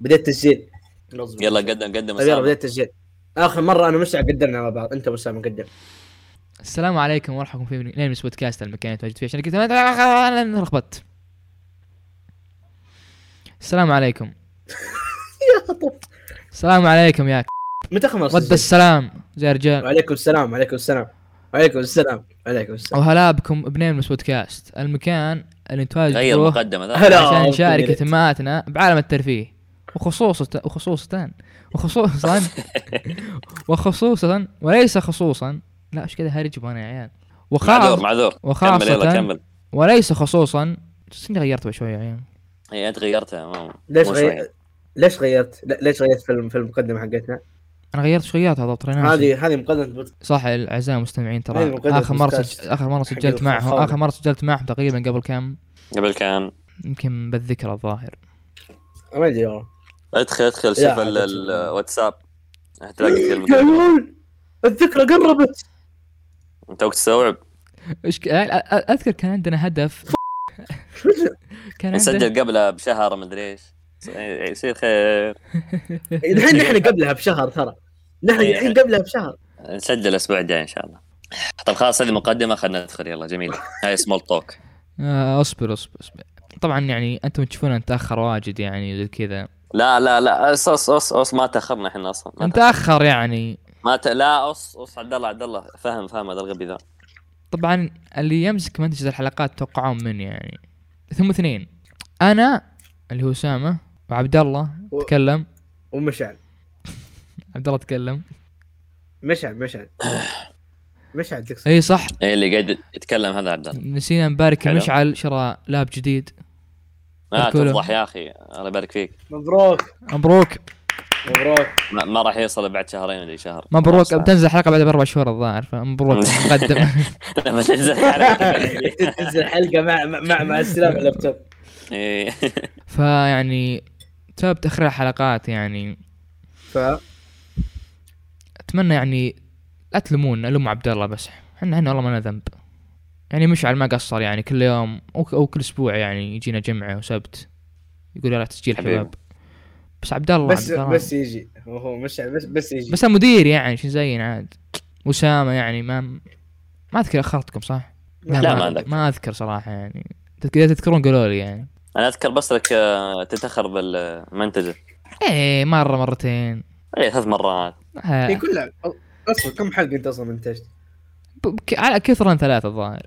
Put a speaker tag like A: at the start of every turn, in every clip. A: بديت تسجيل
B: لازم
C: يلا قدم قدم
A: طيب يلا
C: أسامة.
A: بديت تسجيل اخر مره انا ومشعل قدرنا مع بعض انت وسام قدم
D: السلام عليكم ورحمة الله وبركاته ليمس بودكاست المكان اللي تواجد فيه عشان كذا آه، انا لخبطت السلام عليكم
A: يا طب
D: السلام عليكم يا ك-
A: متى خلص
D: رد السلام زي رجال
A: وعليكم السلام وعليكم السلام وعليكم السلام وعليكم السلام
D: وهلا بكم بنيمس بودكاست المكان اللي نتواجد
C: غير
D: فيه
C: المقدمة ذا
A: هلا
D: عشان
A: أبو
D: نشارك
A: جريت.
D: اهتماماتنا بعالم الترفيه وخصوصا وخصوصا وخصوصا وخصوصا وليس خصوصا لا ايش كذا هرج وانا يا عيال
C: معذور
D: وخاص
C: معذور كمل يلا
D: وخاصة
C: كمل
D: وليس خصوصا بس اني غيرت بعد شوي يا عيال
C: اي انت إيه، غيرتها ما
A: ليش
C: مو شوي.
A: غيرت ليش غيرت لا، ليش غيرت في الم- في المقدمه حقتنا
D: انا غيرت شويات هذا طرينا
A: هذه هذه مقدمه بودكاست.
D: صح الاعزاء المستمعين
A: هذه
D: ترى
A: مقدمة
D: اخر مره
A: بودكاست
D: سج... اخر مره
A: حق
D: سجلت معهم
A: الخوخ.
D: اخر مره سجلت معهم تقريبا قبل كم
C: قبل كان
D: يمكن بالذكرى الظاهر
A: ما ادري والله
C: ادخل ادخل شوف
A: يا
C: ال-
A: عاد.
C: ال- الواتساب هتلاقي كثير من-
A: قانون الذكرى قربت
C: انت وقت تستوعب
D: ايش ك... أ- أ- اذكر كان عندنا هدف كان عندنا
C: نسجل قبلها بشهر مدري ايش إيه، يصير خير
A: الحين نحن قبلها بشهر ترى نحن
C: إيه.
A: الحين قبلها بشهر
C: نسجل الاسبوع الجاي ان شاء الله طب خلاص هذه مقدمه خلينا ندخل يلا جميل هاي سمول توك
D: آه، اصبر اصبر اصبر طبعا يعني انتم تشوفون نتاخر واجد يعني زي كذا
C: لا لا لا أص أص أص, أص ما تاخرنا احنا اصلا ما, تأخر.
D: نتاخر يعني
C: ما ت... لا أص أص عبد الله عبد الله فاهم فاهم هذا الغبي ذا
D: طبعا اللي يمسك منتج الحلقات توقعون من يعني ثم اثنين انا اللي هو اسامه وعبد الله
A: و-
D: تكلم
A: ومشعل
D: عبد الله تكلم
A: مشعل مشعل
C: آه.
A: مشعل تقصد
D: اي صح
C: إيه اللي قاعد يتكلم هذا عبد الله
D: نسينا نبارك
C: حلو.
D: مشعل شرى لاب جديد
C: ما
D: أذكره.
C: تفضح يا اخي الله يبارك فيك
A: مبروك
D: مبروك
A: مبروك
C: ما, ما راح يوصل بعد شهرين ولا شهر
D: مبروك
C: خلاص.
D: بتنزل حلقه بعد باربع شهور الظاهر فمبروك مقدم
C: لما تنزل حلقة.
A: يعني تنزل حلقه مع مع- مع مع السلامه اللابتوب
C: إيه.
D: فيعني بسبب تاخير الحلقات يعني
A: ف
D: اتمنى يعني لا تلومون الوم عبد الله بس احنا احنا والله ما لنا ذنب يعني مشعل ما قصر يعني كل يوم او, أو كل اسبوع يعني يجينا جمعه وسبت يقول يلا تسجيل
C: حبيبي.
D: حباب بس عبد الله
A: بس
D: عبد الله.
A: بس يجي هو مشعل بس بس يجي
D: بس المدير يعني شو زين عاد وسامه يعني ما ما اذكر اخرتكم صح؟
C: لا، ما
D: ما,
C: أذكر.
D: ما اذكر صراحه يعني تذك- اذا تذكرون قولوا لي يعني
C: انا اذكر بس لك آه، تتاخر بالمنتجه
D: ايه مره مرتين آه،
C: إيه، ثلاث مرات
D: ها،
A: هي كلها اصبر كم حلقه انت اصلا منتجت؟
D: ب- بك- على كثرا ثلاثه الظاهر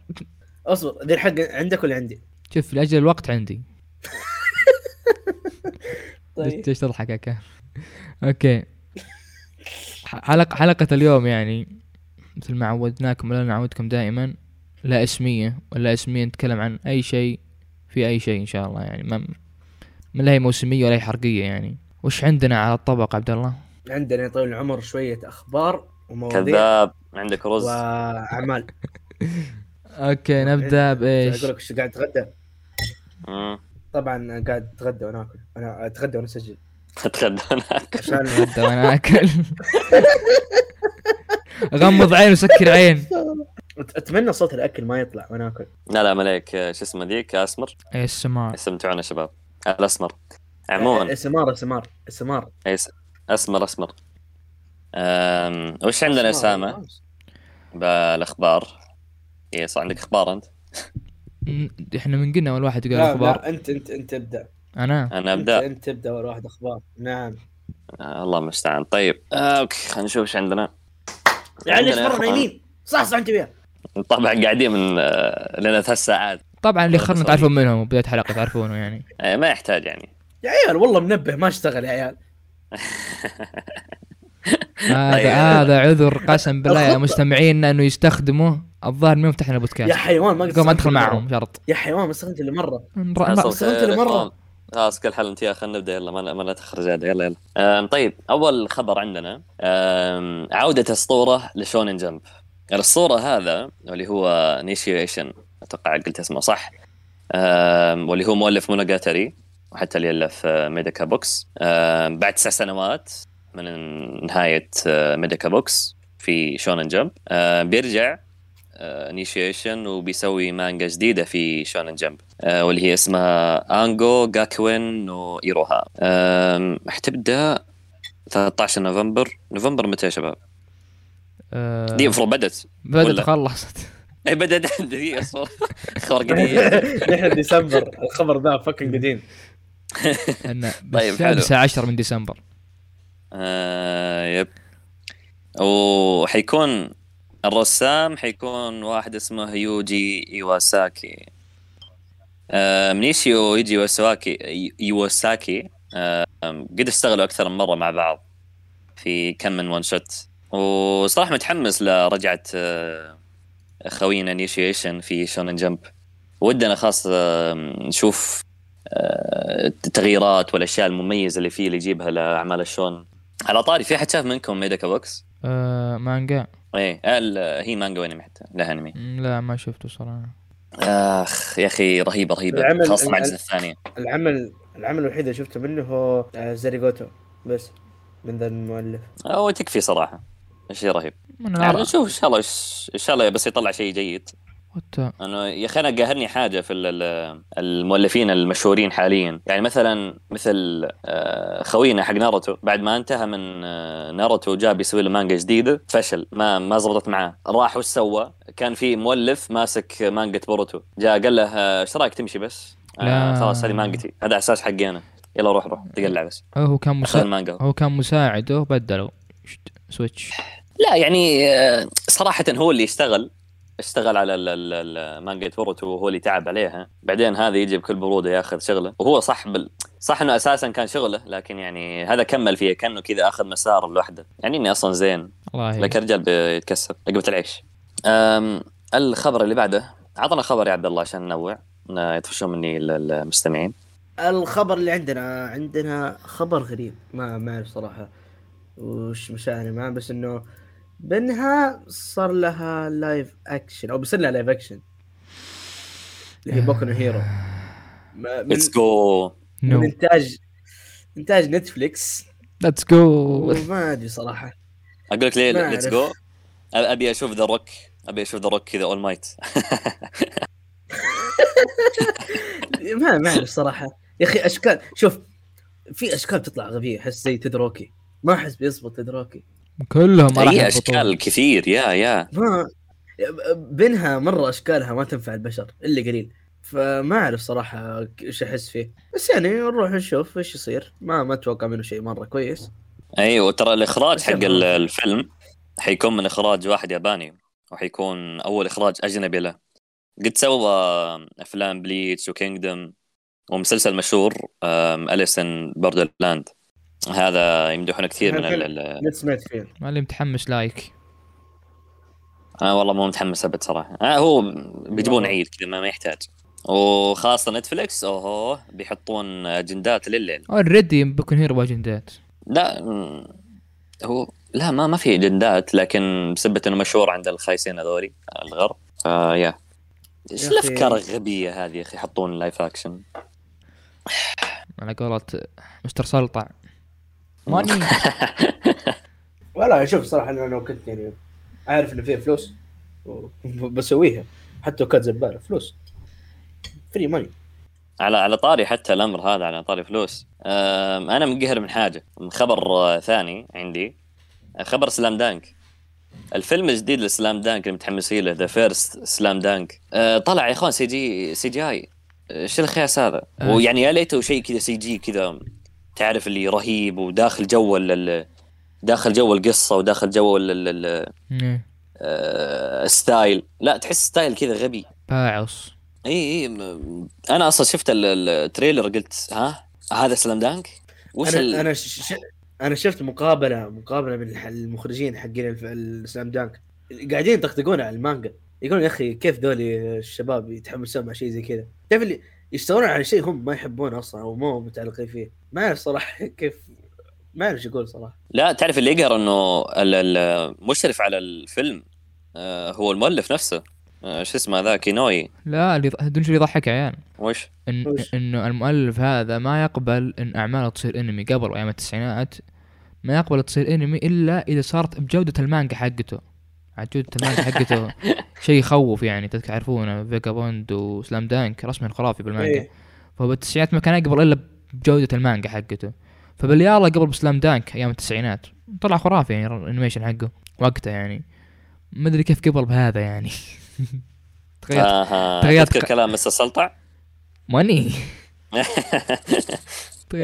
A: اصبر ذي الحلقه عندك ولا عندي؟
D: شوف لاجل الوقت عندي
A: طيب.
D: ليش ليش تضحك يا كهف؟ اوكي ح- حلقة حلقة اليوم يعني مثل ما عودناكم ولا نعودكم دائما لا اسمية ولا اسمية نتكلم عن اي شيء في اي شيء ان شاء الله يعني ما ما لا هي موسمية ولا هي حرقية يعني وش عندنا على الطبق عبد الله؟
A: عندنا يا طويل العمر شويه اخبار ومواضيع
C: كذاب عندك رز
A: واعمال
D: اوكي نبدا بايش؟
A: اقول لك شو قاعد اتغدى
C: مم.
A: طبعا قاعد اتغدى وانا اكل انا اتغدى وانا اسجل
C: اتغدى هناك
A: عشان
D: نبدا وانا اكل غمض عين وسكر عين
A: أت- اتمنى صوت الاكل ما يطلع وانا اكل
C: لا لا ملاك آه، شو اسمه ذيك اسمر
D: اي السماء
C: استمتعونا شباب الاسمر عموما
A: اسمار اسمار اسمار
C: إيس- اسمر اسمر أم... وش عندنا اسامه بالاخبار؟ اي إيه، صح عندك اخبار انت؟
D: م- احنا من قلنا اول واحد يقول
A: لا
D: الاخبار
A: لا انت انت انت ابدا
D: انا
C: انا
A: انت
C: ابدا
A: انت ابدا ورا واحد اخبار نعم
C: آه الله المستعان طيب آه اوكي خلينا نشوف ايش عندنا
A: يعني ايش
C: عندنا
A: مره
C: أخبار.
A: نايمين صح صح انت وياه
C: طبعا قاعدين من آه، لنا ثلاث ساعات
D: طبعا اللي خرنا
C: صحيح.
D: تعرفون منهم بداية حلقة تعرفونه يعني
C: آه، ما يحتاج يعني
A: يا عيال والله منبه ما اشتغل يا عيال
C: طيب.
D: هذا هذا عذر قسم بالله يا مستمعينا انه يستخدموه الظاهر ما فتحنا
A: يا
D: بودكاست
A: حيوان ما قد
D: قوم
A: استخدمت
D: ادخل
A: مرة.
D: معهم شرط
A: يا حيوان ما استخدمت الا مره
D: نر-
C: أنا
D: نر-
C: صوت
A: استخدمت
C: خير،
A: المرة.
C: إخوان. خلاص كل حل انتهى خلينا نبدا يلا ما لا- ما لا تخرج هذا يلا يلا آم، طيب اول خبر عندنا آم، عوده اسطوره لشونن جمب الاسطوره هذا واللي هو نيشيشن اتوقع قلت اسمه صح آم، واللي هو مؤلف مونوجاتري وحتى اللي الف آه، ميديكا بوكس آم، بعد تسع سنوات من نهايه آه، ميديكا بوكس في شونن جمب آم، بيرجع انيشيشن وبيسوي مانجا جديده في شونن جمب آه واللي هي اسمها انجو جاكوين وايروها آم، حتبدا 13 نوفمبر نوفمبر متى يا شباب؟
D: آه،
C: دي المفروض إيه، بدت
D: بدت
C: ولا-
D: خلصت
C: اي بدت دقيقه صور اخبار قديمه
A: نحن ديسمبر الخبر ذا فكن قديم
D: أنا
C: طيب،
D: بس شايف
C: حلو.
D: الساعه 10 من ديسمبر
C: آه يب وحيكون الرسام حيكون واحد اسمه يوجي ايواساكي آه منيشيو يوجي ايواساكي ايواساكي آه قد اشتغلوا اكثر من مره مع بعض في كم من ون شوت وصراحه متحمس لرجعه آه خوينا نيشيشن في شونن جمب ودنا خاص آه نشوف آه، التغييرات والاشياء المميزه اللي فيه اللي يجيبها لاعمال الشون على طاري في حد شاف منكم ميدكا بوكس؟
D: آه مانجا
C: ايه قال آه، هي مانجا وانمي حتى لها انمي
D: مم، لا ما شفته صراحه
C: اخ يا اخي رهيبه رهيبه
A: العمل-
C: خاصه مع
A: العمل-
C: الجزء الثاني
A: العمل العمل الوحيد اللي شفته منه هو آه، زاريغوتو بس من ذا المؤلف
C: آه، هو تكفي صراحه شيء رهيب
D: انا
C: يعني
D: أعرف-
C: نشوف ان شاء الله إيش- ان شاء الله بس يطلع شيء جيد
D: What the-
C: انا يا اخي انا قاهرني حاجه في ال- ال- المؤلفين المشهورين حاليا يعني مثلا مثل آه، خوينا حق ناروتو بعد ما انتهى من آه، ناروتو جاء بيسوي له مانجا جديده فشل ما ما زبطت معاه راح وش سوى كان في مؤلف ماسك مانجا بوروتو جاء قال له آه، ايش رايك تمشي بس آه،
D: لا.
C: خلاص هذه مانجتي هذا اساس حقي انا يلا روح روح تقلع بس
D: أه، هو كان
C: اخذ
D: مساعد
C: المانجا
D: هو كان مساعده بدلوا شت، سويتش
C: لا يعني آه، صراحة هو اللي اشتغل اشتغل على ال- ال- ال- مانجا بوروتو وهو اللي تعب عليها بعدين هذا يجي بكل برودة ياخذ شغله وهو صح بال... صح انه اساسا كان شغله لكن يعني هذا كمل فيها كانه كذا اخذ مسار لوحده يعني اني اصلا زين
A: إيه.
D: الله
C: لكن رجال بيتكسب لقمة العيش أم الخبر اللي بعده اعطنا خبر يا عبد الله عشان ننوع ن- يطفشون مني ال- المستمعين
A: الخبر اللي عندنا عندنا خبر غريب ما ما اعرف صراحه وش مشاعري معاه بس انه بنها صار لها لايف اكشن او بيصير لها لايف اكشن اللي هي بوكو نو
D: آه.
A: هيرو ما- من,
C: ليتس جو
A: من
D: نو
A: انتاج انتاج نتفليكس
D: ليتس جو
A: وما ادري صراحه
C: اقول لك ليه
A: ما
C: ليتس جو
A: أعرف.
C: ابي اشوف ذا روك ابي اشوف ذا روك كذا اول مايت
A: ما ما اعرف صراحه يا اخي اشكال شوف في اشكال تطلع غبيه احس زي تدروكي ما احس بيزبط تدروكي
D: كلهم ما راح
C: اي
D: يضبطون.
C: اشكال إيه، كثير يا يا
A: ما بينها مره اشكالها ما تنفع البشر الا قليل فما اعرف صراحه ايش احس فيه بس يعني نروح نشوف ايش يصير ما ما اتوقع منه شيء مره كويس
C: ايوه ترى الاخراج
A: بس
C: حق
A: يلا.
C: ال- الفيلم حيكون من اخراج واحد ياباني وحيكون اول اخراج اجنبي له قد سوى افلام بليتش وكينجدم ومسلسل مشهور اليسن بوردرلاند هذا يمدحونه كثير من ال- ال-
A: ما سمعت فيه
D: ما اللي متحمس لايك
C: انا والله مو متحمس ابد صراحه آه هو بيجيبون
A: والله.
C: عيد كذا ما ما يحتاج وخاصه نتفلكس اوه بيحطون اجندات لليل
D: اوريدي بكون هيرو واجندات
C: لا مم، هو لا ما ما في جندات لكن بسبة انه مشهور عند الخايسين هذولي الغرب آه يا ايش
A: يا أخي.
C: الافكار الغبيه هذه يا اخي يحطون لايف اكشن
D: على قولة مستر سلطع ماني
A: والله شوف صراحه انا لو كنت يعني عارف انه فيه فلوس و- بسويها حتى لو كانت زباله فلوس فري ماني
C: على على طاري حتى الامر هذا على طاري فلوس آم، انا منقهر من حاجه من خبر آه، ثاني عندي آه، خبر سلام دانك الفيلم الجديد لسلام دانك اللي متحمسين له ذا فيرست سلام دانك آه، طلع يا اخوان سي جي سي جي اي ايش الخياس هذا؟
D: آه.
C: ويعني يا ليته شيء كذا سي جي كذا تعرف اللي رهيب وداخل جو ال- ال- داخل جو القصه وداخل جو ال- ال- ال-
D: إيه،
C: آه، الستايل لا تحس ستايل كذا غبي
D: باعص
C: اي اي م- انا اصلا شفت ال- التريلر قلت ها هذا سلام دانك وش ال...
A: انا انا ش... ش- انا شفت مقابله مقابله من الح- المخرجين حقين الف- السلام دانك قاعدين يطقطقون على المانجا يقولون يا اخي كيف ذولي الشباب يتحمسون مع شيء زي كذا تعرف اللي يشتغلون على شيء هم ما يحبونه اصلا او مو متعلقين فيه ما اعرف صراحه كيف ما اعرف ايش اقول صراحه
C: لا تعرف اللي يقهر انه ال- المشرف على الفيلم آه، هو المؤلف نفسه آه، شو اسمه ذاك اينوي
D: لا اللي دون شو اللي يضحك يا عيال
C: وش
D: إن
A: وش؟
D: انه المؤلف هذا ما يقبل ان اعماله تصير انمي قبل ايام التسعينات ما يقبل تصير انمي الا اذا صارت بجوده المانجا حقته على جوده المانجا حقته شيء يخوف يعني تذكر تعرفونه فيجا بوند وسلام دانك رسم خرافي بالمانجا
A: إيه.
D: فبالتسعينات ما كان اقبل الا بجوده المانجا حقته فباليالا قبل بسلام دانك ايام التسعينات طلع خرافي يعني الانيميشن حقه وقتها يعني ما ادري كيف قبل بهذا يعني تخيل
C: اها
D: تغيرت
C: آه، تذكر
D: ك-
C: كلام مستر سلطع
D: ماني طيب، تخيل-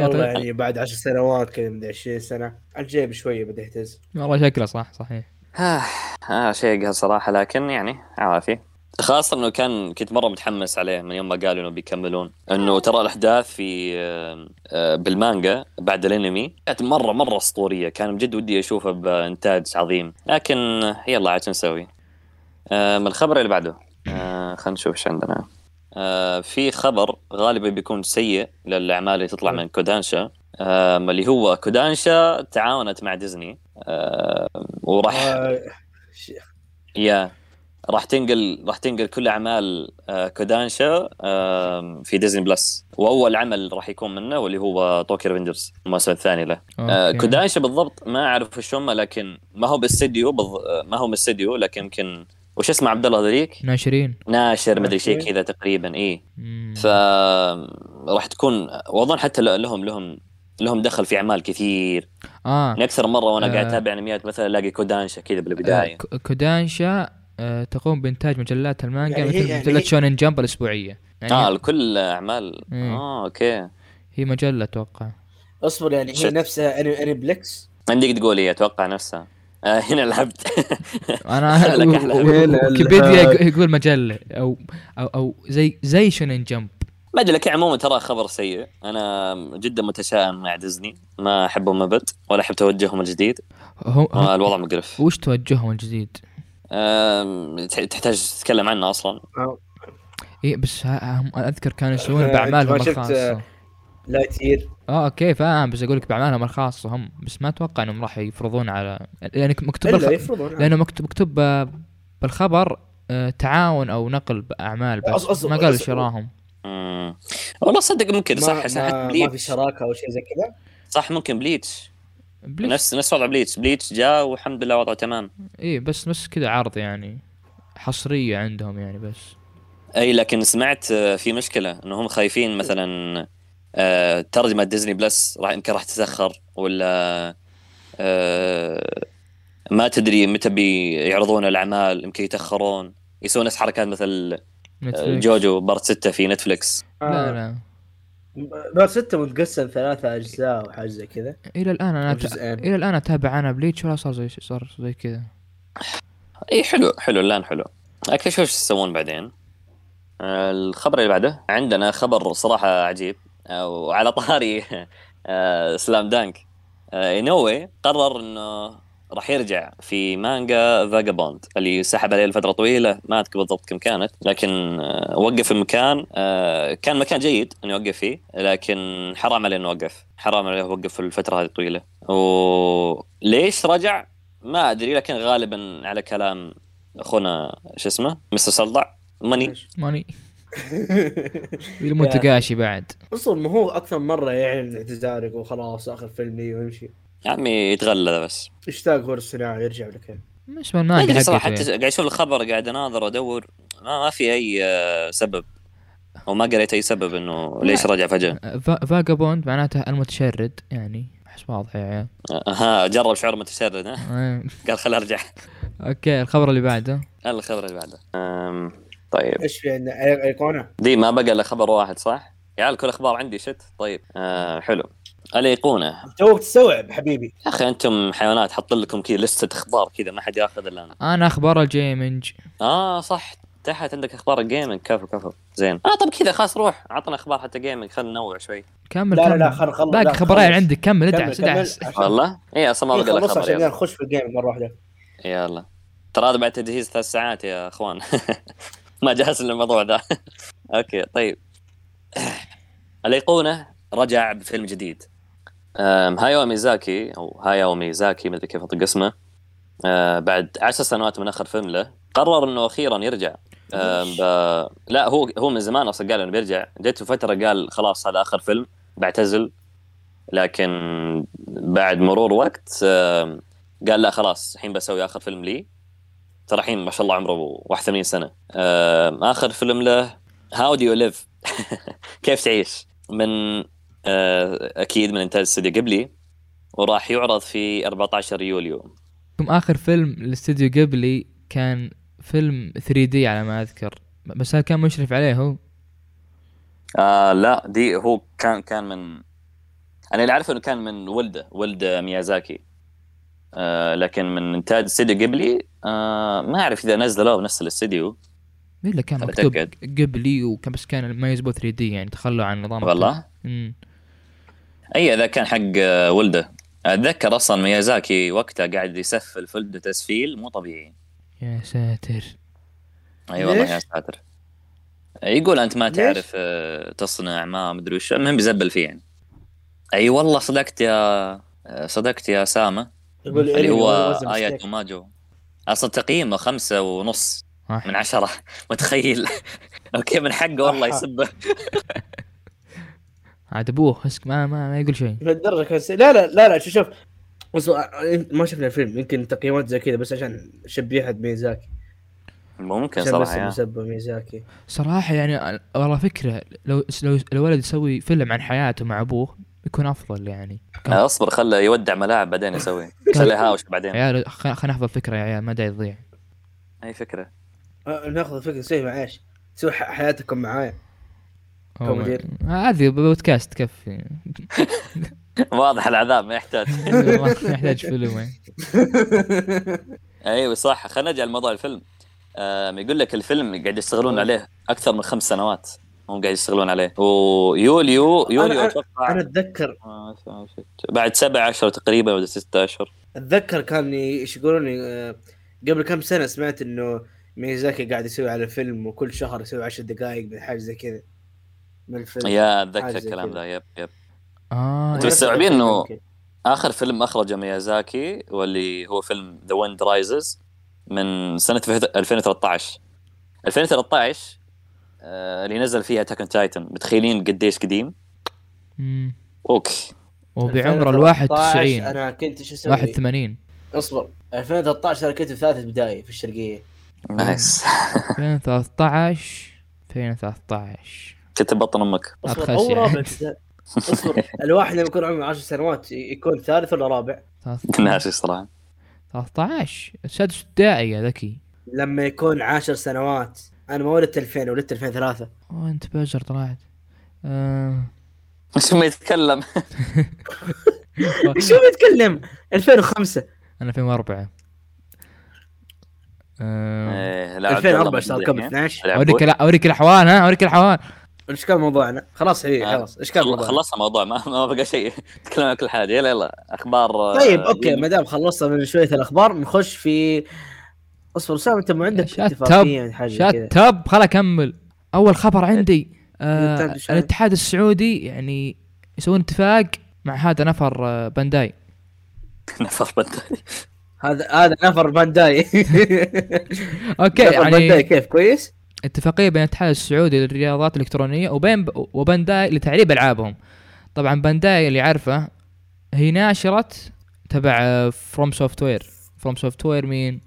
A: والله يعني بعد عشر سنوات كذا مدري 20 سنه على الجيب شويه بدا يهتز
D: والله شكله صح صحيح
C: آه آه شيء يقهر صراحة لكن يعني عافية خاصة انه كان كنت مرة متحمس عليه من يوم ما قالوا انه بيكملون انه ترى الاحداث في آه، آه، بالمانجا بعد الانمي كانت مرة مرة اسطورية كان بجد ودي اشوفه بانتاج عظيم لكن يلا عاد شو نسوي آه، من الخبر اللي بعده آه، خلينا نشوف ايش عندنا آه، في خبر غالبا بيكون سيء للاعمال اللي تطلع من كودانشا آه، اللي هو كودانشا تعاونت مع ديزني آه، وراح
A: آه، ش-
C: يا راح تنقل راح تنقل كل اعمال آه، كودانشا آم، في ديزني بلس واول عمل راح يكون منه واللي هو طوكيو ريفنجرز الموسم الثاني له آه،
D: أوكي.
C: كودانشا بالضبط ما اعرف وش هم لكن ما هو باستديو بض... آه، ما هو باستديو لكن يمكن وش اسمه عبد الله ذليك
D: ناشرين
C: ناشر مدري شيء
A: ناشرين.
C: كذا تقريبا اي
D: مم.
C: ف راح تكون واظن حتى ل- لهم لهم لهم دخل في اعمال كثير
D: اه
C: يعني اكثر مره وانا قاعد
D: آه.
C: اتابع انميات مثلا الاقي كودانشا كذا
D: آه،
C: بالبدايه
D: ك- كودانشا آه، تقوم بإنتاج مجلات المانجا
A: يعني هي-
D: مثل
A: يعني
D: مجلة
A: هي- آه.
D: شونين جمب الأسبوعية يعني
C: اه كل اعمال
D: مم.
C: اه اوكي
D: هي مجلة أتوقع
A: اصبر يعني هي
C: شت.
A: نفسها أني- اني بلكس
C: عندك تقول ايه اتوقع نفسها آه هنا لعبت
D: أنا
C: لك أحلى.
D: ويكيبيديا يق- يقول مجلة أو أو أو زي زي شونين جمب
C: ما ادري لكن عموما ترى خبر سيء انا جدا متشائم مع ديزني ما احبهم ابد ولا احب توجههم الجديد آه،
D: هم
A: آه،
D: هم-
C: الوضع مقرف
D: وش توجههم الجديد؟
C: آم، تح- تحتاج تتكلم عنه اصلا
D: إيه بس ها- هم أذكر كانوا يسوون
A: آه،
D: بأعمالهم
A: أنت ما شفت،
D: الخاصة
A: لايت يير
D: اه اوكي فاهم بس اقول لك باعمالهم الخاصه هم بس ما اتوقع انهم راح يفرضون على يعني مكتوب
A: الا
D: الخ-
A: يفرضون
D: لانه مكتوب مكتوب آه، بالخبر آه، تعاون او نقل باعمال بس
A: أص- أص-
D: ما قالوا
A: أص-
D: شراهم
C: مم. والله صدق ممكن صح
A: ما-
C: صح
A: ما, ما في
C: بليتش
A: شراكه او شيء زي كذا
C: صح ممكن بليتش
D: بليش
C: نفس نفس وضع بليتش بليتش جاء والحمد لله وضعه تمام
D: ايه بس بس كذا عرض يعني حصريه عندهم يعني بس
C: اي لكن سمعت آه، في مشكله انهم خايفين مثلا آه، ترجمه ديزني بلس راح يمكن راح تتاخر ولا آه، ما تدري متى بيعرضون الاعمال يمكن يتاخرون يسوون نفس حركات مثل آه،
D: نتفليكس
C: جوجو بارت 6 في نتفلكس
D: لا لا
A: بار 6 متقسم ثلاثة اجزاء وحاجه زي كذا
D: الى الان انا
A: أو
D: أت...
A: جزئين
D: الى الان اتابع انا بليتش ولا صار زي صار زي كذا
C: اي حلو حلو الان حلو لكن شوف ايش يسوون بعدين آه، الخبر اللي بعده عندنا خبر صراحه عجيب آه، وعلى طاري آه، سلام دانك آه، اينوي قرر انه راح يرجع في مانجا فاجابوند اللي سحب عليه لفتره طويله ما اذكر بالضبط كم كانت لكن آه، وقف المكان آه، كان مكان جيد انه يوقف فيه لكن حرام عليه انه وقف حرام عليه وقف في الفتره هذه الطويله وليش رجع ما ادري لكن غالبا على كلام اخونا شو اسمه مستر صلع ماني
D: ماني المتقاشي بعد
A: اصلا ما هو اكثر مره يعلن اعتذاره يقول خلاص اخر فيلم لي ويمشي
C: يا عمي يعني يتغلى بس
A: اشتاق هو الصناعي يرجع لك
D: مش من
C: ما
D: المانجا
C: ادري صراحه حتى
D: حقته
C: قاعد اشوف الخبر قاعد اناظر وادور ما, ما في اي آه، سبب وما قريت اي سبب انه ليش رجع فجاه
D: آه، فا- فاجابوند معناته المتشرد يعني احس واضح يا عيال
C: آه، ها جرب شعور متشرد ها
D: آه،
C: قال خل ارجع
D: اوكي الخبر اللي بعده
C: يلا الخبر اللي بعده أم، طيب
A: ايش في عندنا أي- ايقونه
C: دي ما بقى الا خبر واحد صح؟ يا عيال كل اخبار عندي شت طيب آه حلو الايقونه
A: توك تستوعب حبيبي
C: يا اخي انتم حيوانات حط لكم كذا لسته اخبار كذا ما حد ياخذ الا انا
D: انا اخبار الجيمنج
C: اه صح تحت عندك اخبار الجيمنج كفو كفو زين اه طب كذا خلاص روح عطنا اخبار حتى جيمنج خلينا ننوع شوي
D: كمل
A: لا لا
D: كمل.
A: لا خل خل
D: باقي
A: لا،
D: خبرين
A: خلص.
D: عندك كمل
A: كمل-
D: ادعس
A: كمل
D: ادعس
A: عشان-
C: والله اي اصلا ما
A: إيه،
C: بقى الا
A: خلص
C: خبر
A: عشان
C: يلا.
A: نخش في الجيم مره واحده
C: يلا ترى هذا بعد تجهيز ثلاث ساعات يا اخوان ما جهز للموضوع ذا اوكي طيب الايقونه رجع بفيلم جديد أم، هاياو ميزاكي او هاياو ميزاكي ما ادري كيف انطق اسمه أه، بعد عشر سنوات من اخر فيلم له قرر انه اخيرا يرجع أم، ب- لا هو هو من زمان اصلا قال انه بيرجع جت فتره قال خلاص هذا اخر فيلم بعتزل لكن بعد مرور وقت أم، قال لا خلاص الحين بسوي اخر فيلم لي ترى الحين ما شاء الله عمره 81 سنه آم، اخر فيلم له هاو دو يو ليف كيف تعيش من آه، اكيد من انتاج استوديو قبلي وراح يعرض في 14 يوليو
D: ثم اخر فيلم لاستديو قبلي كان فيلم 3 دي على ما اذكر بس هذا كان مشرف عليه هو
C: آه لا دي هو كان كان من انا اللي اعرفه انه كان من ولده ولده ميازاكي آه لكن من انتاج استوديو قبلي آه ما اعرف اذا نزلوه بنفس الاستوديو
D: مين اللي كان
C: أنا
D: مكتوب
C: أتأكد.
D: قبلي وكان بس كان ما يزبط 3 دي يعني تخلوا عن نظام
C: والله
D: امم
C: اي ذا كان حق آه، ولده اتذكر اصلا ميازاكي وقتها قاعد يسفل فلده تسفيل مو طبيعي
D: يا ساتر
C: اي والله
A: ليش؟
C: يا ساتر يقول انت ما
A: ليش؟
C: تعرف آه، تصنع ما مدري وش المهم بيزبل فيه يعني اي والله صدقت يا آه، صدقت يا سامه
A: يقول
C: اللي
A: anyway,
C: هو
A: it was a
C: ايات
A: mistake.
C: وماجو اصلا تقييمه خمسة ونص
D: آه.
C: من عشرة متخيل اوكي من حقه والله
A: أحا.
C: يسبه
D: عاد ابوه اسك ما ما, ما يقول شيء
A: لهالدرجه كان سيء. لا لا لا لا شوف شوف بس ما شفنا الفيلم يمكن تقييمات زي كذا بس عشان شبيحه ميزاكي
C: ممكن
A: عشان بس
C: صراحه يا.
A: مسبه ميزاكي
D: صراحة يعني أنا- والله فكرة لو لو الولد يسوي فيلم عن حياته مع ابوه يكون افضل يعني
C: آه، اصبر خله يودع ملاعب بعدين يسوي خله هاوش بعدين
D: عيال خ- خلينا نحفظ فكرة يا عيال ما دا يضيع
C: اي فكره
A: آه، ناخذ فكره سوي معاش سوي ح- حياتكم معايا
D: أو
A: كم
D: ما-
A: مدير؟
D: هذه آه، بودكاست تكفي
C: واضح العذاب ما يحتاج
D: ما يحتاج فيلم يعني.
C: ايوه صح خلينا نرجع لموضوع الفيلم آم، يقول لك الفيلم قاعد يشتغلون عليه اكثر من خمس سنوات هم قاعد يشتغلون عليه ويوليو يوليو
A: أنا-
C: اتوقع
A: انا اتذكر
C: آه، سبعة، ستة. بعد سبع اشهر تقريبا ولا ستة اشهر
A: اتذكر كان ي- ايش يقولون آه، قبل كم سنه سمعت انه ميزاكي قاعد يسوي على فيلم وكل شهر يسوي عشر دقائق من حاجه زي كذا من الفيلم
C: يا
A: حاجة
C: اتذكر
A: زي
C: الكلام
A: كذا.
C: ذا يب يب
D: اه
C: أنتوا مستوعبين إنه- اخر فيلم اخرجه ميازاكي واللي هو فيلم ذا ويند رايزز من سنه 2013 2013 آه، اللي نزل فيها تاكن تايتن متخيلين قديش قديم
D: أمم.
C: اوك
D: وبعمر ال 91
A: انا كنت شو اسوي
D: 81
A: اصبر 2013 انا كنت في ثالث بدايه في الشرقيه
C: نايس
D: 2013 2013
C: كنت بطن امك
A: اصبر
D: أتخشى.
A: او رابع ابتدائي. اصبر الواحد لما يكون عمره 10 سنوات ي- يكون ثالث ولا رابع؟
C: ناسي صراحه
D: 13 سادس ابتدائي يا ذكي
A: لما يكون 10 سنوات انا ما ولدت 2000 ولدت 2003
D: وانت بزر طلعت آه.
C: مش ما يتكلم
A: شو بيتكلم 2005
D: انا 2004 آه.
C: إيه، لا، يعني. عبد الله
A: 2004 صار كم
C: مضيع.
A: 12
C: العب
D: اوريك
C: بوي.
D: الع- اوريك الاحوال ها اوريك الاحوال
A: ايش كان موضوعنا؟ خلاص حبيبي
C: آه.
A: خلاص ايش كان
C: خل-
A: موضوعنا؟
C: خلصنا موضوع ما, ما بقى شيء تكلمنا عن كل حاجه يلا يلا اخبار آه،
A: طيب اوكي
C: يمين.
A: ما دام خلصنا من شويه الاخبار نخش في اصبر سام انت ما عندك
D: شات
A: اتفاقيه حاجه زي كذا إيه.
D: شات اب خل اكمل اول خبر عندي آه
A: تابع شوي.
D: الاتحاد السعودي يعني يسوون اتفاق مع هذا نفر آه، بانداي
C: نفر بنداي
A: هذا هذا نفر بانداي
D: اوكي
A: نفر بانداي
D: يعني
A: كيف كويس؟
D: اتفاقيه بين الاتحاد السعودي للرياضات الالكترونيه وبين وبانداي لتعريب العابهم طبعا بانداي اللي عارفه هي ناشره تبع آه، فروم سوفت وير فروم سوفت وير مين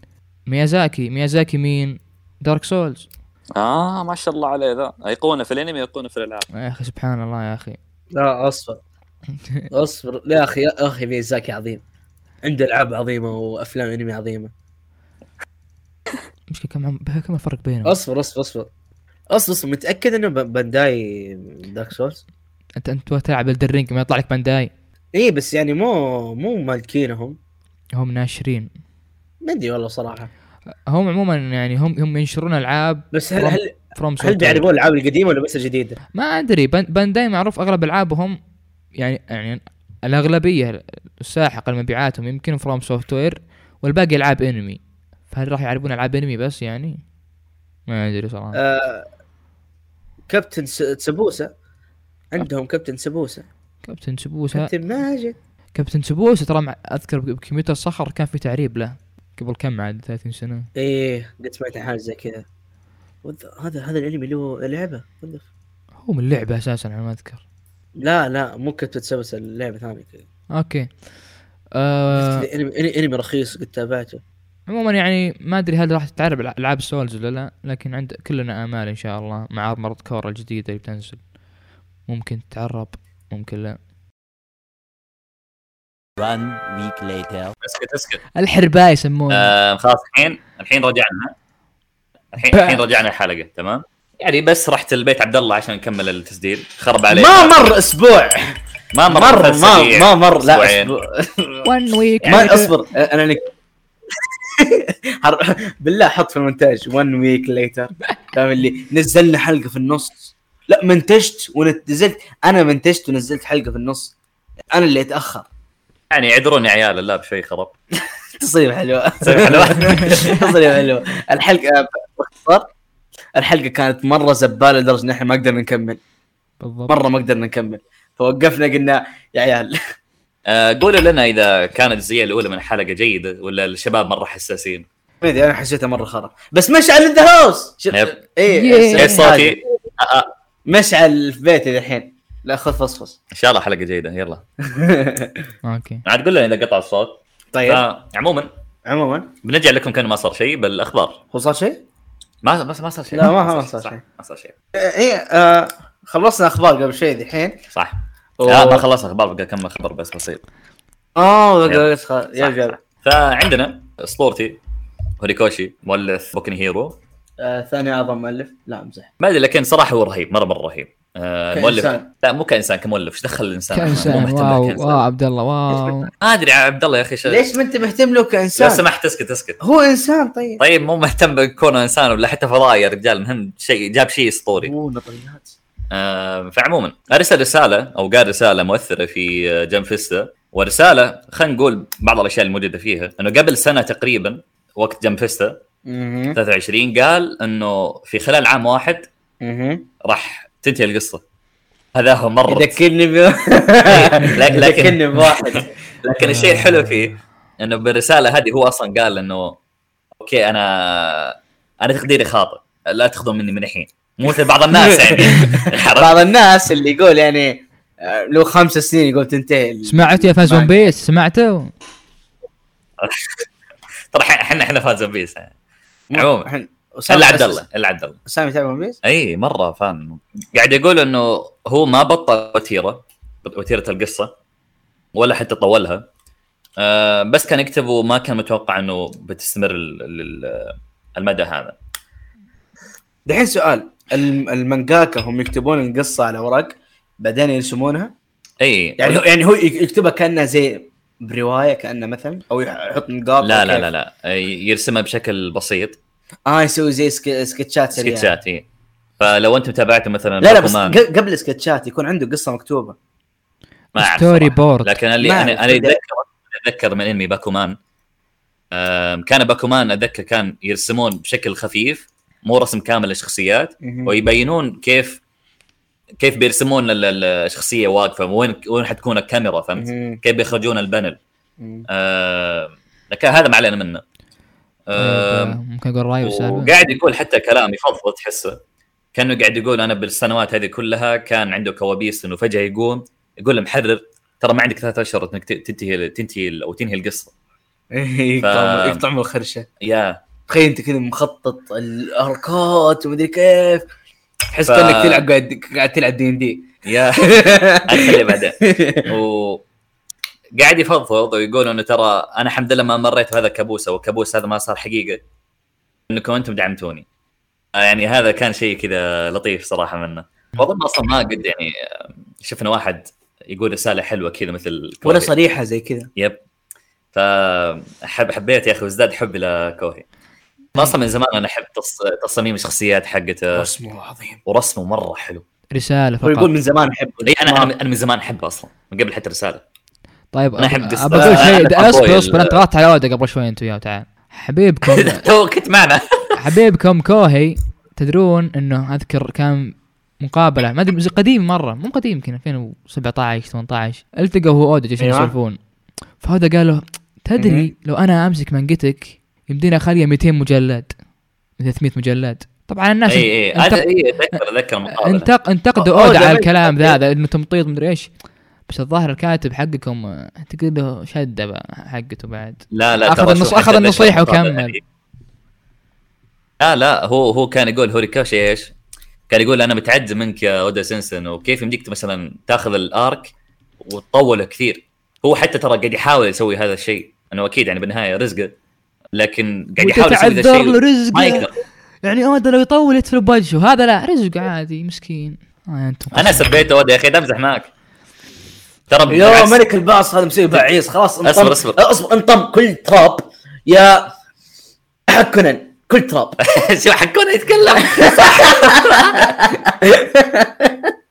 D: ميازاكي ميازاكي مين دارك سولز
C: اه ما شاء الله عليه ذا ايقونه في الانمي ايقونه في الالعاب
D: يا اخي سبحان الله يا اخي
A: لا اصبر اصبر لا يا اخي يا اخي ميزاكي عظيم عنده العاب عظيمه وافلام انمي عظيمه
D: مشكله كم عم... كم الفرق بينهم
A: اصبر اصبر اصبر اصبر, أصبر. متاكد انه ب- بانداي دارك سولز؟
D: انت انت تلعب الدرينج ما يطلع لك بانداي
A: اي بس يعني مو مو مالكينهم
D: هم ناشرين
A: ما ادري والله صراحه
D: هم عموما يعني هم هم ينشرون العاب
A: بس هل
D: From-
A: هل
D: فروم
A: هل بيعرفون الالعاب القديمه ولا بس الجديده؟
D: ما ادري بان- بانداي معروف اغلب العابهم يعني يعني الاغلبيه الساحق المبيعاتهم يمكن فروم سوفت وير والباقي العاب انمي فهل راح يعربون العاب انمي بس يعني؟ ما ادري صراحه
A: آه كابتن س- سبوسه عندهم كابتن سبوسه
D: كابتن سبوسه
A: كابتن ماجد
D: كابتن سبوسه ترى مع- اذكر ب- بكمبيوتر صخر كان في تعريب له قبل كم عاد 30 سنه
A: ايه قد سمعت عن حاجه زي كذا What the- هذا هذا الانمي له لعبه What the
D: هو من اللعبه اساسا على ما اذكر
A: لا لا مو كنت بتسوس اللعبه ثانيه كذا
D: اوكي آه
A: انمي انمي رخيص قد تابعته
D: عموما يعني ما ادري هل راح تتعرب الع- العاب سولز ولا لا لكن عند كلنا امال ان شاء الله مع ارمرد كور الجديده اللي بتنزل ممكن تتعرب ممكن لا
E: One week later.
C: اسكت اسكت
D: الحرباء يسمونه
C: آه خلاص الحين الحين رجعنا الحين الحين رجعنا الحلقه تمام يعني بس رحت البيت عبد الله عشان نكمل التسجيل خرب عليه
A: ما مر اسبوع
C: ما مر
A: مر
C: ثلاث
A: ما
C: أسابيع.
A: ما مر لا
C: أسبوعين. يعني
A: اسبوع
D: وان ويك
A: ما اصبر انا لك حر- بالله حط في المونتاج 1 ويك ليتر فاهم اللي نزلنا حلقه في النص لا منتجت ونزلت انا منتجت ونزلت حلقه في النص انا اللي اتاخر
C: يعني عذروني يا عيال اللاب شوي خرب
A: تصريف حلوه
C: تصريف حلوة.
A: تصريف حلوه الحلقه باختصار الحلقه كانت مره زباله لدرجه ان احنا ما قدرنا نكمل
D: بالضبط
A: مره ما قدرنا نكمل فوقفنا قلنا يا عيال
C: آه قولوا لنا اذا كانت الجزئيه الاولى من الحلقه جيده ولا الشباب مره حساسين
A: ما ادري انا حسيتها مره خرا بس مشعل ان ذا هاوس
C: يب.
D: Yeah.
C: ايش صوتي؟ آه، آه،
A: مشعل في بيتي الحين لا خذ فصفص
C: ان شاء الله حلقه جيده يلا
D: اوكي
C: عاد قول لنا اذا قطع الصوت
A: طيب
C: آه، عموما
A: عموما
C: بنرجع لكم كان ما صار شيء بالاخبار
A: هو صار شيء؟
C: ما ما ما صار شيء
A: لا، ما- ما صار
C: صح،
A: شيء.
C: ما صار شيء
A: ايه آه خلصنا اخبار قبل شوي ذحين
C: صح
A: أوه.
C: لا ما خلصنا اخبار بقى كم خبر بس بسيط
A: اه
C: يلا.
A: بقى- خ- يا
C: صح،
A: رجال
C: صح. فعندنا اسطورتي هوريكوشي مؤلف بوكن هيرو
A: آه، ثاني اعظم مؤلف لا امزح
C: ما ادري لكن صراحه هو رهيب مره مره رهيب آه، المؤلف
A: كإنسان.
C: لا مو كانسان كمؤلف ايش دخل
A: آه.
C: الانسان مو
D: كانسان
C: مهتم
D: واو
C: كإنسان.
D: واو عبد الله واو
C: ما ادري يا عبد الله يا اخي ش-
A: ليش ما انت مهتم له
C: لو
A: كانسان؟
C: سمحت اسكت اسكت
A: هو انسان طيب
C: طيب مو مهتم بكونه انسان ولا حتى فضائي يا رجال المهم شيء جاب شيء اسطوري
A: هو نظريات
C: آه، فعموما ارسل رساله او قال رساله مؤثره في آه، جيم فيستا ورساله خلينا نقول بعض الاشياء الموجوده فيها انه قبل سنه تقريبا وقت جيم فيستا
A: اها
C: 23 قال انه في خلال عام واحد
A: اها
C: راح تنتهي القصه هذا هو مره
A: يذكرني ب
C: إيه، لكن-
A: يذكرني بواحد
C: لكن الشيء الحلو فيه انه بالرساله هذه هو اصلا قال انه اوكي انا انا تقديري خاطئ لا تاخذوا مني من الحين مو مثل بعض الناس يعني عرفت؟
A: بعض الناس اللي يقول يعني آه، لو خمس سنين يقول تنتهي ال-
D: سمعت يا فاز ون
A: معك.
D: بيس سمعته؟
C: ترى احنا احنا فان زون بيس يعني
A: مو-
C: عموما.
A: إحنا- وسام-
C: الا عبد الله الا عبد الله
A: سامي تابع ون بيس؟
C: اي مره فان قاعد يقول انه هو ما بطل وتيره وتيره القصه ولا حتى طولها آه بس كان يكتب وما كان متوقع انه بتستمر ال- ال- ال- المدى هذا
A: دحين سؤال الم- المانجاكا هم يكتبون القصه على ورق بعدين يرسمونها
C: اي
A: يعني هو يعني هو يك- يكتبها كانها زي بروايه كانها مثلا او يح- يحط نقاط
C: لا
A: أو
C: لا
A: كيف.
C: لا لا يرسمها بشكل بسيط
A: اه يسوي زي سك... سكتشات سريعه سكتشات
C: سكتشات اي فلو انتم تابعتوا مثلا
A: لا لا بس
C: روكومان،
A: ق- قبل سكتشات يكون عنده قصه مكتوبه
C: ما أعرف
D: ستوري
C: صراحة.
D: بورد.
C: لكن اللي
A: ما
C: انا
A: أعرف.
C: انا اتذكر اتذكر من انمي باكومان آم، كان باكومان اتذكر كان يرسمون بشكل خفيف مو رسم كامل للشخصيات ويبينون كيف كيف بيرسمون ال- ال- الشخصيه واقفه وين وين حتكون الكاميرا فهمت؟
A: مهم.
C: كيف بيخرجون البانل
A: مهم.
C: آم، لكن هذا ما علينا منه
A: آه.
C: آم،
D: طيب، ممكن اقول راي وسالفه
C: وقاعد يقول حتى كلام يفضفض تحسه كانه قاعد يقول انا بالسنوات هذه كلها كان عنده كوابيس انه فجاه يقوم يقول لمحرر ترى ما عندك ثلاثة اشهر انك ت- تنتهي تنتهي او تنهي القصه
A: يقطع يقطع من الخرشه
C: يا
A: تخيل انت كذا مخطط الاركات ومدري كيف تحس
C: ف-
A: كانك تلعب قاعد قاعد تلعب دي ان دي
C: يا خليه بعدين و قاعد يفضفض ويقول انه ترى انا الحمد لله ما مريت بهذا الكابوس او الكابوس هذا ما صار حقيقه انكم انتم دعمتوني آه، يعني هذا كان شيء كذا لطيف صراحه منه واظن اصلا ما قد يعني آه، شفنا واحد يقول رساله حلوه كذا مثل
A: ولا
C: كوهي.
A: صريحه زي كذا
C: يب فحب حبيت يا اخي وازداد حبي لكوهي أنا اصلا من زمان انا احب تص... تصاميم الشخصيات حقته
A: اسمه عظيم
C: ورسمه مره حلو
D: رساله
A: هو يقول
D: فقط
A: من زمان احبه
C: اي انا انا أنا من زمان احبه اصلا من قبل حتى رساله
D: طيب
C: أنا أحب
D: أبى-
C: قصة-
D: ابى
A: آه،
D: اقول شيء
C: أنا
D: ده-
C: أحب
D: اصبر
C: أقول-
D: اصبر انت غلطت على اودا قبل شوي انت وياه تعال حبيبكم
C: تو كنت معنا
D: حبيبكم كوهي تدرون انه اذكر كان مقابله ما ادري قديم مره مو قديم يمكن 2017 18 التقوا هو اودا جالسين
A: أيوة.
D: يسولفون فاودا قال له تدري لو انا امسك منقتك يمدينا اخليها 200 مجلد 300 مجلد طبعا الناس
C: اي اي
D: انت-
C: إيه، هذا اي اتذكر اتذكر المقابله
D: انتق انتقدوا
A: أودا
D: اودا على
A: بس.
D: الكلام ذا هذا انه تمطيط مدري ايش بس الظاهر الكاتب حقكم آه، اعتقد له شده بقى حقته بعد
C: لا لا
D: أخذ
C: ترى شوف
D: النص-
C: حتى
D: أخذ
C: اللي
D: النصيحة
C: شافه طبعاً
D: وكمل.
C: يعني. لا لا هو هو كان يقول هوريكوشي ايش؟ كان يقول انا متعجب منك يا اودا سينسن وكيف يمديك مثلا تاخذ الارك وتطوله كثير هو حتى ترى قاعد يحاول يسوي هذا الشيء انه اكيد يعني بالنهايه رزقه لكن قاعد يحاول يسوي ذا
D: وتتعذر له
C: الشيء ما
D: رزقه
C: يقدر
D: يعني اودا لو يطول يدفل بوجهه هذا لا رزقه عادي مسكين آه انتم
C: انا سبيته اودا يا اخي امزح معك ترى
A: يا
C: بالعكس-
A: ملك الباص هذا مسوي بعيص خلاص انطم
C: أصبر- أصبر.
A: اصبر انطم كل تراب يا حكنا كل تراب
C: شو حكونا يتكلم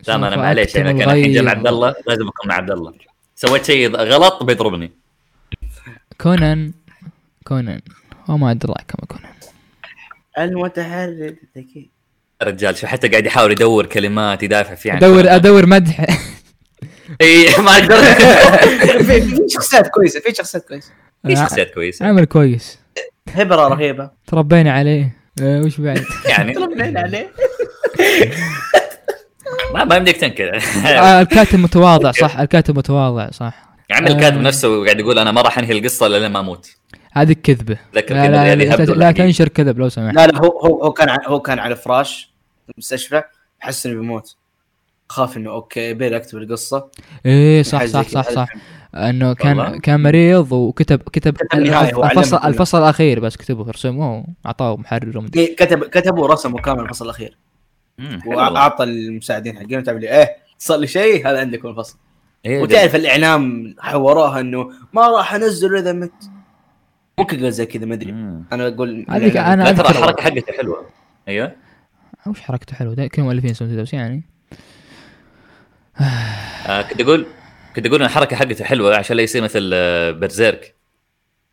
C: لا ما انا معليش انا كان الحين جاب عبد الله لازم اكون مع عبد الله سويت شيء غلط بيضربني
D: كونان كونان وما ادراك ما كونان
A: المتحرر الذكي
C: الرجال شو حتى قاعد يحاول يدور كلمات يدافع فيها عن
D: ادور
C: يعني كونان.
D: ادور مدح
C: اي ما اقدر
A: في في شخصيات كويسه في شخصيات كويسه
C: في شخصيات كويسه
D: عمل كويس
A: هبره رهيبه
D: تربينا عليه أه وش بعد؟
C: يعني
A: ترى من هنا عليه
C: ما, ما يمديك تنكر
D: آه الكاتب متواضع صح الكاتب متواضع صح
C: عم يعني الكاتب
D: آه.
C: نفسه قاعد يقول انا ما راح انهي القصه الا لما اموت
D: هذه كذبه
C: ذكر
D: لا
C: كذا
D: لا,
C: اللي
D: لا,
C: هبدوا
D: لا, لا
C: يعني الحقيقة.
D: تنشر كذب لو سمحت
A: لا لا هو هو هو كان ع- هو كان على فراش المستشفى حس انه بيموت خاف انه اوكي بيل اكتب القصه
D: ايه صح
A: حاجة
D: صح
A: زي كذا.
D: صح صح انه كان
C: والله.
D: كان مريض وكتب كتب
A: كتب نهاية، هو
D: الفصل
A: علمنا.
D: الفصل الاخير بس كتبه رسموه اعطاه محرر ومدري
A: إيه، كتب كتب ورسمه كامل الفصل الاخير
C: مم، حلو والله.
A: واعطى المساعدين حقين وتعمل لي ايه صار لي شيء هذا عندكم الفصل
C: إيه،
A: وتعرف الاعلام حوراها انه ما راح انزل اذا مت ممكن قال زي كذا ما ادري
C: مم.
A: انا اقول
D: هذيك
A: الإعلام.
D: أنا
C: لا ترى
D: أذكر.
C: الحركه حقته حلوه ايوه
D: وش حركته حلوه ده كل مؤلفين يسوون كذا بس يعني
C: آه كنت اقول كنت اقول ان الحركه حقته حلوه عشان لا يصير مثل آه، برزيرك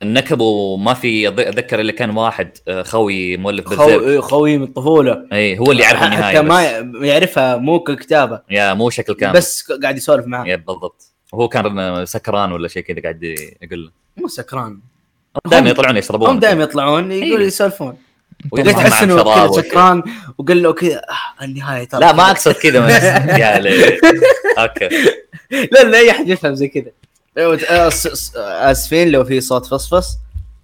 C: النكبه ما في أض- اتذكر الا كان واحد آه، خوي مؤلف برزيرك
A: خو... إيه، خوي من الطفوله
C: اي هو اللي يعرف النهايه
A: حتى ما
C: بس.
A: ي- يعرفها مو ككتابه
C: يا مو شكل كامل بس
A: بس قاعد يسولف معاه
C: يا بالضبط هو كان سكران ولا شيء كذا قاعد يقول له
A: مو سكران
C: دائما يطلعون يشربون
A: هم دائما يطلعون يقولوا
C: إيه.
A: يسولفون
C: ويقول
A: وقلت
C: لهم
A: تحس
C: عن
A: انه
C: شراب
A: كذا
C: وشيء.
A: سكران وقال له كذا آه النهايه ترى
C: لا ما اقصد كذا بس يا ليل. اوكي
A: لا لا اي احد يفهم زي كذا أيوة، آه، س- س- آه، اسفين لو في صوت فصفص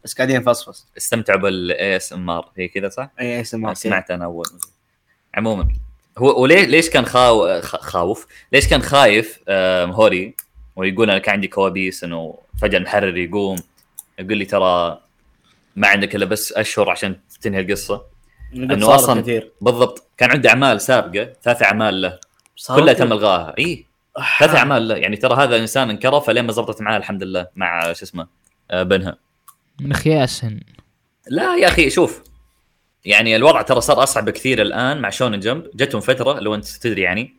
A: بس قاعدين فصفص
C: استمتعوا بالاي اس ام ار هي كذا صح؟
A: اي اس ام
C: ما سمعت انا اول عموما هو وليه ليش كان خاو... خ- خاوف؟ ليش كان خايف آم، هوري ويقول انا كان عندي كوابيس انه فجاه المحرر يقوم يقول لي ترى ما عندك الا بس اشهر عشان تنهي القصه إنه أصلاً
A: كثير
C: بالضبط كان عنده اعمال سابقه ثلاث اعمال له
A: صار
C: كلها
A: كثير.
C: تم الغاها اي
A: آه،
C: ثلاث اعمال له يعني ترى هذا انسان انكرف لين ما زبطت معاه الحمد لله مع شو اسمه آه، بنها
D: من خياسهن
A: آه،
C: لا يا اخي شوف يعني الوضع ترى صار اصعب بكثير الان مع شونن جمب جتهم فتره لو انت تدري يعني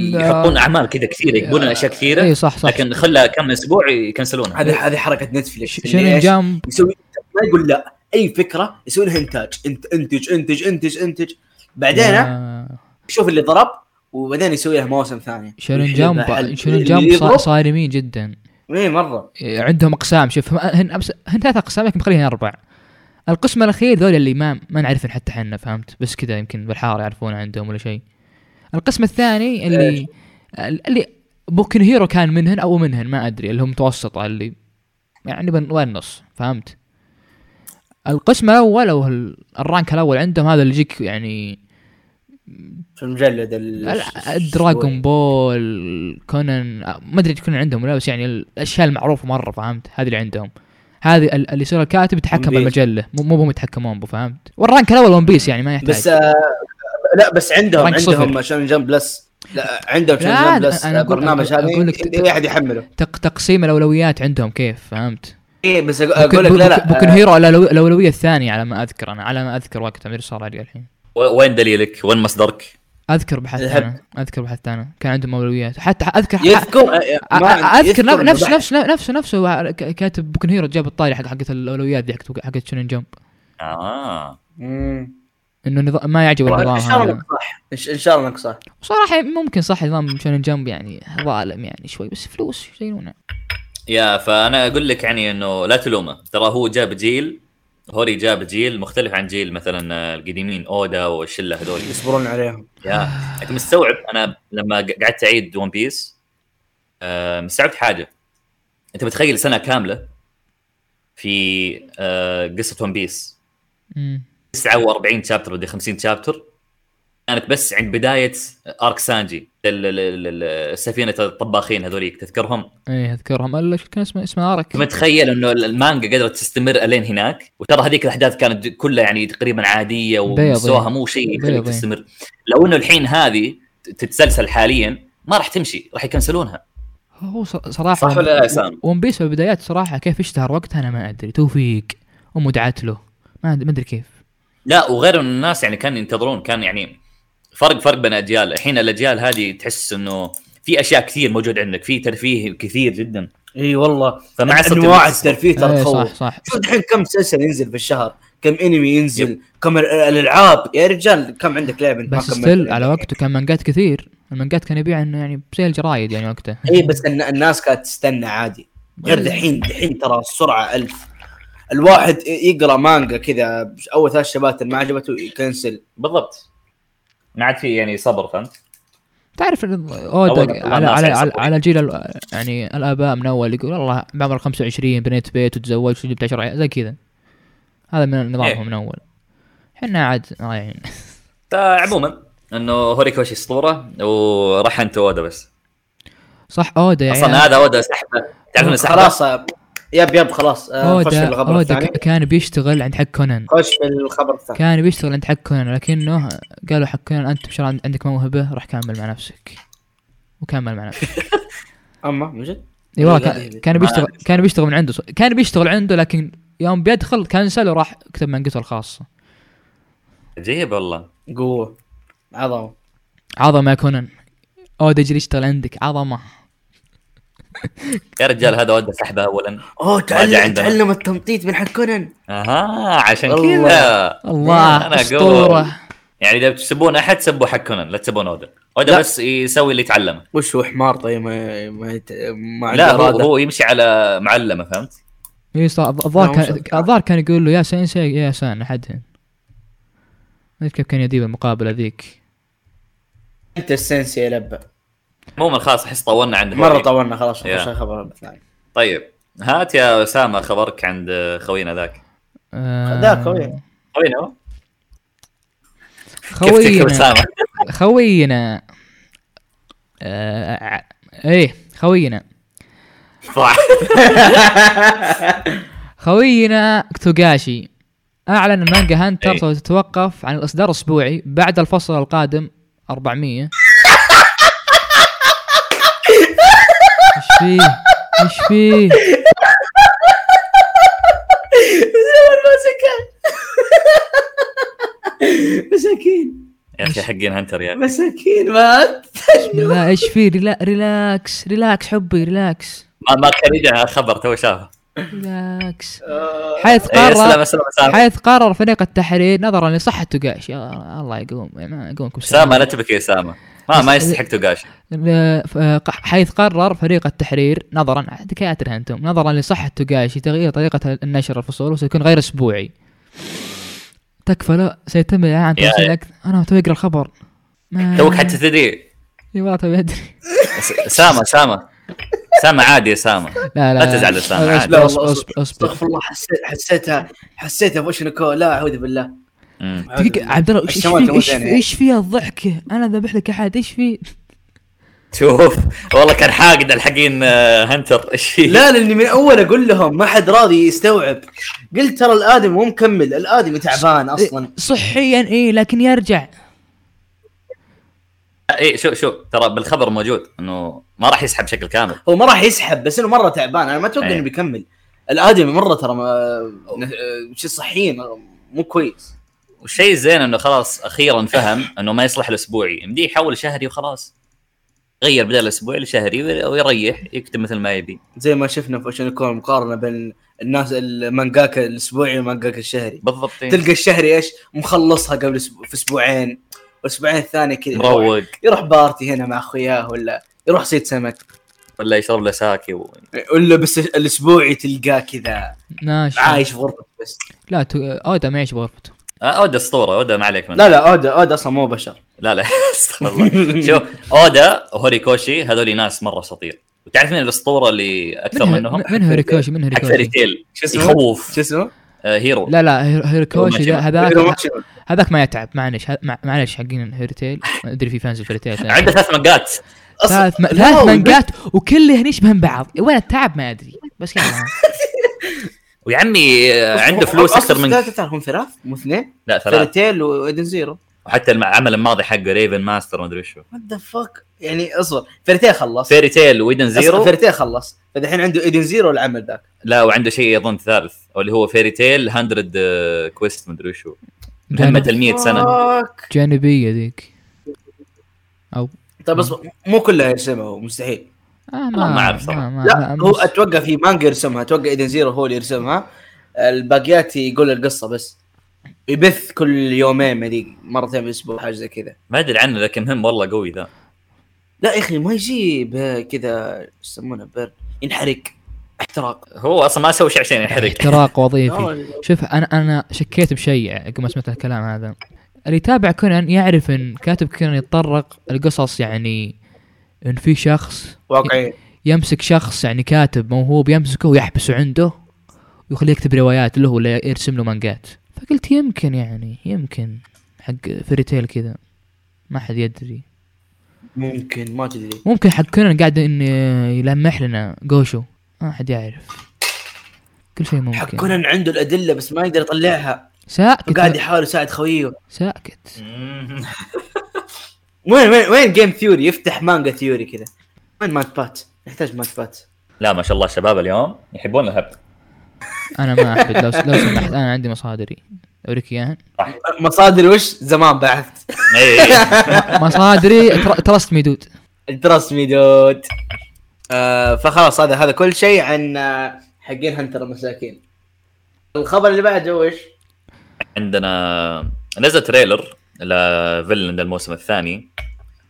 C: يحطون اعمال كذا كثيره يقولون اشياء
D: اي
C: كثيره
D: إيه، صح صح
C: لكن خلى كم اسبوع يكنسلونها
A: هذه هذه حركه نتفلكس
D: ش-
A: اللي
D: شنو
A: إيش؟
D: جامب
A: يسوي ما يقول لا اي فكره يسوي لها انتاج انت انتج انتج انتج انتج بعدين
D: آه،
A: يشوف اللي ضرب وبعدين يسوي لها موسم ثاني
D: شونن
A: اللي-
D: جامب شونن
A: اللي
D: جامب صا-
A: يضرب،
D: صارمين جدا
A: اي مره
D: عندهم اقسام شوف هم هن, أبس... هن ثلاث اقسام لكن مخليهن اربع القسم الاخير ذول اللي ما ما نعرفهم حتى حنا فهمت بس كذا يمكن بالحاره يعرفون عندهم ولا شيء القسم الثاني اللي اللي بوكن هيرو كان منهن او منهن ما ادري اللي هم متوسطه اللي يعني بين وين النص فهمت القسم الاول او ال- الرانك الاول عندهم هذا اللي يجيك يعني
A: في المجلد
D: دراغون بول كونان آه، ما ادري كونان عندهم ولا بس يعني الاشياء المعروفه مره فهمت هذه اللي عندهم هذه ال- اللي يصير الكاتب يتحكم
A: One Piece.
D: بالمجله مو مو هم يتحكمون به فهمت والرانك الاول ون بيس يعني ما يحتاج
A: بس آه لا بس عندهم
D: رانك صفر.
A: عندهم شون جمب بلس لا عندهم شون
D: لا،
A: جمب بلس
D: أنا أقول-
A: برنامج
D: أقول-
A: هذا
D: أقول لك-
A: اي احد يحمله
D: تق تقسيم الاولويات عندهم كيف فهمت
A: اي إيه، بس أق-
D: بوكن-
A: اقول لك لا
D: بوكن- بوكن
A: لا آه،
D: هيرو الألو- الاولويه الثانيه على ما اذكر انا على ما اذكر وقتها ما أدري إيش صار علي الحين
C: و- وين دليلك؟ وين مصدرك؟
D: اذكر بحث
A: الهب.
D: انا اذكر بحث انا كان عندهم اولويات حتى اذكر
A: يذكر آه، ما-
D: اذكر
A: يذكر
D: نفس
A: إنه
D: نفس نفسه نفسه ك- كاتب بوكن هيرو جاب الطاري حق حقت الاولويات دي حقت حقت شونين جمب
C: اه
A: مم.
D: انه نظام ما يعجب النظام
A: ان شاء الله
D: هذا
A: انك صح إن ش- ان شاء الله انك صح
D: صراحة ممكن صح نظام شونن جمب يعني ظالم يعني شوي بس فلوس يشيلونه
C: يا فانا اقول لك يعني انه لا تلومه ترى هو جاب جيل هوري جاب جيل مختلف عن جيل مثلا آه، القديمين اودا والشله هذول
A: يصبرون عليهم
C: يا انت مستوعب انا لما ق- قعدت اعيد ون بيس آم، استوعبت حاجه انت متخيل سنه كامله في آه، قصه ون بيس
D: مم.
C: 49 شابتر بدي 50 شابتر كانت بس عند بدايه ارك سانجي ال- ال- ال- ال- سفينه الطباخين هذوليك تذكرهم
D: ايه اذكرهم الا شو كان اسمه اسمه ارك
C: متخيل انه المانجا قدرت تستمر الين هناك وترى هذيك الاحداث كانت كلها يعني تقريبا عاديه
D: بيض،
C: ومستواها
D: إيه.
C: مو شيء
D: بيض،
C: يخليك
D: إيه.
C: تستمر لو انه الحين هذه تتسلسل حاليا ما راح تمشي راح يكنسلونها
D: هو ص- صراحه
C: صح ولا لا يا سام؟
D: ون بيس في البدايات صراحه كيف اشتهر وقتها انا ما ادري توفيق امه دعت له ما أد- ما ادري كيف
C: لا وغير انه الناس يعني كانوا ينتظرون كان يعني فرق فرق بين اجيال الحين الاجيال هذه تحس انه في اشياء كثير موجود عندك في ترفيه كثير جدا
A: اي والله
C: فما عاد صرت
A: انواع
C: تنبسط.
A: الترفيه ترى
D: ايه
A: إيه، تخوف
D: صح صح
A: شوف الحين كم مسلسل ينزل في الشهر كم انمي ينزل كم ال- الالعاب يا رجال كم عندك لعبه انت ما
D: بس
A: كملت
D: ستيل على وقته كان مانجات كثير المانجات كان يبيع إنه يعني بسعر الجرايد يعني وقتها
A: اي إيه، بس الن- الناس كانت تستنى عادي غير دحين دحين ترى السرعه ألف الواحد يقرا مانجا كذا اول ثلاث شبات ما عجبته يكنسل
C: بالضبط ما عاد في يعني صبر فهمت؟
D: تعرف إن اودا
C: أول-
D: على
C: الناس
D: على على,
C: يعصبون.
D: على جيل ال- يعني الاباء من اول يقول والله بعمر 25 بنيت بيت وتزوجت وجبت 10 عيال زي كذا هذا من نظامهم
C: إيه.
D: من اول احنا عاد آه، يعني الله يعين
C: فعموما انه هوريكوشي اسطوره وراح انت اودا بس
D: صح اودا يعني
C: اصلا هذا اودا سحبه تعرفون سحبه
A: خلاص آه، يب يب خلاص آه، خش في
D: اودا
A: الخبر
D: اودا
A: الثاني
D: ك- كان بيشتغل عند حق كونان
A: خش في الخبر الثاني
D: كان بيشتغل عند حق كونان لكنه قالوا حق كونان انت بشر عند- عندك موهبه روح كمل مع نفسك وكمل مع نفسك
A: اما من جد
D: اي والله
A: لا،
D: كان-
A: لا،
D: كان
C: ما
D: بيشتغل
C: أعرف.
D: كان بيشتغل من عنده ص- كان بيشتغل عنده لكن يوم بيدخل كنسل وراح كتب مانجته الخاصه
C: عجيب والله
A: قوه عظمه
D: عظمه يا كونان اودا يجري يشتغل عندك عظمه
C: يا رجال هذا اودا سحبه اولا
A: اوه
C: هذا
A: تعلم
C: عندنا.
A: تعلم التمطيط من حق كونان
C: اها عشان
A: والله.
C: كذا
D: الله
C: أنا أقول.
D: اسطوره
C: يعني اذا بتسبون احد سبوا حق كونان لا تسبون اودا
A: لا.
C: اودا بس يسوي اللي يتعلمه
A: وش هو حمار طيب ما ما, يت... ما عنده
C: لا هو,
A: إرادة.
C: هو يمشي على معلمه فهمت؟
D: اي صح الظاهر
A: لا،
D: كان
A: وصل.
D: الظاهر كان يقول له يا سينسي يا سان احدهم ما أدري كيف كان يديب المقابله ذيك
A: انت السنسي يا لبه
C: عموما خلاص احس طولنا عند
A: مره
C: هوري.
A: طولنا خلاص
C: يا.
A: خش الخبر الثاني
C: طيب هات يا اسامه خبرك عند خوينا ذاك
D: آه،
A: ذاك خوينا.
C: خوينا هو؟ كيف تذكر
D: خوينا
C: اسامه؟
D: خوينا آه، ع- ايه خوينا
C: صح
D: خوينا توغاشي اعلن مانجا هانتر
C: أي.
D: ستتوقف عن الاصدار الاسبوعي بعد الفصل القادم 400 ايش فيه؟ ايش فيه؟
A: مساكين
C: يا اخي حقين هنتر يعني. يا أخي.
A: مساكين مات
D: بسم الله ايش فيه؟ ريلا... ريلاكس ريلاكس حبي ريلاكس
C: ما ما خريجها خبر تو شافه
D: ريلاكس حيث
C: إيه، اسلم
D: قرر
C: اسلم اسامه
D: حيث قرر فريق التحرير نظرا لصحة توغاشي يا الله يقوم ما يقومكم
C: اسامه لا تبكي يا اسامه ما ما يستحق توقاش
D: ل- ف- ق- حيث قرر فريق التحرير نظرا دكاتره انتم نظرا لصحه توغاشي تغيير طريقه النشر الفصول وسيكون غير اسبوعي تكفى لا سيتم الاعلان عن
C: يا-
D: تفاصيل اكثر انا توي اقرا الخبر ما
C: توك حتى تدري
D: اي والله توي ادري
C: اس- اسامه اسامه اسامه عادي يا اسامه
D: لا
C: لا تزعل أسامة،
D: اصبر-
C: عادي.
A: لا
D: اصبر
A: والله،
D: اصبر اصبر
A: استغفر الله حسيت حسيتها حسيتها بوش نكو لا اعوذ بالله
C: مم.
D: دقيقة عبد الله ايش
A: الشمال
D: في
A: تموت
D: ايش
A: يعني.
D: في ايش فيها الضحكة؟ انا ذبح لك احد ايش في؟
C: شوف والله كان حاقد الحقين آه، هنتر ايش في؟
A: لا لاني من اول اقول لهم ما حد راضي يستوعب قلت ترى الادمي مو مكمل الادمي تعبان اصلا
D: صحيا ايه لكن يرجع
C: اي إيه، شو شو ترى بالخبر موجود انه ما راح يسحب بشكل كامل
A: هو ما راح يسحب بس انه مره تعبان انا ما اتوقع
C: إيه.
A: انه بيكمل الادمي مره ترى ما- شي صحيا مو كويس
C: والشيء الزين انه خلاص اخيرا فهم انه ما يصلح الاسبوعي يمديه يحول شهري وخلاص غير بدل الاسبوعي لشهري وي- ويريح يكتب مثل ما يبي
A: زي ما شفنا في اوشنكون مقارنه بين الناس المانجاكا الاسبوعي والمانجاكا الشهري
C: بالضبط
A: تلقى الشهري ايش مخلصها قبل أسبوع في اسبوعين والاسبوعين الثاني كذا يروح-
C: مروق
A: يروح بارتي هنا مع اخوياه ولا يروح صيد سمك
C: ولا يشرب له ساكي و...
A: ولا بس الاسبوعي تلقاه كذا
D: ناشر
A: عايش في غرفته بس
D: لا تو... اودا ما يعيش بغرفته
C: آه، اودا اسطوره اودا ما عليك من
A: لا لا اودا اودا اصلا مو بشر
C: لا لا استغفر الله شوف اودا وهوريكوشي هذول ناس مره اساطير وتعرف مين الاسطوره اللي اكثر
D: منها
C: منهم؟
D: منها هيريكوشي منها
C: حق
D: هيريكوشي
C: فيري تيل
A: شو اسمه؟
C: يخوف
A: شو اسمه؟
C: آه، هيرو
D: لا لا هير- هيريكوشي
C: ماشي.
D: ذا- هذاك
A: هيرو ماتشو.
D: هذاك ما يتعب معلش ه- مع- معلش حقين هيرتيل ما ادري في فانز الفيرتيل
C: عنده ثلاث مقات
A: أصلاً-
D: ثلاث م...
A: لا،
D: ثلاث
A: هو
D: مانجات وكلهن يشبهن بعض وين التعب ما ادري بس كذا
C: ويا عمي آه، عنده فلوس اكثر
A: أصلاً
C: من
A: ثلاثة ترى هم ثلاث مو اثنين
C: لا ثلاث
A: فيرتيل وايدن زيرو
C: وحتى العمل الماضي حقه ريفن ماستر ما ادري وشو
A: وات ذا فاك يعني اصبر فيرتيل خلص
C: فيري تيل ويدن
A: زيرو
C: زيرو
A: فيرتيل خلص فالحين عنده ايدن زيرو العمل ذاك
C: لا وعنده شيء اظن ثالث واللي هو فيري تيل 100 آه، كويست ما ادري وشو مهمه
D: جانب...
C: ال 100 سنه
A: فاك.
D: جانبيه ذيك
A: طيب اصبر مو كلها يرسمها مستحيل
C: ما
D: آه ما
C: أعرف
D: ما,
C: صراحة.
D: ما, ما,
A: لا هو
D: ما
A: اتوقع في مانجا يرسمها اتوقع ايدن زيرو هو اللي يرسمها الباقيات يقول القصه بس يبث كل يومين ما أدري، مرتين بالاسبوع حاجه زي كذا
C: ما ادري عنه لكن هم والله قوي ذا
A: لا يا اخي ما يجيب آه، كذا إيش يسمونه بيرد ينحرق احتراق
C: هو اصلا ما سوى شيء عشان يحرق
D: احتراق وظيفي
A: آه،
D: شوف انا انا شكيت بشيء عقب ما سمعت الكلام هذا اللي يتابع كونان يعرف ان كاتب كونان يتطرق القصص يعني ان في شخص
A: واقعي
D: يمسك شخص يعني كاتب موهوب يمسكه ويحبسه عنده ويخليه يكتب روايات له ولا يرسم له مانجات فقلت يمكن يعني يمكن حق فريتيل كذا ما حد يدري
A: ممكن ما تدري
D: ممكن حق كونان قاعد ان يلمح لنا جوشو ما حد يعرف كل شيء ممكن
A: حق كونان عنده الادله بس ما يقدر يطلعها وقاعد
D: ساكت
A: يحاول يساعد خويه
D: ساكت
A: وين وين وين جيم ثيوري يفتح مانجا ثيوري كذا وين مات بات نحتاج مات بات
C: لا ما شاء الله الشباب اليوم يحبون الهبد
D: انا ما احب لو لو سمحت انا عندي مصادري اوريك اياها
A: مصادر وش زمان بعد
C: إيه، إيه.
D: مصادري ترست مي دود
A: الدرس ميدود آه فخلاص هذا هذا كل شيء عن آه، حقين هنتر المساكين الخبر اللي بعده وش؟
C: عندنا نزل تريلر لفيلن الموسم الثاني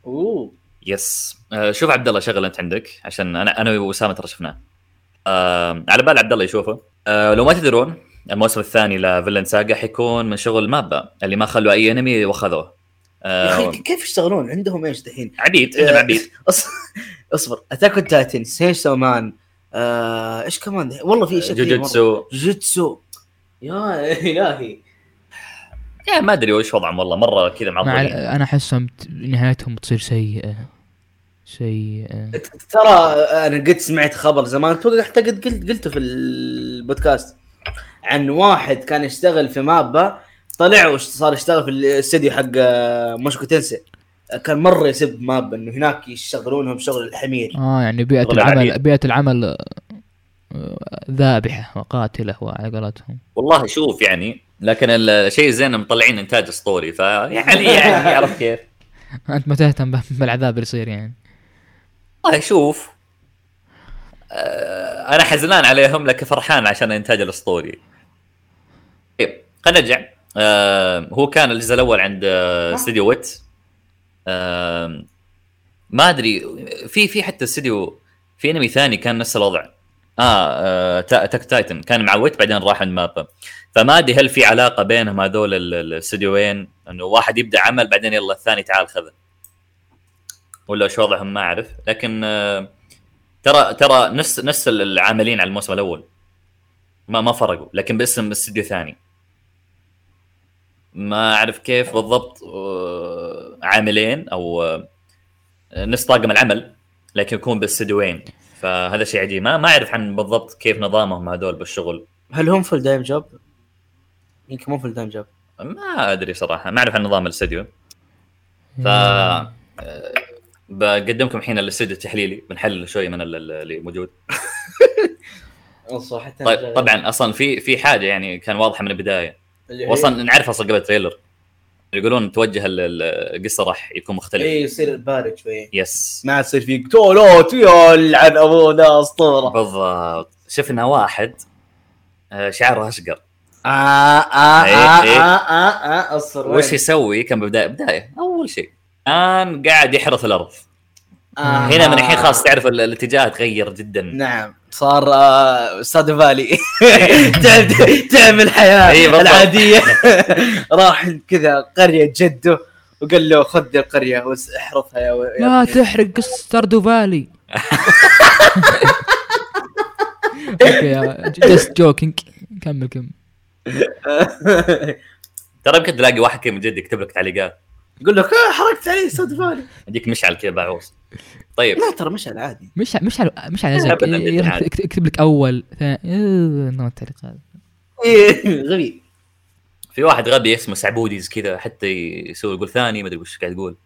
A: اوه
C: يس آه، شوف عبد الله شغله انت عندك عشان انا انا واسامه ترى شفناه آه، على بال عبد الله يشوفه آه، لو ما تدرون الموسم الثاني لفيلن ساجا حيكون من شغل مابا اللي ما خلوا اي انمي واخذوه
A: يا آه،
C: آه،
A: اخي كيف يشتغلون عندهم ايش دحين؟
C: عبيد عندنا عبيد
A: أص- اصبر اتاك اون تايتن سيشو مان آه، ايش كمان دحين؟ والله في اشياء كثير مرة.
C: جوجوتسو
A: جوجوتسو يا الهي
C: يا ما ادري وش وضعهم والله مره كذا
D: مع
C: معطلين
D: انا احسهم ت- نهايتهم بتصير سيئه سيئه
A: ترى انا قد سمعت خبر زمان اتوقع حتى قد قلت قلته في البودكاست عن واحد كان يشتغل في مابا طلع وصار يشتغل في الاستديو حق آه، مشكو تنسي كان مره يسب مابا انه هناك يشغلونهم شغل الحمير
D: اه يعني بيئه
C: والله
D: العمل
C: العبيد.
D: بيئه العمل آه، ذابحه وقاتله وعلى قولتهم
C: والله شوف يعني لكن الشيء الزين إنهم مطلعين انتاج اسطوري فيعني يعني يعرف كيف
D: انت ما تهتم ب- بالعذاب اللي يصير يعني
C: والله طيب، شوف آه، انا حزنان عليهم لكن فرحان عشان الانتاج الاسطوري طيب خلينا نرجع آه، هو كان الجزء الاول عند آه، استوديو ويت آه، ما ادري في في حتى استوديو في انمي ثاني كان نفس الوضع اه تاك تايتن كان مع ويت بعدين راح عند مابا فما ادري هل في علاقه بينهم هذول ال- ال- الاستديوين انه واحد يبدا عمل بعدين يلا الثاني تعال خذه ولا شو وضعهم ما اعرف لكن آه، ترى ترى نفس نفس العاملين على الموسم الاول ما ما فرقوا لكن باسم استديو ثاني ما اعرف كيف بالضبط آه، عاملين او آه، نفس طاقم العمل لكن يكون باستديوين فهذا شيء عجيب ما ما اعرف عن بالضبط كيف نظامهم هذول بالشغل
A: هل هم فول دايم جوب؟ يمكن مو فول دايم جوب
C: ما ادري صراحه ما اعرف عن نظام الاستديو ف آه، بقدمكم الحين الاستديو التحليلي بنحلل شوي من ال- ال- اللي موجود
A: أصلاً حتى
C: طيب طبعا اصلا في في حاجه يعني كان واضحه من البدايه
A: اللي هي-
C: واصلا نعرفها اصلا قبل التريلر يقولون توجه ال- ال- القصه راح يكون مختلف
A: ايه يصير بارد شويه
C: يس
A: ما يصير فيك تولوت يا لعن ابونا اسطوره
C: بالضبط شفنا واحد آه، شعره اشقر
A: آه آه آه
C: إيه، إيه.
A: آه آه آه أصر
C: وش يسوي كان بدايه بدايه اول شيء كان قاعد يحرث الارض
A: آه.
C: هنا من الحين خلاص تعرف ال- الاتجاه تغير جدا
A: نعم صار آه، ساد فالي تعب تعب الحياه
C: إيه، بالضبط.
A: العاديه راح كذا قريه جده وقال له خذ القريه واحرفها يا و- يا
D: لا
A: ابني.
D: تحرق قصه ستاردو فالي اوكي جست جوكينج كمل كمل
C: ترى يمكن تلاقي واحد كذا من جد يكتب لك تعليقات
A: يقول لك آه حركت عليه صوت بالي
C: يجيك مشعل كذا بعوز طيب
A: لا ترى مش عادي
D: مش مش على مش على يزعج.
C: أبداً، يعني. أبداً،
D: يروح
C: عادي.
D: يكت- يكتب لك اول ثاني إيه، نوع التعليق هذا
A: إيه، غبي
C: في واحد غبي اسمه سعبوديز كذا حتى يسوي يقول ثاني ما ادري وش قاعد يقول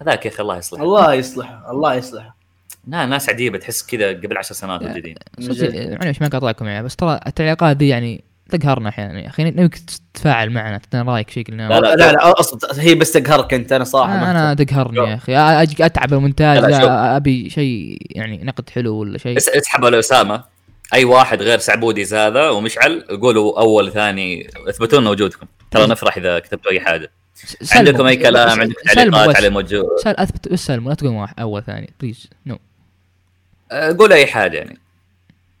C: هذاك يا اخي الله يصلحه
A: الله يصلحه الله يصلحه
C: نا ناس عجيبه تحس كذا قبل عشر سنوات موجودين
D: صدق، معلش ما قاطعكم يعني بس ترى التعليقات دي يعني تقهرنا احيانا يا اخي نبيك تتفاعل معنا تعطينا رايك شكل
C: لا،
A: لا لا لا اصلا هي بس تقهرك انت انا صراحه ما
D: انا
A: أحتاج.
D: آه، تقهرني
C: شوف.
D: يا اخي اجي اتعب المونتاج
C: لا، لا، شوف.
D: لا ابي شيء يعني نقد حلو ولا شيء
C: اس- اسحبوا لاسامه اي واحد غير سعبوديز هذا ومشعل قولوا اول ثاني اثبتوا لنا وجودكم ترى نفرح اذا كتبتوا اي حاجه
D: س-
C: عندكم
D: سلموا.
C: اي
D: س-
C: كلام عندكم
D: سلموا
C: تعليقات
D: بس.
C: على موجود
D: سل اثبت بس سلموا لا تقولون واحد اول ثاني بليز نو
C: قول اي حاجه يعني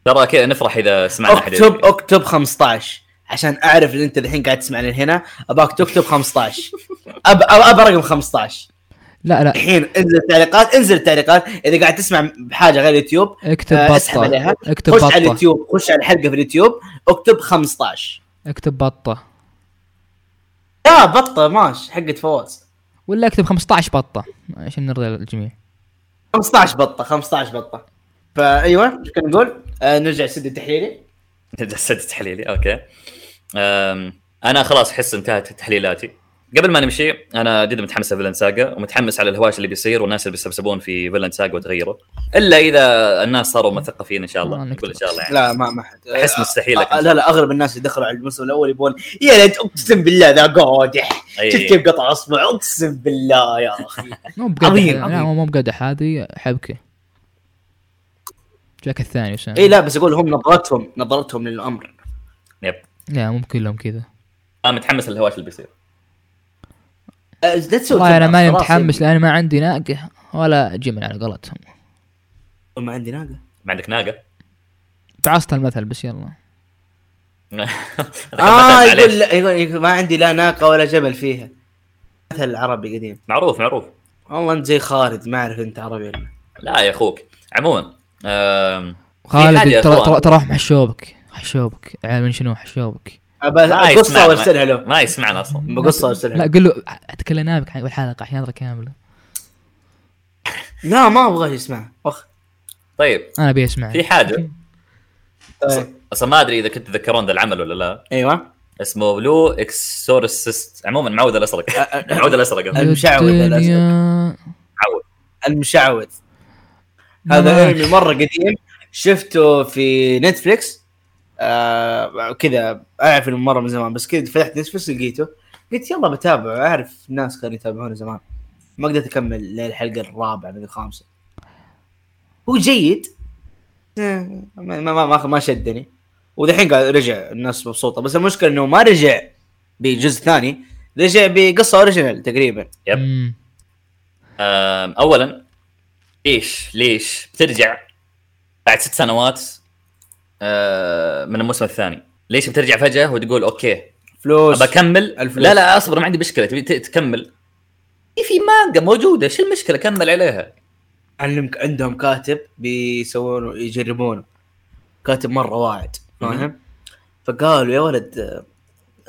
C: ترى كذا نفرح اذا سمعنا حد
A: اكتب اكتب 15 عشان اعرف ان انت الحين قاعد تسمعنا هنا اباك تكتب 15 اب أب- ابى رقم 15
D: لا لا
A: الحين انزل التعليقات انزل التعليقات اذا قاعد تسمع بحاجه غير اليوتيوب
D: اكتب
A: آه، اسحب
D: بطه
A: عليها.
D: اكتب
A: خش على
D: بطه
A: اليوتيوب خش على الحلقه في اليوتيوب اكتب 15
D: اكتب بطه
A: لا بطه ماش حقه فواز
D: ولا اكتب 15 بطه عشان نرضي الجميع
A: 15 بطه 15 بطه فايوه ايش كنا نقول؟ آه نرجع للسد التحليلي
C: جسد تحليلي اوكي أم، انا خلاص احس انتهت تحليلاتي قبل ما نمشي انا جدا متحمس على فيلن ساجا ومتحمس على الهواش اللي بيصير والناس اللي بيسبسبون في فيلن ساجا وتغيره الا اذا الناس صاروا مثقفين ان شاء
D: آه،
C: الله نقول ان شاء الله يعني
A: لا ما ما حد
C: احس مستحيل
A: آه، لا لا اغلب الناس اللي دخلوا على الموسم الاول يبون يا ليت اقسم بالله ذا قادح شفت
C: أي-
A: آه، كيف قطع اصبع اقسم بالله يا اخي
D: مو بقدح
A: عظيم،
D: لا
A: عظيم.
D: مو بقدح هذه حبكه جاك الثاني وسام
A: اي إيه، لا بس اقول هم نظرتهم نظرتهم للامر
C: يب
D: لا مو كلهم كذا
C: انا متحمس للهواش اللي بيصير
A: آه، لا تسوي
D: والله انا
A: تبع،
D: ماني
A: خلاص
D: متحمس
A: يعني.
D: لاني ما عندي ناقه ولا جمل على قولتهم
A: ما عندي ناقه
C: ما عندك ناقه
D: بعصت المثل بس يلا
A: اه
C: معليش.
A: آه، يقول, يقول يقول ما عندي لا ناقه ولا جبل فيها مثل العربي قديم
C: معروف معروف
A: والله انت زي خالد ما اعرف انت عربي ولا لا.
C: لا يا اخوك عموما أم، حاجة يا
D: خالد ترى
C: أخوان.
D: ترى ترى حشوبك حشوبك عارف من شنو حشوبك
C: ما
A: ابى
C: يسمع-
A: قصه وارسلها له
C: ما يسمعنا اصلا
A: بقصه
D: لا
A: وارسلها
D: قل له تكلمنا بك والحلقه عشان يدرك كامله
A: لا ما ابغاه يسمع اخ
C: طيب
D: انا ابي اسمع
C: في حاجه
A: طيب.
C: اصلا ما ادري اذا كنت تذكرون ذا العمل ولا لا
A: ايوه
C: اسمه بلو اكسورسيست عموما معود الازرق معود الازرق قصدي.
A: المشعوذ هذا
D: الدنيا
C: معود
A: المشعوذ هذا انمي مره قديم شفته في نتفليكس آه كذا اعرف انه مره من زمان بس كذا فتحت نتفلكس لقيته قلت يلا بتابعه اعرف ناس كانوا يتابعونه زمان ما قدرت اكمل للحلقه الرابعه من الخامسه هو جيد آه، ما ما ما, ما شدني ودحين قاعد رجع الناس مبسوطه بس المشكله انه ما رجع بجزء ثاني رجع بقصه اوريجينال تقريبا
C: يب.
D: مم.
C: أم، اولا ليش ليش بترجع بعد ست سنوات أه، من الموسم الثاني ليش بترجع فجاه وتقول اوكي
A: فلوس
C: ابى اكمل
A: الفلوس.
C: لا لا اصبر ما عندي مشكله تبي ت- تكمل إيه، في مانجا موجوده شو المشكله كمل عليها
A: علمك عندهم كاتب بيسوونه يجربونه كاتب مره واعد فاهم؟ فقالوا يا ولد آه،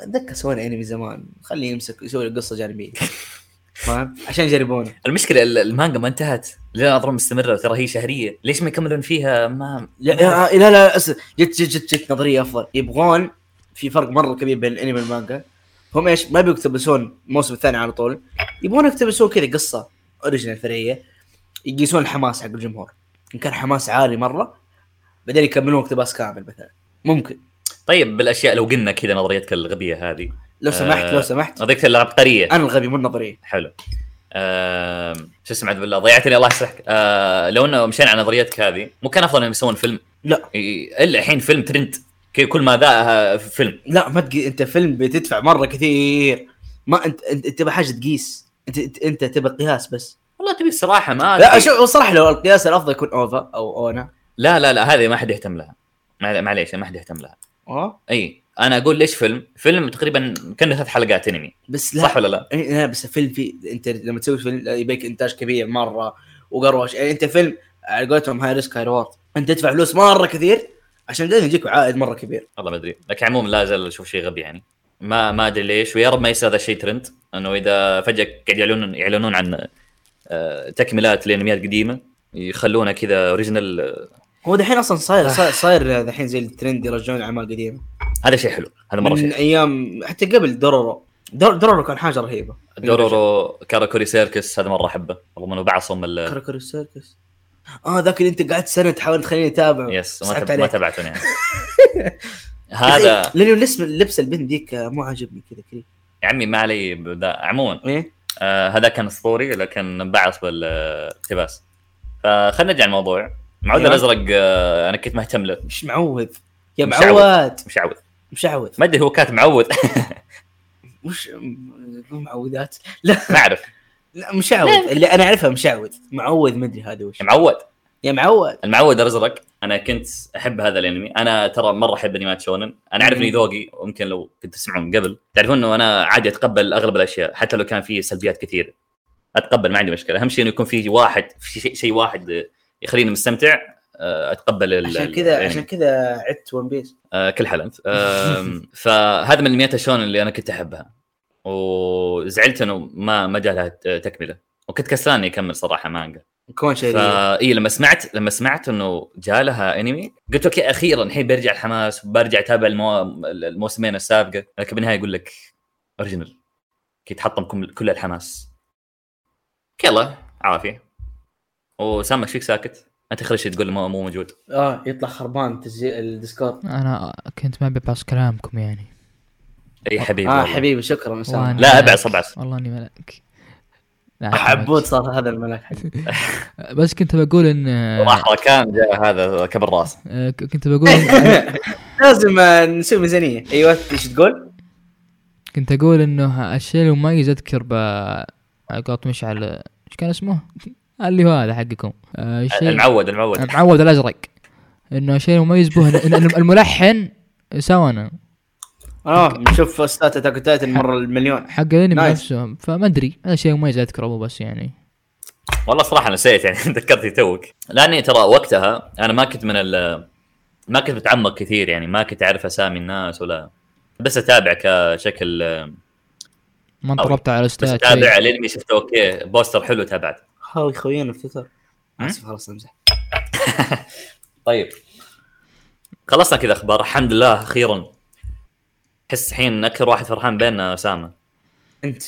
A: اتذكر سوينا انمي زمان خليه يمسك يسوي له قصه جانبيه فاهم؟ عشان يجربونه
C: المشكله ال- المانجا ما انتهت لا اظن مستمره ترى هي شهريه ليش ما يكملون فيها ما
A: لا آه، لا لا, لا أس- جت جت جت, جت نظريه افضل يبغون في فرق مره كبير بين الانمي والمانجا هم ايش ما يبغوا يقتبسون الموسم الثاني على طول يبغون يقتبسون كذا قصه اوريجنال فرعيه يقيسون الحماس حق الجمهور ان كان حماس عالي مره بعدين يكملون اقتباس كامل مثلا ممكن
C: طيب بالاشياء لو قلنا كذا نظريتك الغبيه هذه
A: لو سمحت
C: آه،
A: لو سمحت
C: نظريتك العبقريه
A: انا الغبي مو النظريه
C: حلو آم، شو اسمه عبد بالله ضيعتني الله يصلحك آه، لو انه مشينا على نظريتك هذه مو كان افضل انهم يسوون فيلم
A: لا
C: إي- الا الحين فيلم ترند كي- كل ما ذا آه، فيلم
A: لا ما تقي... انت فيلم بتدفع مره كثير ما انت انت, انت تبغى حاجه تقيس انت انت, انت تبغى قياس بس
C: والله تبي الصراحه ما
A: لا شوف صراحه لو القياس الافضل يكون اوفا او اونا
C: لا لا لا هذه ما حد يهتم لها مع- معليش ما حد يهتم لها
A: أوه.
C: اي انا اقول ليش فيلم فيلم تقريبا كانه ثلاث حلقات انمي
A: بس لا
C: صح ولا لا
A: إيه، لا بس فيلم في انت لما تسوي فيلم لا، يبيك انتاج كبير مره وقروش يعني انت فيلم على قولتهم هاي ريسك هاي ريورد انت تدفع فلوس مره كثير عشان بعدين يجيك عائد مره كبير
C: والله ما ادري لكن عموما لا زال اشوف شيء غبي يعني ما ما ادري ليش ويا رب ما يصير هذا الشيء ترند انه اذا فجاه قاعد يعلنون يعلنون عن آه، تكملات لانميات قديمه يخلونها كذا آه، اوريجنال
A: هو دحين اصلا صاير صاير- صاير دحين زي الترند يرجعون اعمال قديمه
C: هذا شيء حلو هذا مره
A: من
C: شيء
A: ايام حتى قبل دورورو دور دورورو كان حاجه رهيبه
C: دورورو كاراكوري سيركس هذا مره احبه رغم انه بعصم ال-
A: كركر السيركس اه ذاك اللي انت قعدت سنه تحاول تخليني اتابعه
C: يس ما
A: سحبت
C: تب... ما
A: عليك.
C: تبعته يعني هذا
A: لانه لبس لبس البنت ذيك مو عاجبني كذا كذا
C: يا عمي ما علي بدا- عموما
A: ايه
C: آه هذا كان اسطوري لكن انبعث بالاقتباس فخلنا نرجع الموضوع معود
A: أيوة.
C: الازرق آه انا كنت مهتم له
A: مش معوذ يا
C: مشعوذ.
A: معود
C: مشعوذ
A: مشعوذ
C: ما ادري هو كاتب معود
A: مش مو معوذات لا
C: ما اعرف
A: لا مشعوذ اللي انا اعرفها مشعوذ معوذ مدري هذا وش
C: معود
A: يا معود
C: المعود الازرق انا كنت احب هذا الانمي انا ترى مره احب انميات شونن انا اعرف اني ذوقي ويمكن لو كنت تسمعون قبل تعرفون انه انا عادي اتقبل اغلب الاشياء حتى لو كان فيه سلبيات كثير اتقبل ما عندي مشكله اهم شيء انه يكون في واحد في شيء شيء واحد يخليني مستمتع آه، اتقبل ال-
A: عشان
C: الأنمي.
A: كذا عشان كذا عدت ون بيس
C: آه، كل حلقه آم، فهذا من الانميات الشونن اللي انا كنت احبها وزعلت انه ما ما جاء لها تكمله وكنت كسلان اني اكمل صراحه مانجا
A: كون شيء
C: فا اي لما سمعت لما سمعت انه جاء لها انمي قلت اوكي اخيرا الحين بيرجع الحماس وبرجع اتابع المو... الموسمين السابقه لكن بالنهايه يقول لك اوريجينال كي تحطم كم- كل الحماس يلا عافيه وسام ايش فيك ساكت؟ انت اخر شيء تقول مو مو موجود
A: اه يطلع خربان تسجيل الديسكورد
D: انا كنت ما ببعص كلامكم يعني
C: اي حبيبي
A: اه
C: والله.
A: حبيبي شكرا
D: وأنا
A: اسامه
C: لا
D: ملاك.
C: ابعس ابعس
D: والله اني ملك لا،
A: حبوت
D: ملك.
A: صار هذا الملاك حقي
D: بس كنت بقول ان
C: راح ركان جاء هذا كبر راسه
D: آه، ك- كنت بقول
A: لازم آه، نسوي ميزانيه ايوه ايش تقول؟
D: كنت اقول انه الشيء المميز اذكر ب قط مشعل ايش كان اسمه؟ اللي هو هذا حقكم آه، الشيء
C: المعود المعود
D: معود الازرق انه الشيء المميز به إن- إن الملحن سوانا
A: اه نشوف استات اتاك تايتن مره المليون
D: حق الانمي
A: نايس.
D: نفسه فما ادري هذا شيء مميز اذكره مو بس يعني
C: والله صراحه نسيت يعني ذكرتني توك لاني ترى وقتها انا ما كنت من ال ما كنت متعمق كثير يعني ما كنت اعرف اسامي الناس ولا بس اتابع كشكل
D: ما
C: أوي.
D: انطربت على
C: بس
D: الاستاذ
C: اتابع الانمي شفته اوكي بوستر حلو تابعت
A: هاوي خوينا في تويتر
C: م?
A: اسف خلاص امزح
C: طيب خلصنا كذا اخبار الحمد لله اخيرا احس الحين اكثر واحد فرحان بيننا اسامه
A: انت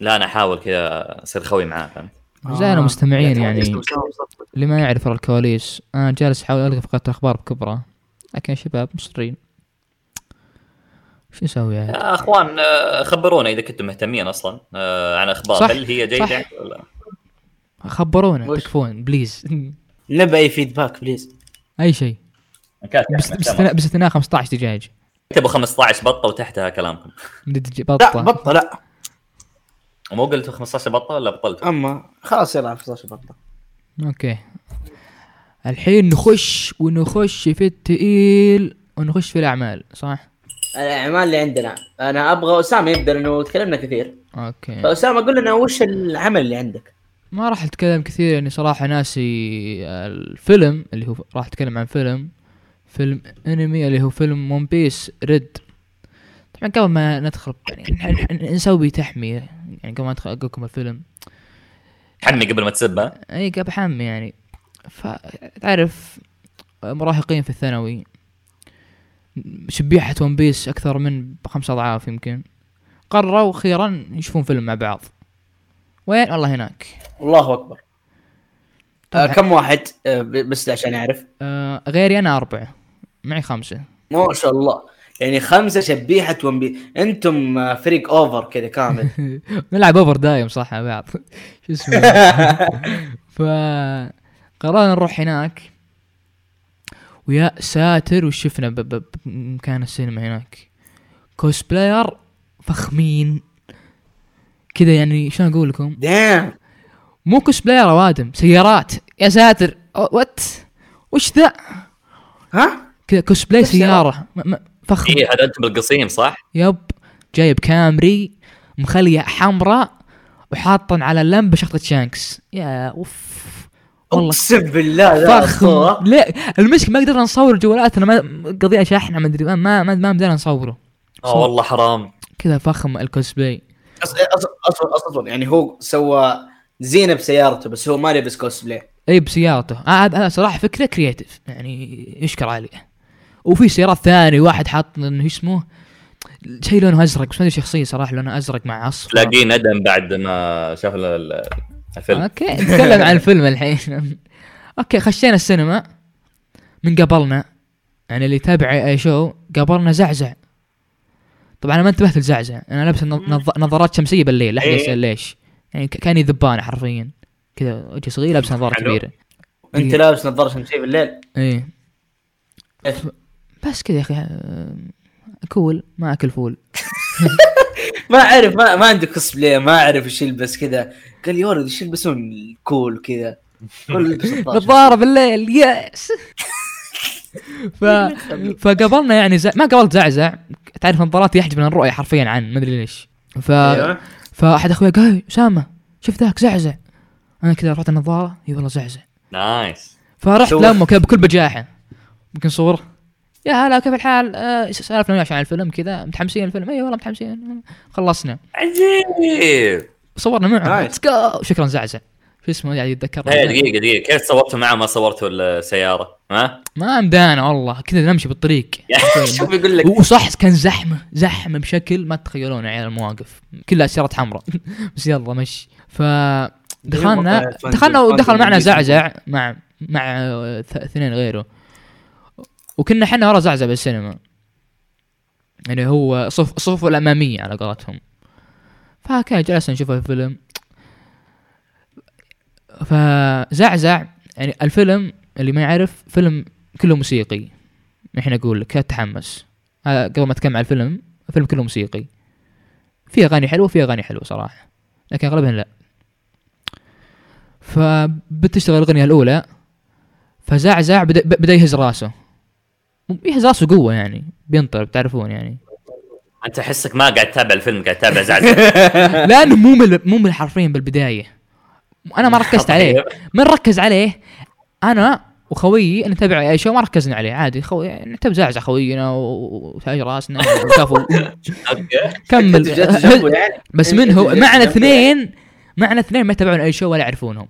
C: لا انا احاول كذا اصير خوي معاه فهمت
A: آه.
D: زين مستمعين يعني
A: اسمه سام صفر.
D: اللي ما يعرف ورا الكواليس انا جالس احاول القى فقره اخبار بكبره لكن يا شباب مصرين شو نسوي عاد؟
C: يا اخوان آه، خبرونا اذا كنتم مهتمين اصلا آه، عن اخبار
D: صح،
C: هل هي جيده
D: صح.
C: ولا
D: خبرونا
A: وش؟
D: تكفون بليز
A: نبى اي فيدباك بليز
D: اي شيء
C: كاتب
D: بس-
C: أحمد،
D: باستثناء
C: تمام.
D: باستثناء 15 دقائق
C: اكتبوا 15 بطه وتحتها كلامكم
D: بدي
A: لا
D: بطه
A: بطه لا
C: ومو قلتوا 15 بطه ولا بطلتوا؟
A: اما خلاص يلا 15 بطه
D: اوكي الحين نخش ونخش في التقيل ونخش في الاعمال صح؟
A: الاعمال اللي عندنا انا ابغى اسامه يبدا لانه تكلمنا كثير
D: اوكي
A: فاسامه قول لنا وش العمل اللي عندك
D: ما راح اتكلم كثير يعني صراحه ناسي الفيلم اللي هو راح اتكلم عن فيلم فيلم انمي اللي هو فيلم ون بيس ريد طبعا قبل ما ندخل يعني نح- نح- نسوي تحمية يعني قبل ما ادخل اقول لكم الفيلم
C: حمي قبل ما تسب ها؟
D: اي قبل حامي يعني فتعرف مراهقين في الثانوي شبيحة ون بيس أكثر من بخمس أضعاف يمكن قرروا أخيرا يشوفون فيلم مع بعض وين والله هناك
A: الله اكبر آه
D: طبعاً.
A: كم واحد آه ب- بس عشان اعرف
D: آه غيري أنا أربعة معي خمسة
A: ما شاء الله يعني خمسه شبيحه ون بي انتم آه، فريق اوفر كذا كامل
D: نلعب أوفر دايم صح مع بعض شو اسمه فقررنا نروح هناك ويا ساتر وش شفنا ب- ب- بمكان السينما هناك كوسبلاير فخمين كذا يعني شلون اقول لكم
A: دام
D: مو كوسبلاير وادم سيارات يا ساتر أو- وات وش ذا
A: ها
D: كذا كوسبلاي
A: وش سيارة؟
D: سياره م- م- فخم
C: اي هذا انت إيه، بالقصيم صح؟
D: يب جايب كامري مخليه حمراء وحاطا على اللمبه شخطة شانكس يا اوف والله
F: اقسم بالله لا
D: فخم لا المشكله ما قدرنا نصور جوالاتنا ما قضيه شحن ما ادري ما ما ما ما قدرنا نصوره
C: اه والله حرام
D: كذا فخم الكوسبلاي
F: اصلا اصلا اصلا يعني هو سوى زينه بسيارته بس هو ما لبس كوسبلاي
D: اي بسيارته آه، هذا هذا صراحه فكره كرييتيف يعني يشكر عليه وفي سيارات ثاني واحد حاط انه شو اسمه شيء لونه ازرق بس ما ادري شخصيه صراحه لونه ازرق مع اصفر
C: تلاقيه ندم بعد ما شاف ال- ال- الفيلم
D: اوكي نتكلم عن الفيلم الحين اوكي خشينا السينما من قبلنا يعني اللي يتابع اي شو قبلنا زعزع طبعا انا ما انتبهت لزعزع انا لابس نظ- نظ- نظارات شمسيه بالليل لا احد
C: إيه.
D: يسال ليش يعني ك- كاني ذبانه حرفيا كذا وجهي صغير لابس نظاره
C: حلو.
D: كبيره
F: انت
D: إيه.
F: لابس نظاره شمسيه بالليل
D: ايه
F: إيه.
D: ف- بس كذا يا اخي آه، كول ما اكل فول
F: ما اعرف ما, ما عندي كوسبلاي ما اعرف ايش يلبس كذا قال يا ولد ايش يلبسون الكول كذا كل يلبس نظارة.
D: نظاره بالليل يس ف... فقابلنا يعني زع... ما قابلت زعزع تعرف نظاراتي يحجب من الرؤيه حرفيا عن ما ادري ليش ف
F: أيوة.
D: فاحد اخويا قال "هاي، اسامه شوف ذاك زعزع انا كذا رفعت النظاره اي والله زعزع
C: نايس
D: فرحت
F: سوى-
D: لامه كذا بكل بجاحه يمكن صوره يا هلا كيف الحال؟ آه، سالفنا وياه عشان الفيلم كذا متحمسين الفيلم اي والله متحمسين خلصنا
C: عجيب
D: صورنا معه
F: نايس.
D: ليتس جو شكرا زعزع شو اسمه قاعد يتذكر
C: هي دقيقه دقيقه كيف صورته معه ما صورته السياره ها
D: ما مدانا والله كذا نمشي بالطريق
F: شوف يقول لك
D: وصح كان زحمه زحمه بشكل ما تتخيلون يا عيال المواقف كلها سيارات حمراء بس يلا مشي ف دخلنا دخلنا ودخل معنا زعزع مع مع آه، ث- اثنين غيره وكنا احنا ورا زعزع بالسينما يعني هو صف صفه الاماميه على قولتهم فكان جلسنا نشوف الفيلم فزعزع يعني الفيلم اللي ما يعرف فيلم كله موسيقي الحين اقول لك لا تتحمس آه، قبل ما اتكلم عن الفيلم الفيلم كله موسيقي في اغاني حلوه في اغاني حلوه صراحه لكن اغلبها لا فبتشتغل الاغنيه الاولى فزعزع بدا, بدا يهز راسه يهز راسه قوه يعني بينطرب تعرفون يعني
C: انت احسك ما قاعد تتابع الفيلم قاعد تتابع زعزع
D: لانه ممل ممل حرفيا بالبدايه انا ما ركزت عليه من ركز عليه انا وخويي نتابع اي شيء ما ركزنا عليه عادي خوي يعني نتابع زعزع خوينا و- وتاج راسنا وشافوا
C: أوكي.
F: أنت جات جنبه
D: كمل
F: يعني.
D: بس
F: أنت
D: من هو
F: جات
D: معنا
F: جنبه
D: اثنين معنا اثنين ما يتابعون اي شيء ولا يعرفونهم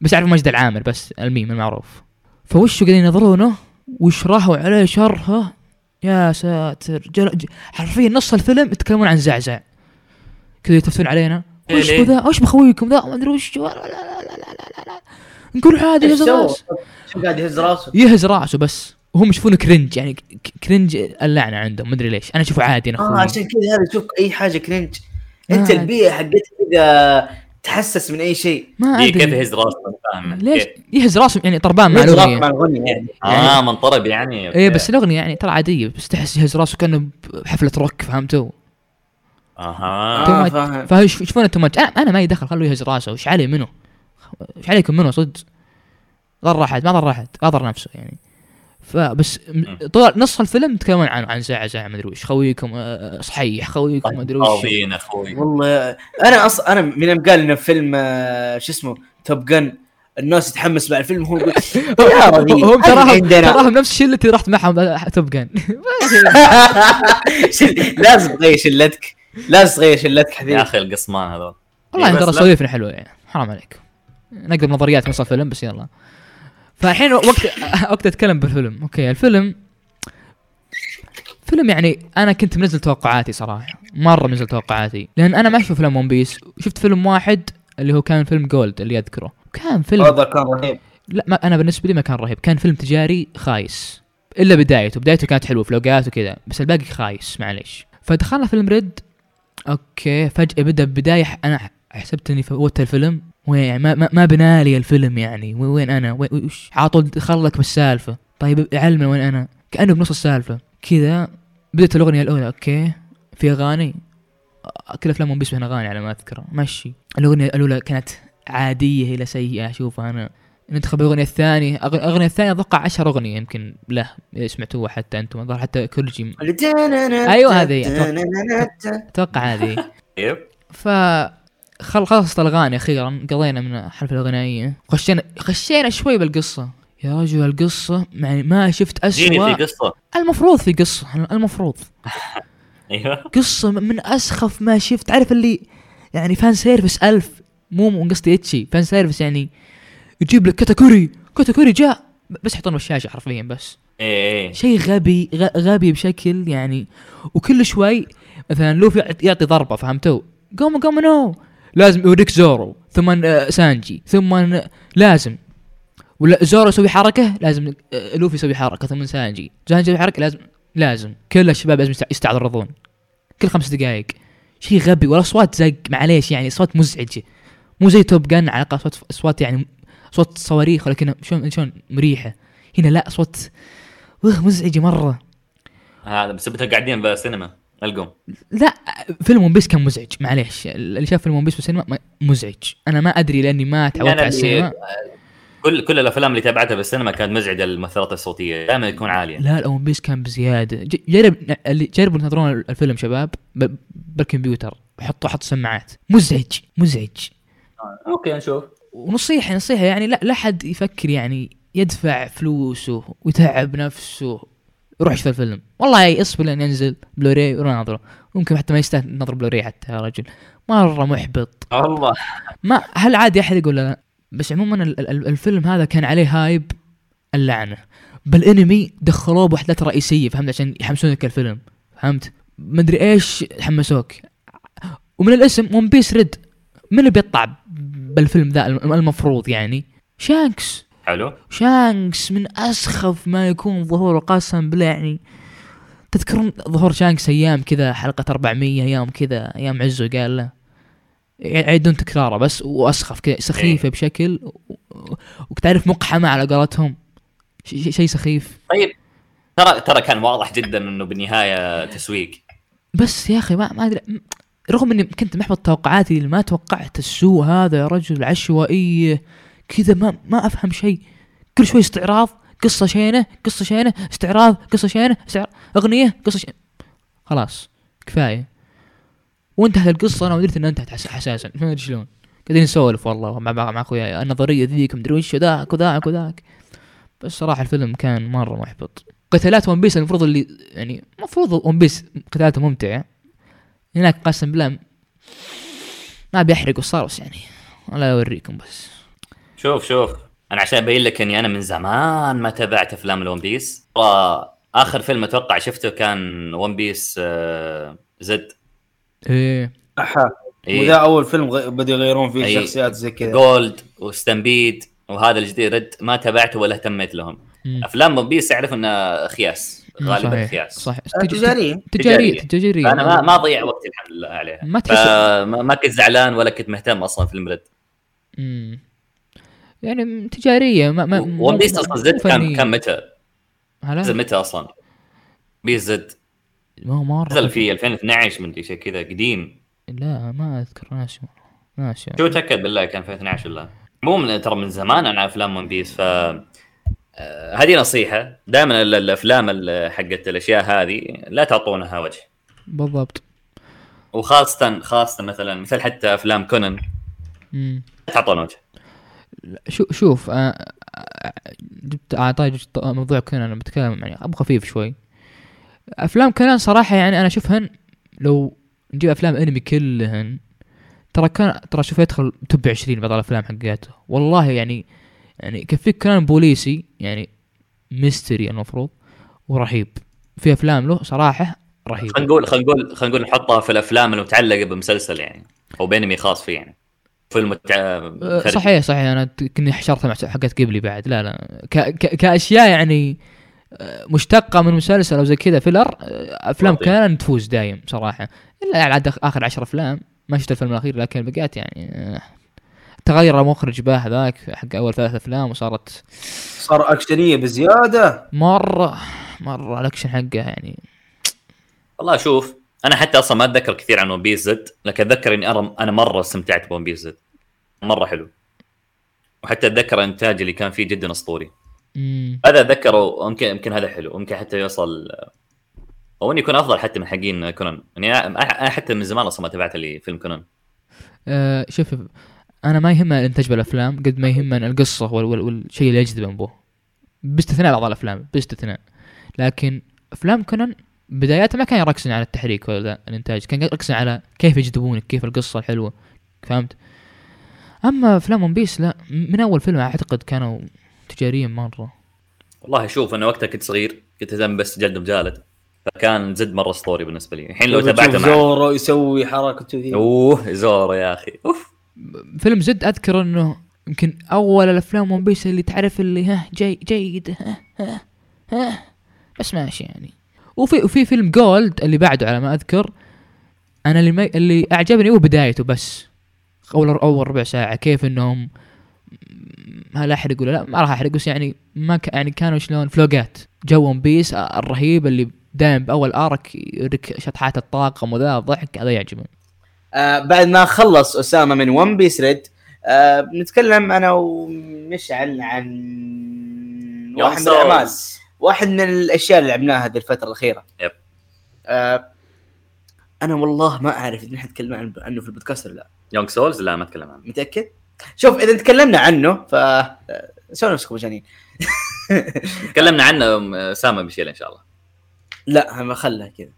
D: بس يعرفوا مجد العامر بس الميم المعروف فوشوا قاعدين ينظرونه وش راحوا عليه شرها يا ساتر جل... ج... حرفيا نص الفيلم يتكلمون عن زعزع كذا يتفتون علينا
C: إيه
D: وش
C: ليه؟
D: ذا وش بخويكم ذا ما ادري وش لا لا لا لا لا لا نقول عادي
F: ايش
D: يهز
F: سوى؟
D: راس
F: يعني. شو قاعد يهز راسه؟
D: يهز راسه بس وهم يشوفونه كرنج يعني ك- ك- كرنج اللعنه عندهم ما ادري ليش انا اشوفه عادي انا
C: آه،
F: اه
D: أخوي.
F: عشان كذا هذا شوف اي حاجه كرنج انت
D: آه.
F: البيئه حقتك كذا تحسس من اي شيء
D: ما
C: دقيقة، إيه، كيف
D: ادري
C: يهز راسه أنا إيه. فاهم
D: ليش
C: كيف؟
D: يهز راسه يعني طربان مع
F: إيه. يهز راسه مع
D: الاغنيه
F: الغنية يعني
C: اه منطرب يعني أوكي.
D: ايه بس الاغنيه يعني ترى عاديه بس تحس يهز راسه كانه بحفله روك فهمتوا؟
C: اها
D: تو
F: آه،
D: ماتش.
F: فاهم.
D: فشوفونه تو ماتش انا أنا ما يدخل خلوه يهز راسه وش علي منه؟ وش عليكم منه صد؟ ضر احد ما ضر احد اضر نفسه يعني فبس م- طول نص الفيلم يتكلمون عن عن ساعه ساعه ما ادري وش خويكم آه، صحيح خويكم ما ادري
C: طيب،
D: وش
C: فاضيين اخوي
F: والله انا اص انا من يوم قال انه فيلم آه، شو اسمه توب جن الناس تتحمس مع الفيلم هو يقول يا ربي
D: هم تراهم
F: عندنا
D: تراهم نفس الشله اللي رحت معهم آه، توب جان
F: لازم تغير شلتك لازم تغير شلتك
C: يا
F: حبيبي
C: اخي القسمان هذول
D: والله
C: إيه،
D: ترى
C: بس لا-
D: سواليفنا حلوه يعني حرام عليكم نقدر نظريات نص الفيلم بس يلا فالحين وقت وقت اتكلم بالفيلم اوكي الفيلم فيلم يعني انا كنت منزل توقعاتي صراحه مره منزل توقعاتي لان انا ما اشوف فيلم ون بيس شفت فيلم واحد اللي هو كان فيلم جولد اللي اذكره كان فيلم
F: هذا كان رهيب
D: لا ما انا بالنسبه لي ما كان رهيب كان فيلم تجاري خايس الا بدايته بدايته كانت حلوه فلوقات وكذا بس الباقي خايس معليش فدخلنا فيلم ريد اوكي فجاه بدا بدايه ح- انا ح- حسبت اني فوتت الفيلم وين يعني ما, ما, ما بنالي الفيلم يعني وين, وين انا وين وش عاطل دخلك بالسالفه طيب علمنا وين انا كانه بنص السالفه كذا بدات الاغنيه الاولى اوكي في اغاني أ- كل افلام ون بيس فيها اغاني على ما اذكر ماشي الاغنيه الاولى كانت عاديه الى سيئه اشوفها انا ندخل بالاغنيه الثانيه أغ- الاغنيه الثانيه اتوقع 10 اغنيه يمكن له إذا سمعتوها حتى انتم الظاهر حتى كورجي
C: إيه.
D: ايوه هذه هي، أتوقع. اتوقع هذه
C: طيب
D: ف خل خلصت الاغاني اخيرا قضينا من الحلفه الغنائيه خشينا خشينا شوي بالقصه يا رجل القصه يعني ما شفت
C: جيني
D: اسوء
C: في قصه
D: المفروض في قصه المفروض
C: ايوه
D: قصه من اسخف ما شفت تعرف اللي يعني فان سيرفيس ألف مو مو قصدي اتشي فان سيرفيس يعني يجيب لك كاتاكوري كاتاكوري جاء بس يحطونه بالشاشه حرفيا بس
C: اي اي
D: شيء غبي غ- غبي بشكل يعني وكل شوي مثلا لوفي يعط- يعطي ضربه فهمتوا قوم قوم نو لازم يوريك زورو ثم آه، سانجي ثم آه، لازم ولا زورو يسوي حركه لازم آه، لوفي يسوي حركه ثم سانجي سانجي يسوي حركه لازم لازم كل الشباب لازم يست- يستعرضون كل خمس دقائق شيء غبي والاصوات زق معليش يعني اصوات مزعجه مو زي توب جن على الاقل اصوات اصوات يعني صوت صواريخ ولكن شلون شلون مريحه هنا لا صوت وخ مزعجه مره
C: هذا بسبتها قاعدين بالسينما القم
D: لا فيلم ون بيس كان مزعج معليش اللي شاف فيلم ون بيس بالسينما ما- مزعج انا ما ادري لاني ما تعودت
C: أنا
D: على
C: اللي-
D: السينما
C: كل كل الافلام اللي تابعتها بالسينما كانت مزعجه المؤثرات الصوتيه دائما تكون عاليه
D: لا لا ون بيس كان بزياده ج- جرب اللي جربوا تنظرون الفيلم شباب ب- بالكمبيوتر حطوا حط سماعات مزعج مزعج
C: اوكي نشوف
D: ونصيحة نصيحة يعني لا لا حد يفكر يعني يدفع فلوسه ويتعب نفسه يروح يشوف الفيلم والله يعني اصبر لين ينزل بلوراي وروح ناظره ممكن حتى ما يستاهل نظر بلوراي حتى يا رجل مرة محبط
C: والله
D: ما هل عادي احد يقول لا بس عموما ال- ال- الفيلم هذا كان عليه هايب اللعنه بالانمي دخلوه بوحدات رئيسيه فهمت عشان يحمسونك الفيلم فهمت مدري ايش حمسوك ومن الاسم ون بيس ريد من اللي بيطلع بالفيلم ذا الم- المفروض يعني شانكس
C: حلو
D: شانكس من اسخف ما يكون ظهوره قسم بالله يعني تذكرون ظهور شانكس ايام كذا حلقه 400 ايام كذا ايام عزه قال له يعيدون تكراره بس واسخف كذا سخيفه بشكل و- و- وتعرف مقحمه على قولتهم ش- ش- شيء سخيف
C: طيب ترى ترى كان واضح جدا انه بالنهايه تسويق
D: بس يا اخي ما ما ادري م- رغم اني كنت محبط توقعاتي اللي ما توقعت السوء هذا يا رجل عشوائيه كذا ما ما افهم شيء كل شوي استعراض قصه شينه قصه شينه استعراض قصه شينه استعراض اغنيه قصه شينة. خلاص كفايه وانتهت القصه انا ودرت انها انتهت حس- اساسا ما ادري شلون قاعدين نسولف والله مع مع, مع اخوياي النظريه ذيك مدري وش ذاك وذاك وذاك بس صراحه الفيلم كان مره محبط قتالات ون بيس المفروض اللي يعني المفروض ون بيس قتالاته ممتعه هناك قسم بالله ما بيحرق وصارس يعني ولا اوريكم بس
C: شوف شوف انا عشان ابين لك اني انا من زمان ما تابعت افلام الون بيس ترى اخر فيلم اتوقع شفته كان ون بيس آه، زد
D: ايه
A: احا
C: إيه.
A: وذا اول فيلم غ... بدوا يغيرون فيه
C: إيه.
A: الشخصيات زي كذا
C: جولد وستامبيد وهذا الجديد رد ما تابعته ولا اهتميت لهم
D: مم.
C: افلام ون بيس اعرف انها خياس غالبا
D: صحيح
C: خياس
D: صحيح
A: تجاريه
C: تجارية.
D: تجاريه تجاريه
C: انا ما ما اضيع وقتي الحمد لله عليها
D: ما تحس
C: فما ما كنت زعلان ولا كنت مهتم اصلا في المرد
D: مم. يعني م- تجاريه ما ما
C: ون بيس اصلا زد كان كان متى نزل
D: كان
C: متى اصلا بيس زد
D: ما هو مره
C: نزل في 2012 مدري شيء كذا قديم
D: لا ما اذكر ناسي والله. ناسي
C: شو تاكد بالله كان 2012 ولا مو من ترى من زمان انا افلام ون بيس ف آه، هذه نصيحه دائما ال- الافلام ال- حقت الاشياء هذه لا تعطونها وجه
D: بالضبط
C: وخاصه خاصه مثلا مثل حتى افلام كونان
D: مم.
C: لا تعطون وجه
D: شو شوف آه، آه، جبت اعطاني جبت موضوع كنان انا بتكلم يعني ابو خفيف شوي افلام كنان صراحه يعني انا اشوفهن لو نجيب افلام انمي كلهن ترى كان ترى شوف يدخل توب 20 بعض الافلام حقاته والله يعني يعني يكفيك كنان بوليسي يعني ميستري المفروض ورهيب في افلام له صراحه رهيب
C: خلينا نقول خلينا نقول خلينا نقول نحطها في الافلام المتعلقه بمسلسل يعني او بانمي خاص فيه يعني فيلم
D: أه،
C: متع...
D: صحيح صحيح انا ت- كني حشرتها مع حقت قبلي بعد لا لا ك ك كاشياء يعني أه، مشتقه من مسلسل او زي كذا فيلر أه، افلام
C: لطيف.
D: كان تفوز دايم صراحه الا على عاد اخر عشر افلام ما شفت الفيلم الاخير لكن بقيت يعني أه، تغير المخرج باه ذاك حق اول ثلاث افلام وصارت
A: صار اكشنيه بزياده
D: مره مره الاكشن حقه يعني
C: والله شوف انا حتى اصلا ما اتذكر كثير عن ون بيس زد لكن اتذكر اني أرى- انا مره استمتعت بون بيس زد مره حلو وحتى اتذكر الانتاج اللي كان فيه جدا اسطوري
D: مم.
C: هذا اتذكره ويمكن يمكن هذا حلو ويمكن حتى يوصل او انه يكون افضل حتى من حقين كونان يعني أنا- أنا حتى من زمان اصلا ما تابعت لي فيلم كونان
D: آه شوف انا ما يهمني الانتاج بالافلام قد ما يهمني القصه وال- وال- والشيء اللي يجذب انبوه باستثناء بعض الافلام باستثناء لكن افلام كونان بداياته ما كان يركزون على التحريك ولا الانتاج كان يركزون على كيف يجذبونك كيف القصه الحلوه فهمت اما افلام ون بيس لا من اول فيلم اعتقد كانوا تجاريا مره
C: والله شوف انا وقتها كنت صغير كنت اهتم بس جلد وجالد فكان جد مره اسطوري بالنسبه لي الحين لو تابعته
A: تشوف
C: مع
A: زورو يسوي حركته ذي
C: اوه زورو يا اخي اوف
D: فيلم زد اذكر انه يمكن اول الافلام ون بيس اللي تعرف اللي ها جاي جيد ها ها ها بس ماشي يعني وفي وفي فيلم جولد اللي بعده على ما اذكر انا اللي ما اللي اعجبني هو بدايته بس اول اول ربع ساعه كيف انهم هل احرق ولا لا ما راح احرق بس يعني ما ك... يعني كانوا شلون فلوقات جو ون بيس الرهيب اللي دائم باول ارك يوريك شطحات الطاقم وذا الضحك هذا يعجبني
A: آه بعد ما خلص اسامه من ون بيس ريد آه بنتكلم انا ومشعل عن واحد من الاعمال واحد من الاشياء اللي لعبناها هذه الفتره الاخيره
C: يب.
A: آه انا والله ما اعرف اذا نحن تكلمنا عن- عنه في البودكاست ولا لا
C: يونغ سولز لا ما اتكلم عنه
A: متاكد شوف اذا تكلمنا عنه ف آه، سووا نفسكم مجانين
C: تكلمنا عنه أم، سامة بيشيل ان شاء الله
A: لا ما خلها كذا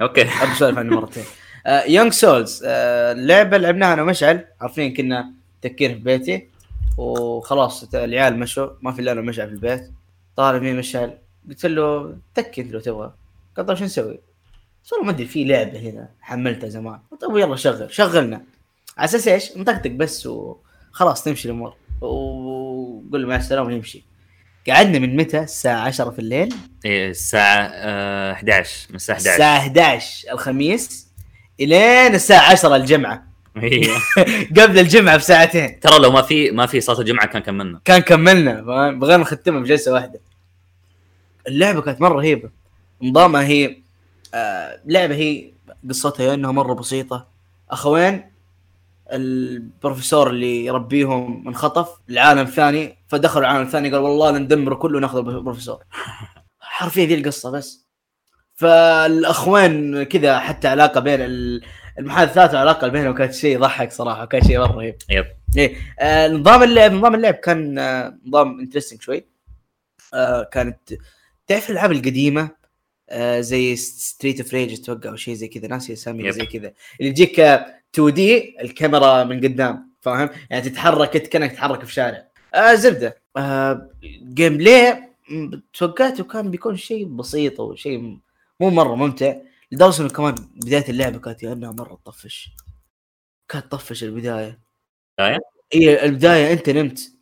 C: اوكي
A: ابي اسولف عنه مرتين آه، يونج سولز لعبه آه، لعبناها انا ومشعل عارفين كنا تكير في بيتي وخلاص ت- العيال مشوا ما في الا انا ومشعل في البيت طالع فيه مشعل قلت له تكي انت لو تبغى قال طيب شو نسوي؟ قلت والله ما ادري في لعبه هنا حملتها زمان قلت طيب يلا شغل شغلنا على اساس ايش؟ نطقطق بس وخلاص تمشي الامور وقول له مع السلامه ونمشي قعدنا من متى؟ الساعه 10 في الليل
C: إيه، الساعة آه، 11 من الساعة 11
A: الساعة 11 الخميس الين الساعة 10 الجمعة
C: إيه.
A: قبل الجمعة بساعتين
C: ترى لو ما في ما في صلاة الجمعة كان كملنا
A: كان كملنا فاهم؟ بغينا نختمها بجلسة واحدة اللعبة كانت مرة رهيبة نظامها هي آه لعبة هي قصتها يا انها مرة بسيطة اخوين البروفيسور اللي يربيهم انخطف العالم الثاني فدخلوا العالم الثاني قال والله ندمره كله وناخذ البروفيسور حرفيا ذي القصه بس فالاخوين كذا حتى علاقه بين ال- المحادثات والعلاقه بينهم كانت شيء يضحك صراحه وكان شيء مره رهيب
C: يب.
A: ايه آه نظام اللعب نظام اللعب كان آه نظام انترستنج شوي آه كانت تعرف الالعاب القديمه آه زي ستريت اوف ريج اتوقع او شيء زي كذا ناسي اسامي
C: يب.
A: زي كذا اللي يجيك آه 2 دي الكاميرا من قدام فاهم يعني تتحرك أنت كانك تتحرك في شارع آه زبده آه جيم بلاي م- توقعته كان بيكون شيء بسيط او شيء م- مو مره ممتع لدرجه انه كمان بدايه اللعبه كانت انها مره تطفش كانت تطفش البدايه
C: بداية؟
A: هي البدايه انت نمت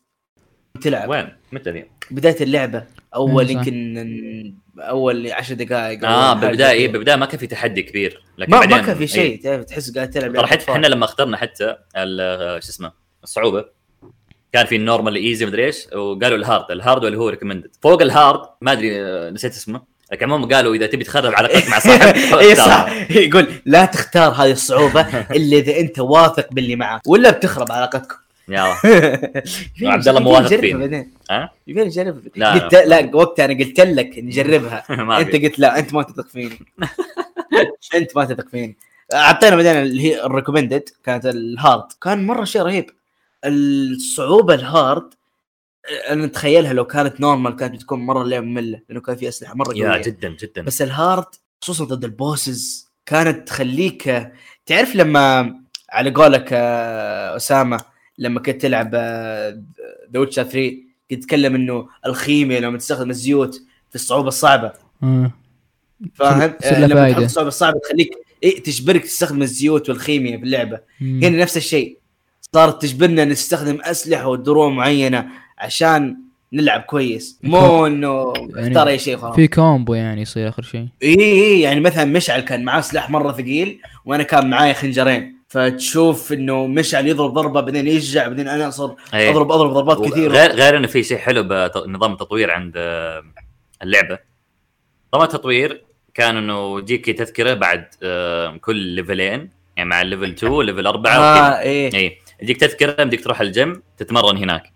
A: تلعب
C: وين؟ متى ذي؟
A: بدايه اللعبه اول
D: إيه، صح.
A: يمكن اول عشر دقائق
C: اه
A: أول حاجة
C: بالبداية إيه
A: كده.
C: بالبداية ما كان في تحدي كبير لكن
A: ما ما
C: بعدين-
A: كان في
C: إيه.
A: شيء تعرف تحس قاعد تلعب يعني
C: ترى
A: لعبة
C: حتى
A: أطفال.
C: احنا لما اخترنا حتى ال- شو اسمه الصعوبة كان في النورمال ايزي مدري ايش وقالوا الهارد الهارد اللي هو ريكومندد فوق الهارد ما ادري آه، نسيت اسمه لكن عموما قالوا اذا تبي تخرب علاقتك مع صاحبك حاول
A: اي
C: تختار.
A: إيه، صح يقول لا تختار هذه الصعوبه الا اذا انت واثق باللي معك ولا بتخرب علاقتكم
C: يلا
A: يبيني-
C: عبد الله مو
A: يبيني
C: واثق
A: نجربها
C: فيني.
A: بعدين
C: ها؟
A: يبيني نجربها
C: لا،
A: قلت
C: لا.
A: لا وقتها انا قلت لك نجربها
C: ما
A: انت
C: أبي.
A: قلت لا انت ما تثق فيني انت ما تثق فيني اعطينا بعدين اللي هي الريكومندد كانت الهارد كان مره شيء رهيب الصعوبه الهارد انا اتخيلها لو كانت نورمال كانت بتكون مره لعبه ممله لانه كان في اسلحه مره
C: يا
A: قويه
C: جدا جدا
A: بس الهارد خصوصا ضد البوسز كانت تخليك تعرف لما على قولك آه، اسامه لما كنت تلعب آه، ذا ويتشر 3 كنت تتكلم انه الخيمه لما تستخدم الزيوت في الصعوبه الصعبه فاهم؟
D: يصير
A: آه،
D: لها
A: لما تحط
D: فايدة.
A: الصعوبه الصعبه تخليك إيه تجبرك تستخدم الزيوت والخيمه في اللعبه هنا نفس الشيء صارت تجبرنا نستخدم اسلحه ودروع معينه عشان نلعب كويس مو انه
D: يعني
A: اختار اي شيء خلاص
D: في كومبو يعني يصير اخر شيء
A: اي اي يعني مثلا مشعل كان معاه سلاح مره ثقيل وانا كان معايا خنجرين فتشوف انه مشعل يضرب ضربه بعدين يرجع بعدين انا اصر
C: إيه.
A: اضرب اضرب ضربات كثيره
C: غير غير انه في شيء حلو بنظام التطوير عند آه، اللعبه نظام التطوير كان انه يجيك تذكره بعد آه، كل ليفلين يعني مع الليفل 2 وليفل 4
A: اه ايه
C: اي يجيك تذكره بدك تروح الجيم تتمرن هناك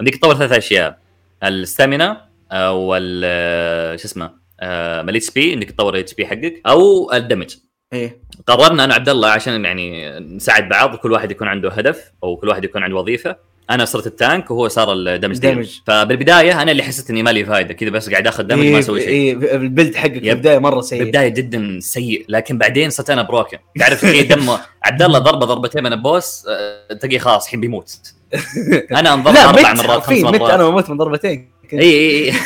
C: بدك تطور ثلاث اشياء الستامينا آه، وال آه، شو اسمه آه، مال اتش بي انك تطور الاتش بي حقك او الدمج
A: ايه
C: قررنا انا وعبد الله عشان يعني نساعد بعض كل واحد يكون عنده هدف او كل واحد يكون عنده وظيفه انا صرت التانك وهو صار
A: دمج.
C: الدمج ديلر فبالبدايه انا اللي حسيت اني مالي فايده كذا بس قاعد اخذ دمج ما اسوي شيء
A: اي إيه، البلد حقك في
C: يب.
A: البدايه مره سيء
C: بالبدايه جدا سيء لكن بعدين صرت انا بروكن تعرف في دمه عبد الله ضربه ضربتين من البوس آه، تلاقيه خلاص الحين بيموت انا انضرب
A: لا
C: اربع
A: مت
C: مرات خمس
A: حرفيا مت
C: مرات
A: انا وموت من ضربتين
C: اي اي اي آه،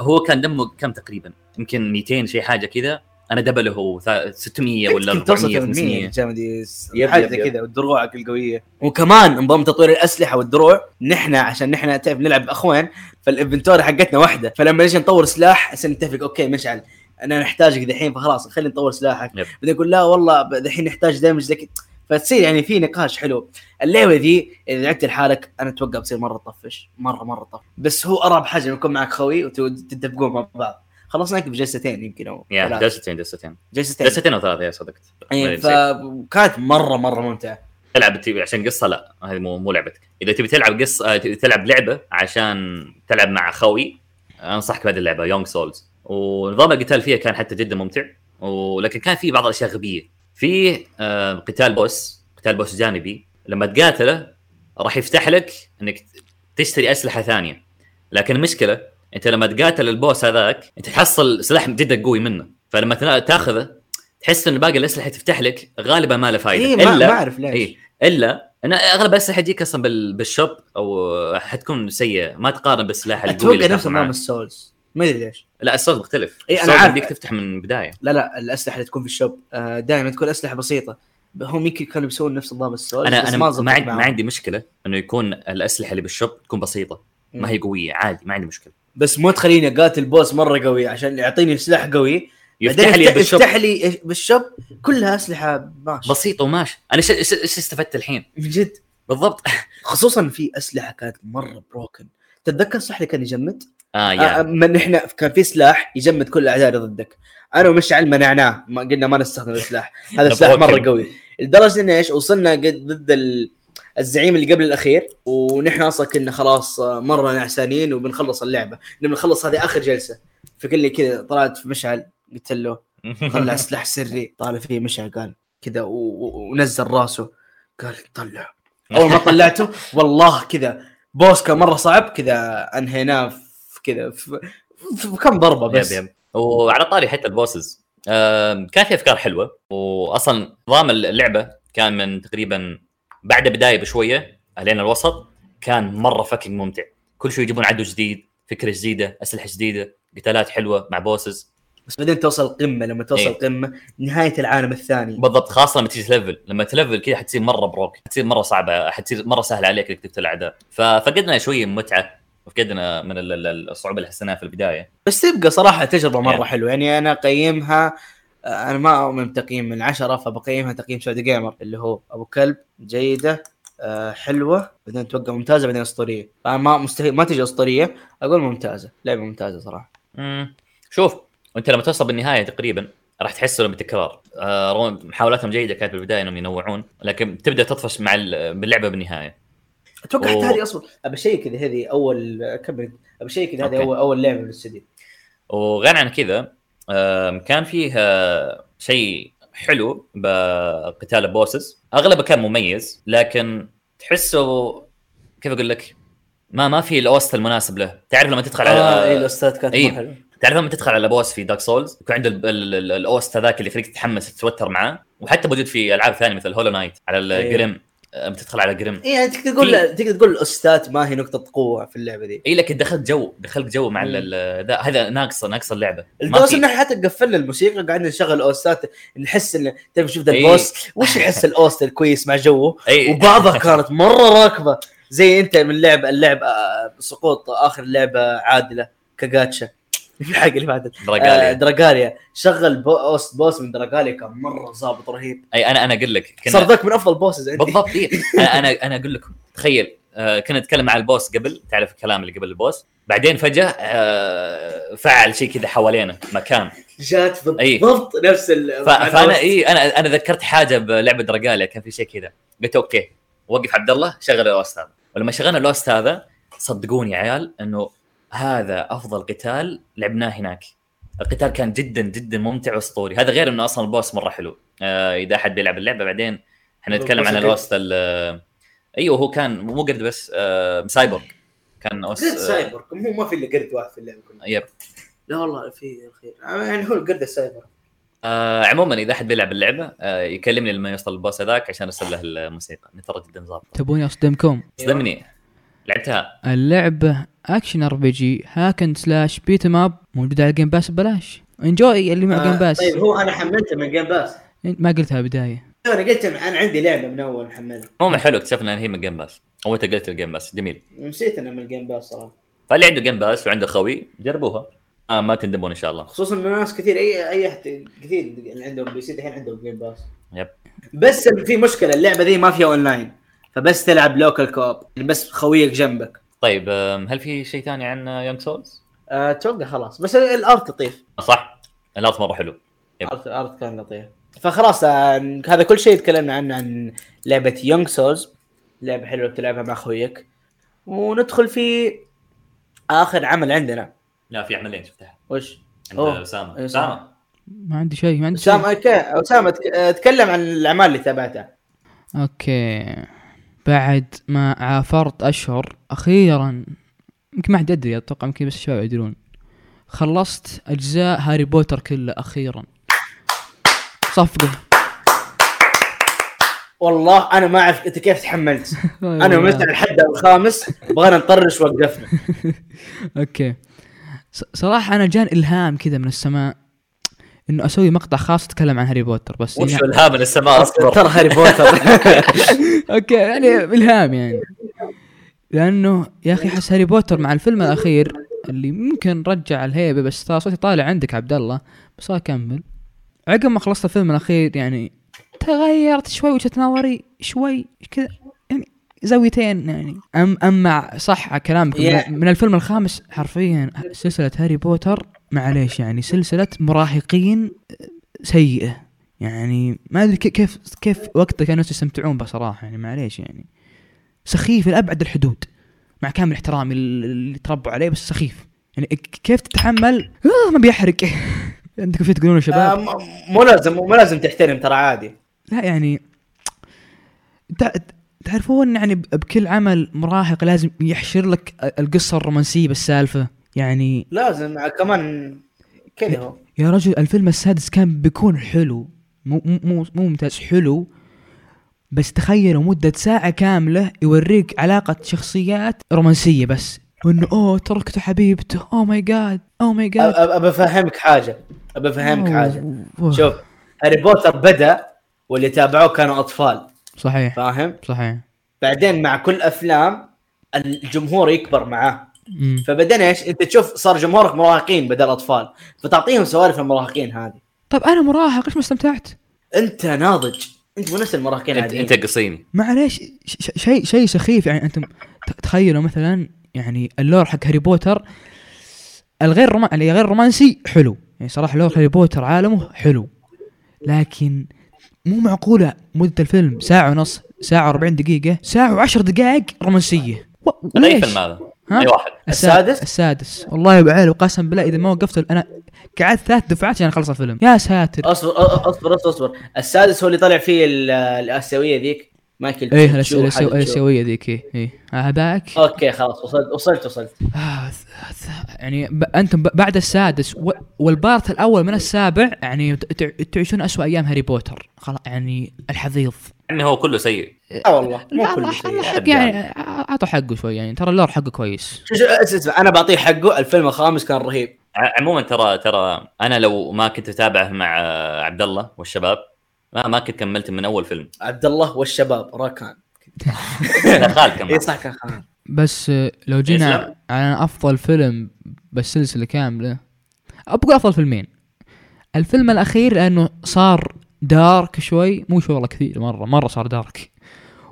C: هو كان دمه كم تقريبا يمكن 200 شيء حاجه كذا انا دبله هو ثا- 600 ولا
A: يمكن توصل
C: 400
A: 800
C: 500
A: جامدي
C: يب،
A: حاجه
C: يب،
A: زي
C: يب.
A: كذا ودروعك القويه وكمان نظام تطوير الاسلحه والدروع نحن عشان نحن تعرف نلعب اخوان فالانفنتوري حقتنا واحده فلما نجي نطور سلاح عشان نتفق اوكي مشعل انا نحتاجك دحين فخلاص خلينا نطور سلاحك
C: يب.
A: بعدين يقول لا والله ب- دحين نحتاج دامج زي كذا فتصير يعني في نقاش حلو اللعبه ذي اذا لعبت لحالك انا اتوقع بتصير مره تطفش مره مره تطفش بس هو ارعب حاجه إنه يكون معك خوي وتتفقون مع بعض خلصناك بجلستين يمكن او
C: يا
A: ثلاث.
C: جلستين جلستين
A: جلستين
C: جلستين او ثلاثه يا صدقت
A: يعني
C: بعدين
A: فكانت مره مره ممتعه
C: تلعب تبي عشان قصه لا هذه مو مو لعبتك اذا تبي تلعب قصه آه، تبي تلعب لعبه عشان تلعب مع خوي انصحك بهذه اللعبه يونج سولز ونظام القتال فيها كان حتى جدا ممتع ولكن كان في بعض الاشياء غبيه في آه، قتال بوس قتال بوس جانبي لما تقاتله راح يفتح لك انك تشتري اسلحه ثانيه لكن المشكله انت لما تقاتل البوس هذاك انت تحصل سلاح جدا قوي منه فلما تنا- تاخذه تحس ان باقي الاسلحه تفتح لك غالبا ما له فائده
A: اي إيه، ما, ما اعرف ليش
C: اي الا انا اغلب الاسلحه تجيك اصلا بال- بالشوب او حتكون سيئه ما تقارن بالسلاح القوي
A: اتوقع
C: اللي
A: نفس
C: تاخذه معاه.
A: نظام السولز ما ادري ليش
C: لا الصوت مختلف
A: إي، أنا
C: الصوت
A: عارف.
C: يمديك تفتح من البدايه
A: لا لا الاسلحه اللي تكون في الشوب آه، دائما تكون اسلحه بسيطه هم يمكن كانوا بيسوون نفس نظام السولز
C: انا
A: بس
C: انا
A: ما
C: ما,
A: زبطت
C: عندي
A: معهم.
C: ما عندي مشكله انه يكون الاسلحه اللي بالشوب تكون بسيطه ما هي قويه عادي ما عندي مشكله
A: بس مو تخليني اقاتل بوس مره قوي عشان يعطيني سلاح قوي بعدين
C: يفتح لي
A: يفت-
C: بالشوب
A: يفتح لي إيش- بالشوب كلها اسلحه ماشي بس
C: بسيط وماشي انا ايش ايش ايش استفدت الحين
A: من جد
C: بالضبط
A: خصوصا في اسلحه كانت مره بروكن تتذكر صح اللي كان يجمد؟
C: اه
A: آه،
C: يا
A: من احنا كان في سلاح يجمد كل الاعداء اللي ضدك انا ومشعل منعناه ما قلنا ما نستخدم السلاح هذا
C: نبغى
A: السلاح مره
C: وكل.
A: قوي لدرجه ان ايش وصلنا قد- ضد ال- الزعيم اللي قبل الاخير ونحن اصلا كنا خلاص آه، مره نعسانين وبنخلص اللعبه لما نخلص هذه اخر جلسه فكل كذا طلعت في مشعل قلت له طلع سلاح سري طالع فيه مشعل قال كذا و- و- ونزل راسه قال طلع اول ما طلعته والله كذا بوس كان مره صعب كذا انهيناه في كذا في, في كم ضربه بس
C: يب يب وعلى طاري حتى البوسز آم، كان في افكار حلوه واصلا نظام اللعبه كان من تقريبا بعد بدايه بشويه الين الوسط كان مره فكك ممتع كل شوي يجيبون عدو جديد فكره جديده اسلحه جديده قتالات حلوه مع بوسز
A: بس بعدين توصل القمه لما توصل
C: إيه.
A: القمه نهايه العالم الثاني
C: بالضبط خاصه لما تيجي تلفل لما تلفل كذا حتصير مره بروك حتصير مره صعبه حتصير مره سهله عليك انك تقتل الاعداء ففقدنا شويه من متعه وفقدنا من ال- ال- الصعوبه اللي حسيناها في البدايه
A: بس تبقى صراحه تجربه مره
C: إيه.
A: حلوه يعني انا قيمها انا ما اؤمن بتقييم من عشرة فبقيمها تقييم سعودي جيمر اللي هو ابو كلب جيده آه، حلوه بعدين اتوقع ممتازه بعدين اسطوريه فانا ما مستحيل ما تجي اسطوريه اقول ممتازه لعبه ممتازه صراحه
C: مم. شوف انت لما توصل بالنهايه تقريبا راح تحس انه بالتكرار آه، رغم محاولاتهم جيده كانت بالبدايه انهم ينوعون لكن تبدا تطفش مع ال- باللعبه بالنهايه
A: اتوقع
C: أوه.
A: حتى هذه اصلا ابى شيء كذا هذه اول كمل ابى شيء كذا هذه
C: أوكي.
A: اول اول لعبه بالاستديو
C: وغير عن كذا آم، كان فيه آه، شيء حلو بقتال البوسز اغلبه كان مميز لكن تحسه كيف اقول لك ما ما في الاوست المناسب له تعرف لما تدخل على
A: اي الاستاذ كانت
C: إيه.
A: مرة حلوة.
C: تعرف لما تدخل على بوس في دارك سولز يكون عنده ال- ال- ال- الاوست هذاك اللي يخليك تتحمس تتوتر معاه وحتى موجود في العاب ثانيه مثل هولو نايت على
A: إيه.
C: الجريم لما تدخل على جريم
A: إيه، يعني تقدر تقول تقدر تقول الاستاذ ما هي نقطه قوه في اللعبه ذي
C: اي إيه، لكن دخلت جو دخلت جو مع
A: مم.
C: ال- ال- ذا- هذا ناقصه ناقصه اللعبه ما
A: لدرجه ان
C: في
A: إحنا حتى قفلنا الموسيقى قعدنا نشغل الاوستات نحس ان تعرف شوف ذا
C: إيه.
A: البوس وش يحس الاوست الكويس مع جوه
C: اي
A: وبعضها كانت مره راكبه زي انت من لعب اللعب آه، سقوط اخر لعبه عادله كاجاتشا الحق اللي بعد آه،
C: دراجاليا
A: دراغاليا شغل بوس بوس من دراغاليا كان مره ظابط رهيب
C: اي انا انا اقول لك
A: صار
C: كنا
A: ذاك من افضل بوسز عندي
C: بالضبط إيه. انا انا انا اقول لكم تخيل آه، كنا نتكلم مع البوس قبل تعرف الكلام اللي قبل البوس بعدين فجاه آه، فعل شيء كذا حوالينا مكان
A: جات
C: إيه.
A: بالضبط نفس ال
C: ف- فانا اي انا انا ذكرت حاجه بلعبه درجاليا كان في شيء كذا قلت اوكي وقف عبد الله شغل الوست هذا ولما شغلنا الوست هذا صدقوني يا عيال انه هذا افضل قتال لعبناه هناك القتال كان جدا جدا ممتع واسطوري هذا غير انه اصلا البوس مره حلو آه، اذا احد بيلعب اللعبه بعدين احنا نتكلم عن
A: البوس
C: الهوست ال- ايوه هو كان مو قد بس آه، سايبورغ كان اوس
A: قرد
C: آه،
A: سايبر هو ما في الا قرد واحد في اللعبه كلها
C: يب
A: لا والله في يا اخي يعني هو القرد السايبر
C: آه عموما اذا احد بيلعب اللعبه آه يكلمني لما يوصل البوس هذاك عشان ارسل له الموسيقى إني ترى جدا ظابط
D: تبوني اصدمكم
C: صدمني لعبتها
D: اللعبة اكشن ار بي جي هاك اند سلاش بيت اب موجودة على الجيم باس ببلاش انجوي اللي مع جيم باس
A: طيب هو انا حملته من جيم باس
D: ما قلتها بداية
A: انا قلت انا عندي لعبه من اول محملها
C: عموما حلو اكتشفنا ان هي من جيم باس او انت قلت الجيم باس جميل
A: نسيت انا من الجيم باس صراحه
C: فاللي عنده جيم باس وعنده خوي جربوها آه ما تندمون ان شاء الله
A: خصوصا ان ناس كثير اي اي أحد- كثير اللي عندهم بي سي الحين عندهم جيم باس
C: يب
A: بس اللي في مشكله اللعبه ذي ما فيها اونلاين فبس تلعب لوكال كوب يعني بس خويك جنبك
C: طيب آم، هل في شيء ثاني عن يونج سولز؟
A: أه، اتوقع خلاص بس الارت لطيف
C: آه، صح؟ الارت مره حلو يب.
A: الارت الارت كان لطيف فخلاص آه، هذا كل شيء تكلمنا عنه عن لعبه يونج سولز لعبه حلوه بتلعبها مع خويك وندخل في اخر عمل عندنا
C: لا في عملين شفتها
A: وش
C: عند
A: أوه.
C: اسامه
D: إيه،
A: أيوة، أسامة.
C: اسامه
D: ما عندي شيء ما عندي شيء
A: اسامه اوكي اسامه تك- آه، تكلم عن الاعمال اللي تابعتها
D: اوكي بعد ما عافرت اشهر اخيرا يمكن ما حد يدري اتوقع يمكن بس الشباب يدرون خلصت اجزاء هاري بوتر كله اخيرا صفقه
A: والله انا ما اعرف انت كيف تحملت انا ومتى الحد الخامس بغينا نطرش وقفنا
D: اوكي ص- صراحه انا جان الهام كذا من السماء انه اسوي مقطع خاص اتكلم عن هاري بوتر بس
C: وش
D: يعني-
C: الهام من السماء اصبر
A: ترى هاري بوتر
D: اوكي يعني الهام يعني لانه يا اخي احس هاري بوتر مع الفيلم الاخير اللي ممكن رجع الهيبه بس ترى صوتي طالع عندك عبد الله بس اكمل عقب ما خلصت الفيلم الاخير يعني تغيرت شوي وجهه نظري شوي كذا يعني زاويتين يعني أم اما صح كلامك
A: Yeah.
D: من, من الفيلم الخامس حرفيا سلسله هاري بوتر معليش يعني سلسله مراهقين سيئه يعني ما ادري كي- كيف كيف وقتها كانوا الناس يستمتعون بصراحه يعني معليش يعني سخيف لابعد الحدود مع كامل احترامي لل- اللي تربوا عليه بس سخيف يعني ك- كيف تتحمل آه ما بيحرق عندكم شيء تقولونه يا
A: آه.
D: شباب
A: مو لازم مو لازم تحترم ترى عادي
D: لا يعني تع- تعرفون يعني ب- بكل عمل مراهق لازم يحشر لك ال- القصه الرومانسيه بالسالفه يعني
A: لازم آه، كمان كذا هو
D: يا رجل الفيلم السادس كان بيكون حلو مو مو مو مو ممتاز حلو بس تخيلوا مدة ساعة كاملة يوريك علاقة شخصيات رومانسية بس وانه اوه تركته حبيبته اوه ماي جاد اوه ماي جاد
A: ابى افهمك حاجه ابى افهمك حاجه
D: أوه.
A: شوف هاري بوتر بدا واللي تابعوه كانوا اطفال
D: صحيح
A: فاهم
D: صحيح
A: بعدين مع كل افلام الجمهور يكبر معاه
D: مم.
A: فبعدين ايش انت تشوف صار جمهورك مراهقين بدل اطفال فتعطيهم سوالف المراهقين هذه
D: طب انا طيب، مراهق ليش ما استمتعت؟
A: انت ناضج انت مو نفس المراهقين
C: انت
A: العاديين
C: انت قصيني
D: معليش ش- ش- شيء شيء سخيف يعني انتم ت- تخيلوا مثلا يعني اللور حق هاري بوتر الغير روما... يعني غير رومانسي حلو يعني صراحه لور هاري بوتر عالمه حلو لكن مو معقوله مده الفيلم ساعه ونص ساعه و40 دقيقه ساعه وعشر دقائق رومانسيه و...
C: هذا اي
D: ليش؟
C: فيلم هذا؟
D: ها؟
C: اي واحد
A: السادس؟
D: السادس والله يا بعيل وقسم بالله اذا ما وقفت انا قعدت ثلاث دفعات عشان اخلص الفيلم يا ساتر
A: اصبر أ- اصبر اصبر اصبر السادس هو اللي طلع فيه ال- الاسيويه ذيك مايكل
D: ايه
A: تشو،
D: الأس-
A: حاجة
D: الأس-
A: تشو.
D: الاسيويه ذيك ايه ايه هذاك
A: اوكي خلاص وصلت وصلت وصلت
D: آه، ث- ث- يعني ب... انتم ب... بعد السادس و... والبارت الاول من السابع يعني ت- ت- تعيشون اسوء ايام هاري بوتر خلاص يعني الحضيض
C: يعني هو كله سيء
A: لا آه، والله مو
D: لا،
A: كل
D: حق-
A: شيء
D: حق يعني اعطوا حقه شوي يعني ترى اللور حقه كويس
A: شو شو اسمع اسمع، انا بعطيه حقه الفيلم الخامس كان رهيب
C: ع- عموما ترى ترى انا لو ما كنت اتابعه مع آه، عبد الله والشباب ما ما كنت كملت من اول فيلم
A: عبد الله والشباب راكان
C: لا، خالد كمان
A: اي صح كان خان
D: بس آه،
C: إسلام؟
D: لو جينا على افضل فيلم بالسلسله كامله ابقى افضل فيلمين الفيلم الاخير لانه صار دارك شوي مو شوي والله كثير مره مره صار دارك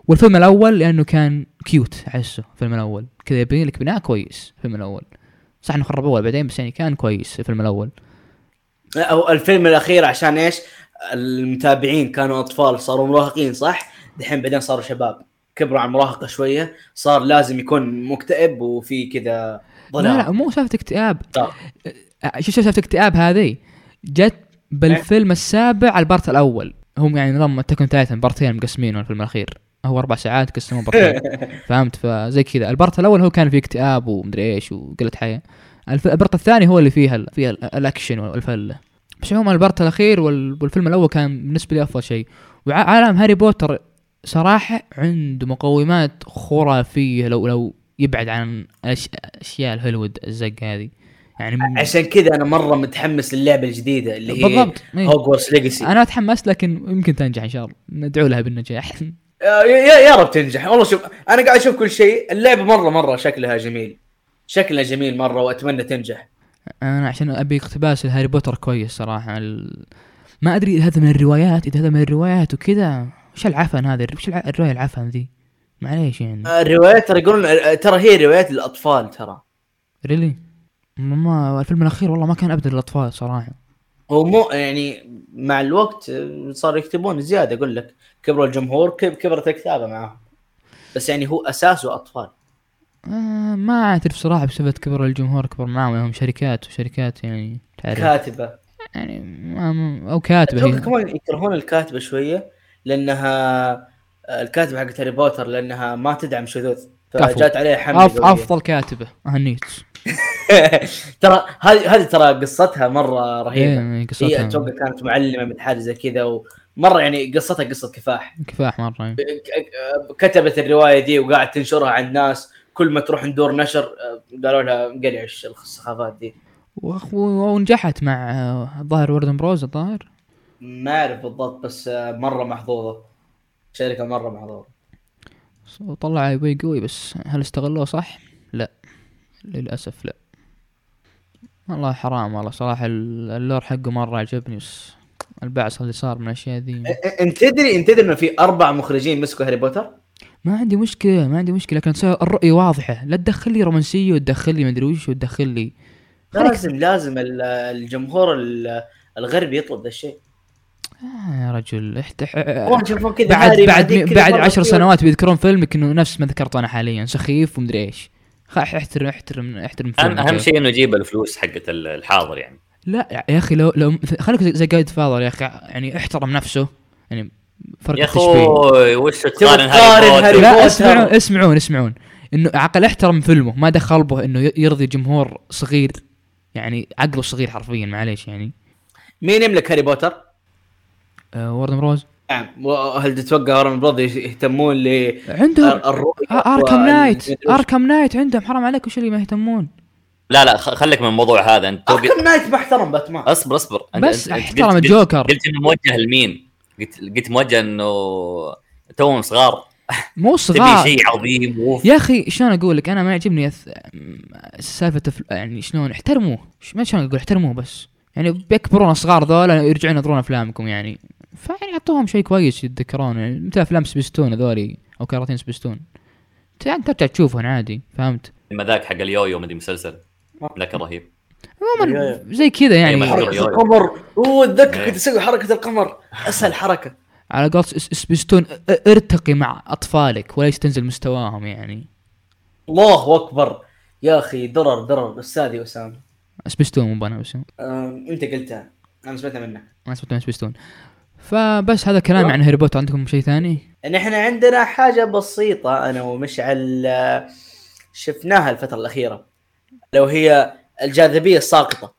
D: والفيلم الاول لانه كان كيوت احسه الفيلم الاول كذا يبين لك بناء كويس الفيلم الاول صح انه خربوه بعدين بس يعني كان كويس الفيلم الاول
A: أو الفيلم الاخير عشان ايش المتابعين كانوا اطفال صاروا مراهقين صح دحين بعدين صاروا شباب كبروا على المراهقه شويه صار لازم يكون مكتئب وفي كذا
D: لا لا
A: ظلام
D: مو سالفه اكتئاب
A: دارك.
D: آه، شوف شوف سالفه الاكتئاب هذه جت بالفيلم السابع على البارت الاول هم يعني نظام تكن تايتن بارتين مقسمينه الفيلم الاخير هو اربع ساعات قسموا بارتين فهمت فزي كذا البارت الاول هو كان فيه اكتئاب ومدري ايش وقله حياه الف- البارت الثاني هو اللي فيها ال- فيها ال- الاكشن والفله بس عموما البارت الاخير وال- والفيلم الاول كان بالنسبه لي افضل شيء وعالم هاري بوتر صراحه عنده مقومات خرافيه لو لو يبعد عن أش- اشياء الهوليوود الزق هذه يعني م-
A: عشان كذا انا مره متحمس للعبه الجديده اللي هي
D: بالضبط إيه.
A: هوجورتس ليجاسي
D: انا اتحمس لكن يمكن تنجح ان شاء الله ندعو لها بالنجاح
A: آه، يا, يا يا رب تنجح والله شوف انا قاعد اشوف كل شيء اللعبه مره مره شكلها جميل شكلها جميل مره واتمنى تنجح
D: انا عشان ابي اقتباس الهاري بوتر كويس صراحه ال... ما ادري اذا هذا من الروايات اذا هذا من الروايات وكذا وش العفن هذا وش الع... الروايه العفن ذي معليش يعني
A: الروايات آه، ترى يقولون آه، ترى هي روايات للاطفال ترى
D: ريلي ما الفيلم الاخير والله ما كان ابدا للاطفال صراحه
A: هو مو يعني مع الوقت صار يكتبون زياده اقول لك كبروا الجمهور كب- كبرت الكتابه معاهم بس يعني هو اساسه اطفال
D: آه ما اعترف صراحه بسبب كبر الجمهور كبر معاهم يعني هم شركات وشركات يعني تعرف
A: كاتبه
D: يعني ما- ما- او كاتبه
A: اتوقع
D: هي.
A: كمان يكرهون الكاتبه شويه لانها الكاتبه آه، حقت هاري بوتر لانها ما تدعم شذوذ فجات عليها حمله
D: أف... آه،
A: قوية.
D: افضل كاتبه اهنيت
A: ترى هذه هذه ترى قصتها مره رهيبه
D: إيه،
A: هي
D: قصتها
A: اتوقع كانت معلمه من حاجه زي كذا ومره يعني قصتها قصه كفاح
D: كفاح مره يعني.
A: ك- كتبت الروايه دي وقاعد تنشرها على الناس كل ما تروح ندور نشر آه، قالوا لها انقلعش السخافات دي
D: وأخ- ونجحت مع آه، الظاهر وردن بروز الظاهر
A: ما اعرف بالضبط بس آه، مره محظوظه شركه مره محظوظه
D: وطلع اي بي قوي بس هل استغلوه صح؟ لا للاسف لا والله حرام والله صراحه ال- اللور حقه مره عجبني بس البعث اللي صار من الاشياء ذي
A: انت تدري انت تدري انه في اربع مخرجين مسكوا هاري بوتر؟
D: ما عندي مشكله ما عندي مشكله لكن تصير الرؤيه واضحه لا تدخل لي رومانسيه وتدخل لي مدري وش وتدخل لي خليك
A: لازم لازم ال- الجمهور ال- الغربي يطلب ذا الشيء
D: آه يا رجل احتح... آه،
A: آه. والله شوفوا كذا
D: بعد
A: هاري
D: بعد
A: بعدين
D: مي-
A: كذا
D: بعد
A: مرة
D: عشر
A: كذا.
D: سنوات بيذكرون فيلمك انه نفس ما ذكرته انا حاليا سخيف ومدري ايش خ- احترم احترم احترم
C: اهم,
D: فيلمك.
C: أهم شيء انه يجيب الفلوس حقت ال- الحاضر يعني
D: لا يا اخي لو لو خليك زي جايد فاضل يا اخي يعني احترم نفسه يعني فرق
C: يا
D: التشبيه
C: اخوي وش
A: تقارن
C: تقارن
A: هاري
C: هاري بوتر
D: لا
A: بوتر.
D: اسمعون اسمعون اسمعون انه عقل احترم فيلمه ما دخل قلبه انه ي- يرضي جمهور صغير يعني عقله صغير حرفيا معليش يعني
A: مين يملك هاري بوتر؟
D: أه وردن روز
A: نعم وهل تتوقع هارون بروض يهتمون ل
D: عندهم آه،
A: الرؤيه
D: اركم
A: وال-
D: نايت اركم نايت عندهم حرام عليك وش اللي ما يهتمون
C: لا لا خ- خليك من الموضوع هذا انت توقف-
A: اركم نايت ما احترم باتمان
C: اصبر اصبر أنت-
D: بس
C: أنت- أنت
D: احترم
C: قلت- قلت-
D: الجوكر.
C: قلت انه موجه لمين؟ قلت قلت موجه انه توهم صغار
D: مو
C: تبي
D: صغار
C: شيء عظيم وف-
D: يا اخي شلون اقول لك انا ما يعجبني أث... م- سالفه فل... يعني شلون احترموه ش- ما شلون اقول احترموه بس يعني بيكبرون صغار ذولا يرجعون ينظرون افلامكم يعني فيعني اعطوهم شيء كويس يتذكرون يعني مثل افلام سبيستون ذولي او كراتين سبيستون ت- يعني ترجع تشوفهم عادي فهمت
C: لما ذاك حق اليويو مدري مسلسل ذاك الرهيب
D: عموما زي كذا يعني
C: مشهور.
A: حركه القمر اوه
C: إيه.
A: اتذكر كنت اسوي حركه القمر اسهل حركه
D: على قولت س- سبيستون ا- ا- ارتقي مع اطفالك وليس تنزل مستواهم يعني
A: الله اكبر يا اخي درر درر استاذي اسامه
D: سبيستون مو انا بس
A: أم، انت قلتها انا سمعتها منك
D: ما سمعت من سبيستون فبس هذا كلامي عن هاري بوتر عندكم شيء ثاني؟
A: نحن عندنا حاجة بسيطة أنا ومشعل آه، شفناها الفترة الأخيرة لو هي الجاذبية الساقطة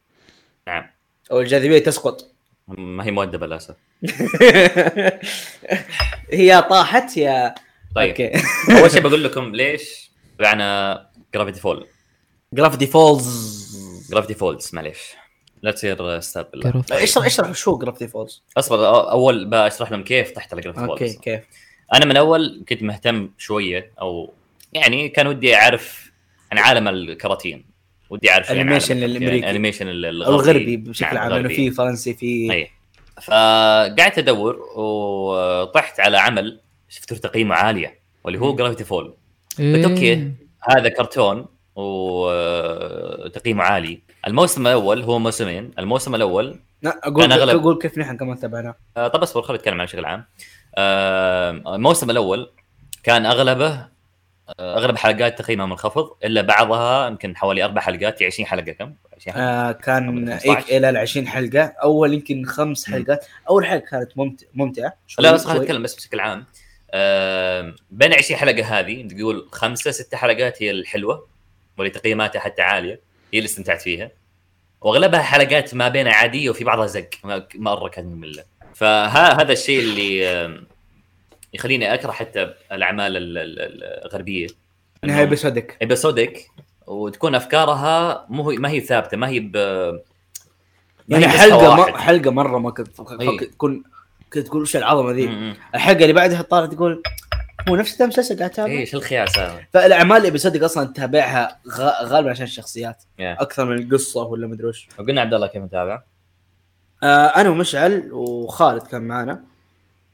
C: نعم
A: أو الجاذبية تسقط
C: ما هي مؤدبه للاسف
A: هي طاحت يا
C: طيب
A: أوكي
C: اول شيء بقول لكم ليش طلعنا جرافيتي فول
A: جرافيتي فولز
C: جرافيتي فولز معليش لا تصير استاذ بالله
D: كروف
A: اشرح اشرح شو جرافيتي فولز
C: اصبر أ- اول بشرح لهم كيف طحت على جرافيتي
A: أوكي
C: فولز
A: كيف
C: انا من اول كنت مهتم شويه او يعني كان ودي اعرف عن عالم الكراتين ودي اعرف شوية عن عالم
A: Animation
C: الكراتين،
A: الأمريكي.
C: الانيميشن ال-
A: أو
C: الغربي
A: الغربي بشكل
C: نعم،
A: عام لأنه
C: الغربي.
A: في فرنسي في
C: اي فقعدت ادور وطحت على عمل شفت له تقييمه عاليه واللي هو جرافيتي فول
D: إيه.
C: أوكي. هذا كرتون وتقييمه عالي الموسم الاول هو موسمين الموسم الاول
A: لا، أقول
C: كان أغلب.
A: أقول كيف نحن كمان تابعناه
C: آه، طب اصبر خليني اتكلم عن بشكل عام آه، الموسم الاول كان اغلبه آه، اغلب حلقات تقييمها منخفض الا بعضها يمكن حوالي اربع حلقات 20 حلقه كم؟ 20 حلقه
A: آه كان
C: قبل
A: إيك
C: 15.
A: الى ال 20 حلقه اول يمكن خمس
C: مم.
A: حلقات اول حلقه كانت ممت- ممتعه شوي-
C: لا بس خلينا
A: شوي.
C: نتكلم بس بشكل عام آم، بين 20 حلقه هذه تقول خمسه ست حلقات هي الحلوه واللي تقييماتها حتى عاليه هي اللي استمتعت فيها واغلبها حلقات ما بين عاديه وفي بعضها زق ما- مره كانت ممله فهذا الشيء اللي آم، يخليني اكره حتى الاعمال ال- ال- الغربيه
A: نهايه بسودك
C: ابيسودك وتكون افكارها مو هي- ما هي ثابته ما هي ب ما هي
A: يعني
C: بس
A: حلقه
C: واحد. طيب.
A: م... حلقه مره ما كنت
C: إي.
A: تكون كنت تقول وش العظمه ذي
C: م- م.
A: الحلقه اللي بعدها طالع تقول مو نفس ذا المسلسل قاعد اتابع
C: ايش الخياس هذا
A: فالاعمال اللي بصدق اصلا تتابعها غ... غالبا عشان الشخصيات
C: يا.
A: اكثر من القصه ولا مدري وش
C: وقلنا عبد الله كيف متابع
A: آه انا ومشعل وخالد كان معانا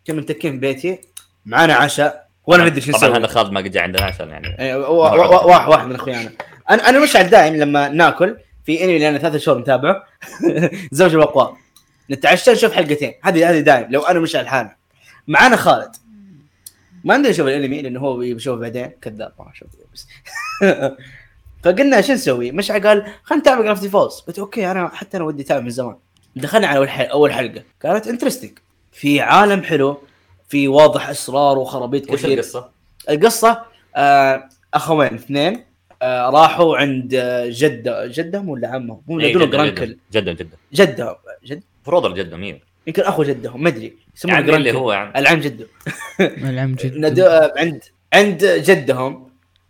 A: كنا متكين في بيتي معانا عشاء وانا ما ادري شو نسوي
C: طبعا هذا خالد ما قد جاء عندنا عشان يعني
A: يعني وا- وا- وا- واحد واحد من اخويانا انا انا مشعل دائم لما ناكل في انمي اللي انا ثلاثة شهور متابعه زوج الاقوام نتعشى نشوف حلقتين هذه هذه دائم لو انا مشعل حالي معانا خالد ما ندري نشوف الانمي لانه هو بيشوفه بعدين كذاب ما شوف بس فقلنا شو نسوي؟ مشعل قال خلينا نتابع جرافتي فولز قلت اوكي انا حتى انا ودي اتابع من زمان دخلنا على اول حلقه اول حلقه كانت انترستنج في عالم حلو في واضح اسرار وخرابيط
C: وش
A: كثير
C: القصه؟
A: القصه آه اخوين اثنين آه راحوا عند آه، جده جدهم ولا عمهم؟ مو
C: إيه،
A: يقولون
C: جداً-
A: جرانكل
C: جدا جدا
A: جدهم جد
C: المفروض جدا مين
A: يمكن اخو جدهم ما ادري يسمونه
C: يعني اللي
A: جرانكل
C: هو يعني
A: العم جده
D: العم جد
A: ند- آه، عند عند جدهم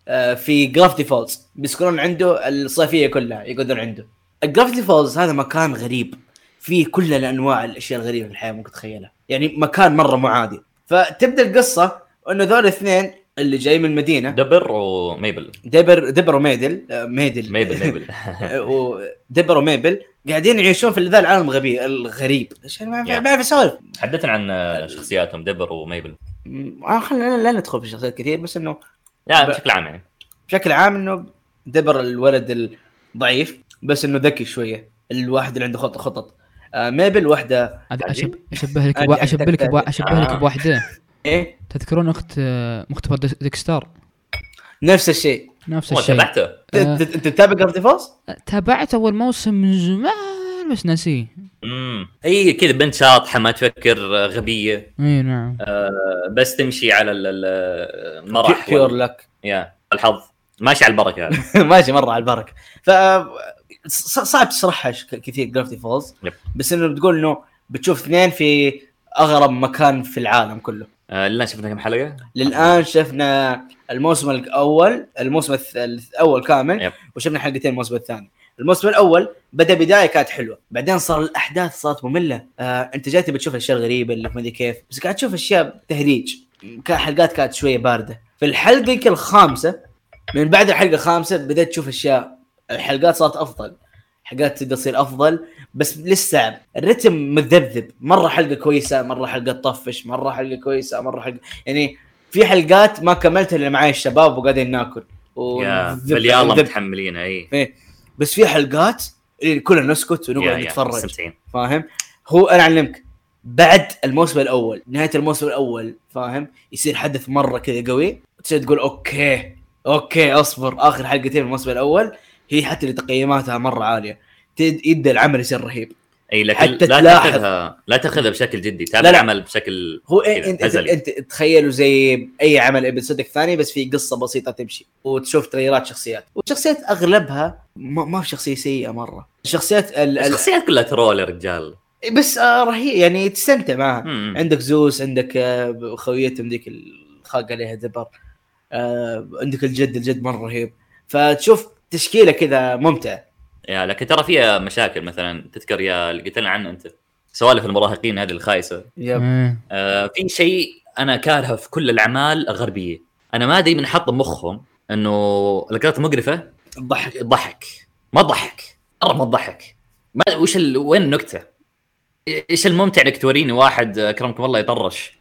A: آه في جرافتي فولز بيسكنون عنده الصيفيه كلها يقعدون عنده الجرافتي فولز هذا مكان غريب فيه كل الانواع الاشياء الغريبه في الحياه ممكن تتخيلها يعني مكان مره مو عادي فتبدا القصه انه ذول الاثنين اللي جاي من المدينه
C: دبر وميبل
A: دبر دبر وميدل آه، ميدل آه،
C: ميبل ميبل
A: ودبر وميبل قاعدين يعيشون في ذا العالم الغبي الغريب إيش ما ما-
C: Yeah.
A: ما في سوالف
C: حدثنا عن شخصياتهم دبر وميبل
A: م- آه، خلينا لا ندخل في شخصيات كثير بس انه
C: لا
A: ب-
C: بشكل عام يعني
A: بشكل عام انه دبر الولد الضعيف بس انه ذكي شويه الواحد اللي عنده خطط خطط آه، ميبل واحده
D: هذا
C: عجيب.
D: أشب- اشبه لك
A: أنا
D: بوا- اشبه لك بوا-
A: أعتقد-
D: اشبه لك
C: آه.
D: بواحده
A: ايه
D: تذكرون اخت آه، مختبر ديك- ديكستار
A: نفس الشيء
D: نفس
C: هو
D: الشيء
C: تبعته
A: ت- ت- انت تتابع جرافيتي فولز؟
D: تابعت اول موسم من زمان بس ناسيه
C: امم اي كذا بنت شاطحه ما تفكر آه، غبيه
D: اي نعم
C: آه، بس تمشي على ال- ال- المرح
A: بيور
C: وال-
A: لك
C: يا الحظ ماشي على البركه هذا
A: ماشي مره على البركه ف ص- صعب تشرحها ش- كثير جرافيتي فولز
C: يب.
A: بس انه بتقول انه بتشوف اثنين في اغرب مكان في العالم كله
C: آه، لنا شفنا كم حلقه؟
A: للان شفنا الموسم الاول الموسم الث- الاول كامل
C: يب.
A: وشفنا حلقتين الموسم الثاني الموسم الاول بدا بدايه كانت حلوه بعدين صار الاحداث صارت ممله آه، انت جاي تبي تشوف اشياء غريبه اللي ما ادري كيف بس قاعد تشوف اشياء تهريج كان حلقات كانت شويه بارده في الحلقه يمكن الخامسه من بعد الحلقه الخامسه بدات تشوف اشياء الحلقات صارت افضل حلقات تقدر تصير افضل بس لسه الرتم مذبذب مره حلقه كويسه مره حلقه تطفش مره حلقه كويسه مره حلقه يعني في حلقات ما كملتها الا معاي الشباب وقاعدين ناكل
C: يا
A: ونذب-
C: فاليلا
A: نذب.
C: متحملينها اي
A: بس في حلقات اللي كلنا نسكت
C: يا-
A: ونقعد
C: يا،
A: نتفرج
C: مستمتعين.
A: فاهم هو انا اعلمك بعد الموسم الاول نهايه الموسم الاول فاهم يصير حدث مره كذا قوي تصير تقول اوكي اوكي اصبر اخر حلقتين من الموسم الاول هي حتى اللي تقييماتها مره عاليه تد- يبدا العمل يصير رهيب
C: اي لكن
A: حتى
C: لا
A: تلاحظ.
C: تاخذها لا تاخذها بشكل جدي
A: لا، لا.
C: تابع العمل بشكل
A: هو
C: كذا،
A: انت, انت,
C: هزلي.
A: انت تخيله زي اي عمل ابن صدق ثاني بس في قصه بسيطه تمشي وتشوف تغييرات شخصيات والشخصيات اغلبها ما, ما في شخصيه سيئه مره الشخصيات ال... ال...
C: الشخصيات كلها ترول يا رجال
A: بس آه رهيب يعني تستمتع معها
C: مم.
A: عندك زوس عندك آه، خويتهم ذيك الخاق عليها دبر آه، عندك الجد الجد مره رهيب فتشوف تشكيله كذا ممتع
C: يا لكن ترى فيها مشاكل مثلا تذكر يا اللي قلت لنا عنه انت سوالف المراهقين هذه الخايسه
A: يب.
D: إيه.
C: آه في شيء انا كارهه في كل الاعمال الغربيه انا ما ادري من حط مخهم انه القطط مقرفه
A: الضحك
C: ضحك ما ضحك مره ما ضحك ما وش ال... وين النكته؟ ايش الممتع انك توريني واحد آه، اكرمكم الله يطرش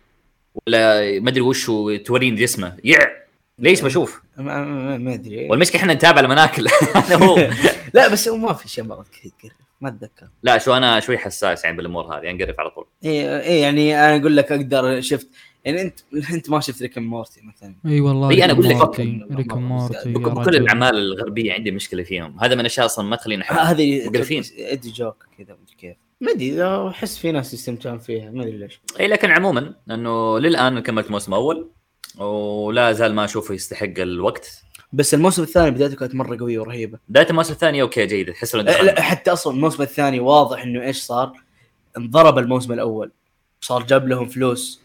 C: ولا ما ادري وش هو، توريني جسمه يع ليش بشوف؟
A: ما, ما, ما ادري
C: والمشكله احنا نتابع المناكل هذا هو
A: لا بس هو ما في شيء مره كثير ما اتذكر
C: لا شو انا شوي حساس يعني بالامور هذه انقرف على طول
A: إيه، اي إيه يعني انا اقول لك اقدر شفت يعني انت انت ما شفت ريك مورتي مثلا
D: اي والله
C: إي، أنا أقول لك-
D: ريك مورتي يا
C: كل
D: رجل.
C: الاعمال الغربيه عندي مشكله فيهم هذا من الاشياء اصلا ما تخليني
A: آه،
C: احب
A: هذه
C: مقرفين.
A: ادي جوك كذا مدري كيف ما ادري لو احس في ناس يستمتعون فيها ما ادري ليش
C: اي إيه، لكن عموما انه للان كملت موسم اول ولا زال ما اشوفه يستحق الوقت
A: بس الموسم الثاني بدايته كانت مره قويه ورهيبه
C: بدايه الموسم الثاني اوكي جيده تحس إنه
A: إيه، لا
C: دخل.
A: لا، حتى اصلا الموسم الثاني واضح انه ايش صار انضرب الموسم الاول صار جاب لهم فلوس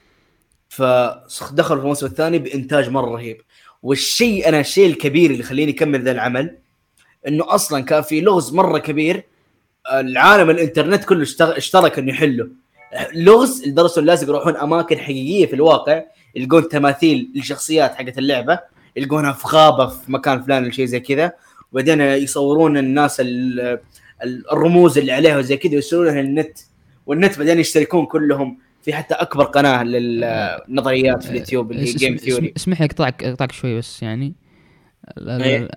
A: فدخلوا في الموسم الثاني بانتاج مره رهيب والشيء انا الشيء الكبير اللي خليني اكمل ذا العمل انه اصلا كان في لغز مره كبير العالم الانترنت كله اشتغ- اشترك انه يحله لغز لدرجه إنه لازم يروحون اماكن حقيقيه في الواقع يلقون تماثيل للشخصيات حقت اللعبه يلقونها في غابه في مكان فلان ولا شيء زي كذا وبعدين يصورون الناس ال- ال- الرموز اللي عليها وزي كذا ويرسلونها للنت والنت بعدين يشتركون كلهم في حتى اكبر قناه للنظريات في اليوتيوب اللي هي
D: اس-
A: جيم
D: اسم- اسم-
A: ثيوري
D: اسمح لي اقطعك اقطعك شوي بس يعني ال- ال-
A: إيه.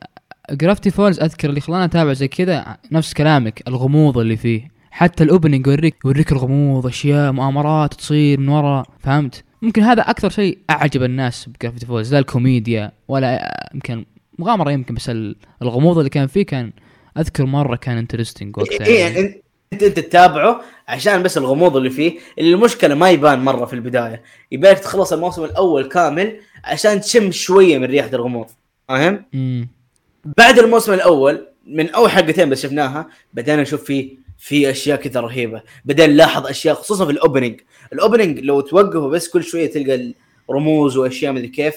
D: جرافيتي فولز اذكر اللي خلاني اتابع زي كذا نفس كلامك الغموض اللي فيه حتى الاوبننج يوريك يوريك الغموض اشياء مؤامرات تصير من ورا فهمت ممكن هذا اكثر شيء اعجب الناس بجرافيتي فولز لا الكوميديا ولا يمكن مغامره يمكن بس ال- الغموض اللي كان فيه كان اذكر مره كان انترستنج وقتها
A: اي يعني
D: يعني.
A: انت انت انت تتابعه عشان بس الغموض اللي فيه اللي المشكله ما يبان مره في البدايه يبالك تخلص الموسم الاول كامل عشان تشم شويه من ريحه الغموض فاهم؟
D: أمم.
A: بعد الموسم الاول من اول حلقتين بس شفناها بدينا نشوف في في اشياء كذا رهيبه بدينا نلاحظ اشياء خصوصا في الاوبننج الاوبننج لو توقفه بس كل شويه تلقى رموز واشياء مدري كيف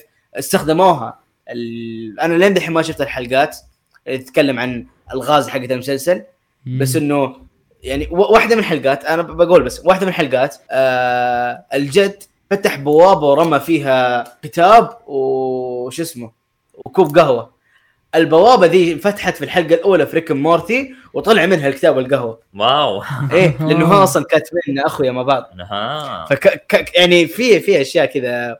A: استخدموها ال... انا لين دحين ما شفت الحلقات اللي تتكلم عن الغاز حقت المسلسل بس
D: أمم.
A: انه يعني و- واحده من الحلقات انا ب- بقول بس واحده من الحلقات آه الجد فتح بوابه ورمى فيها كتاب وش اسمه وكوب قهوه البوابه ذي فتحت في الحلقه الاولى في ريك مورتي وطلع منها الكتاب والقهوه
C: واو
A: ايه لانه هو اصلا كاتبين اخويا مع بعض
C: ها
A: فك ك- يعني في في اشياء كذا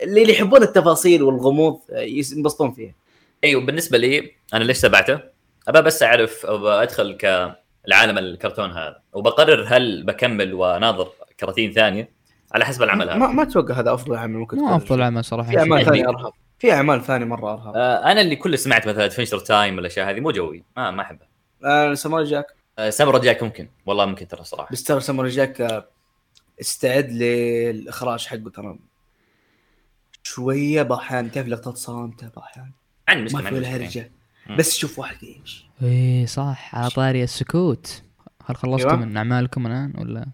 A: اللي اللي يحبون التفاصيل والغموض آه، ينبسطون فيها
C: ايوه بالنسبه لي انا ليش تابعته؟ ابى بس اعرف ابى ادخل كالعالم الكرتون هذا وبقرر هل بكمل واناظر كراتين ثانيه على حسب العمل هذا
A: ما, ما اتوقع هذا افضل عمل ممكن
D: مو
A: تقول.
D: افضل عمل صراحه
A: في اعمال
C: يعني-
A: ثانيه ارهب في اعمال ثانيه مره ارهب
C: آه، انا اللي كل سمعت مثلا ادفنشر تايم والاشياء هذه مو جوي ما ما احبها
A: آه، ساموراي جاك
C: آه، سامورا جاك ممكن والله ممكن ترى صراحه
A: بس ترى ساموراي جاك آه، استعد للاخراج حقه ترى شويه باحيان تعرف لقطات صامته باحيان
C: عندي
A: ما
C: مشكله
A: في
C: عندي
A: ولا
C: يعني مشكلة.
A: هرجه
C: مم.
A: بس شوف واحد يمشي
D: ايه صح على طاري السكوت هل خلصتوا
A: أيوة.
D: من اعمالكم الان ولا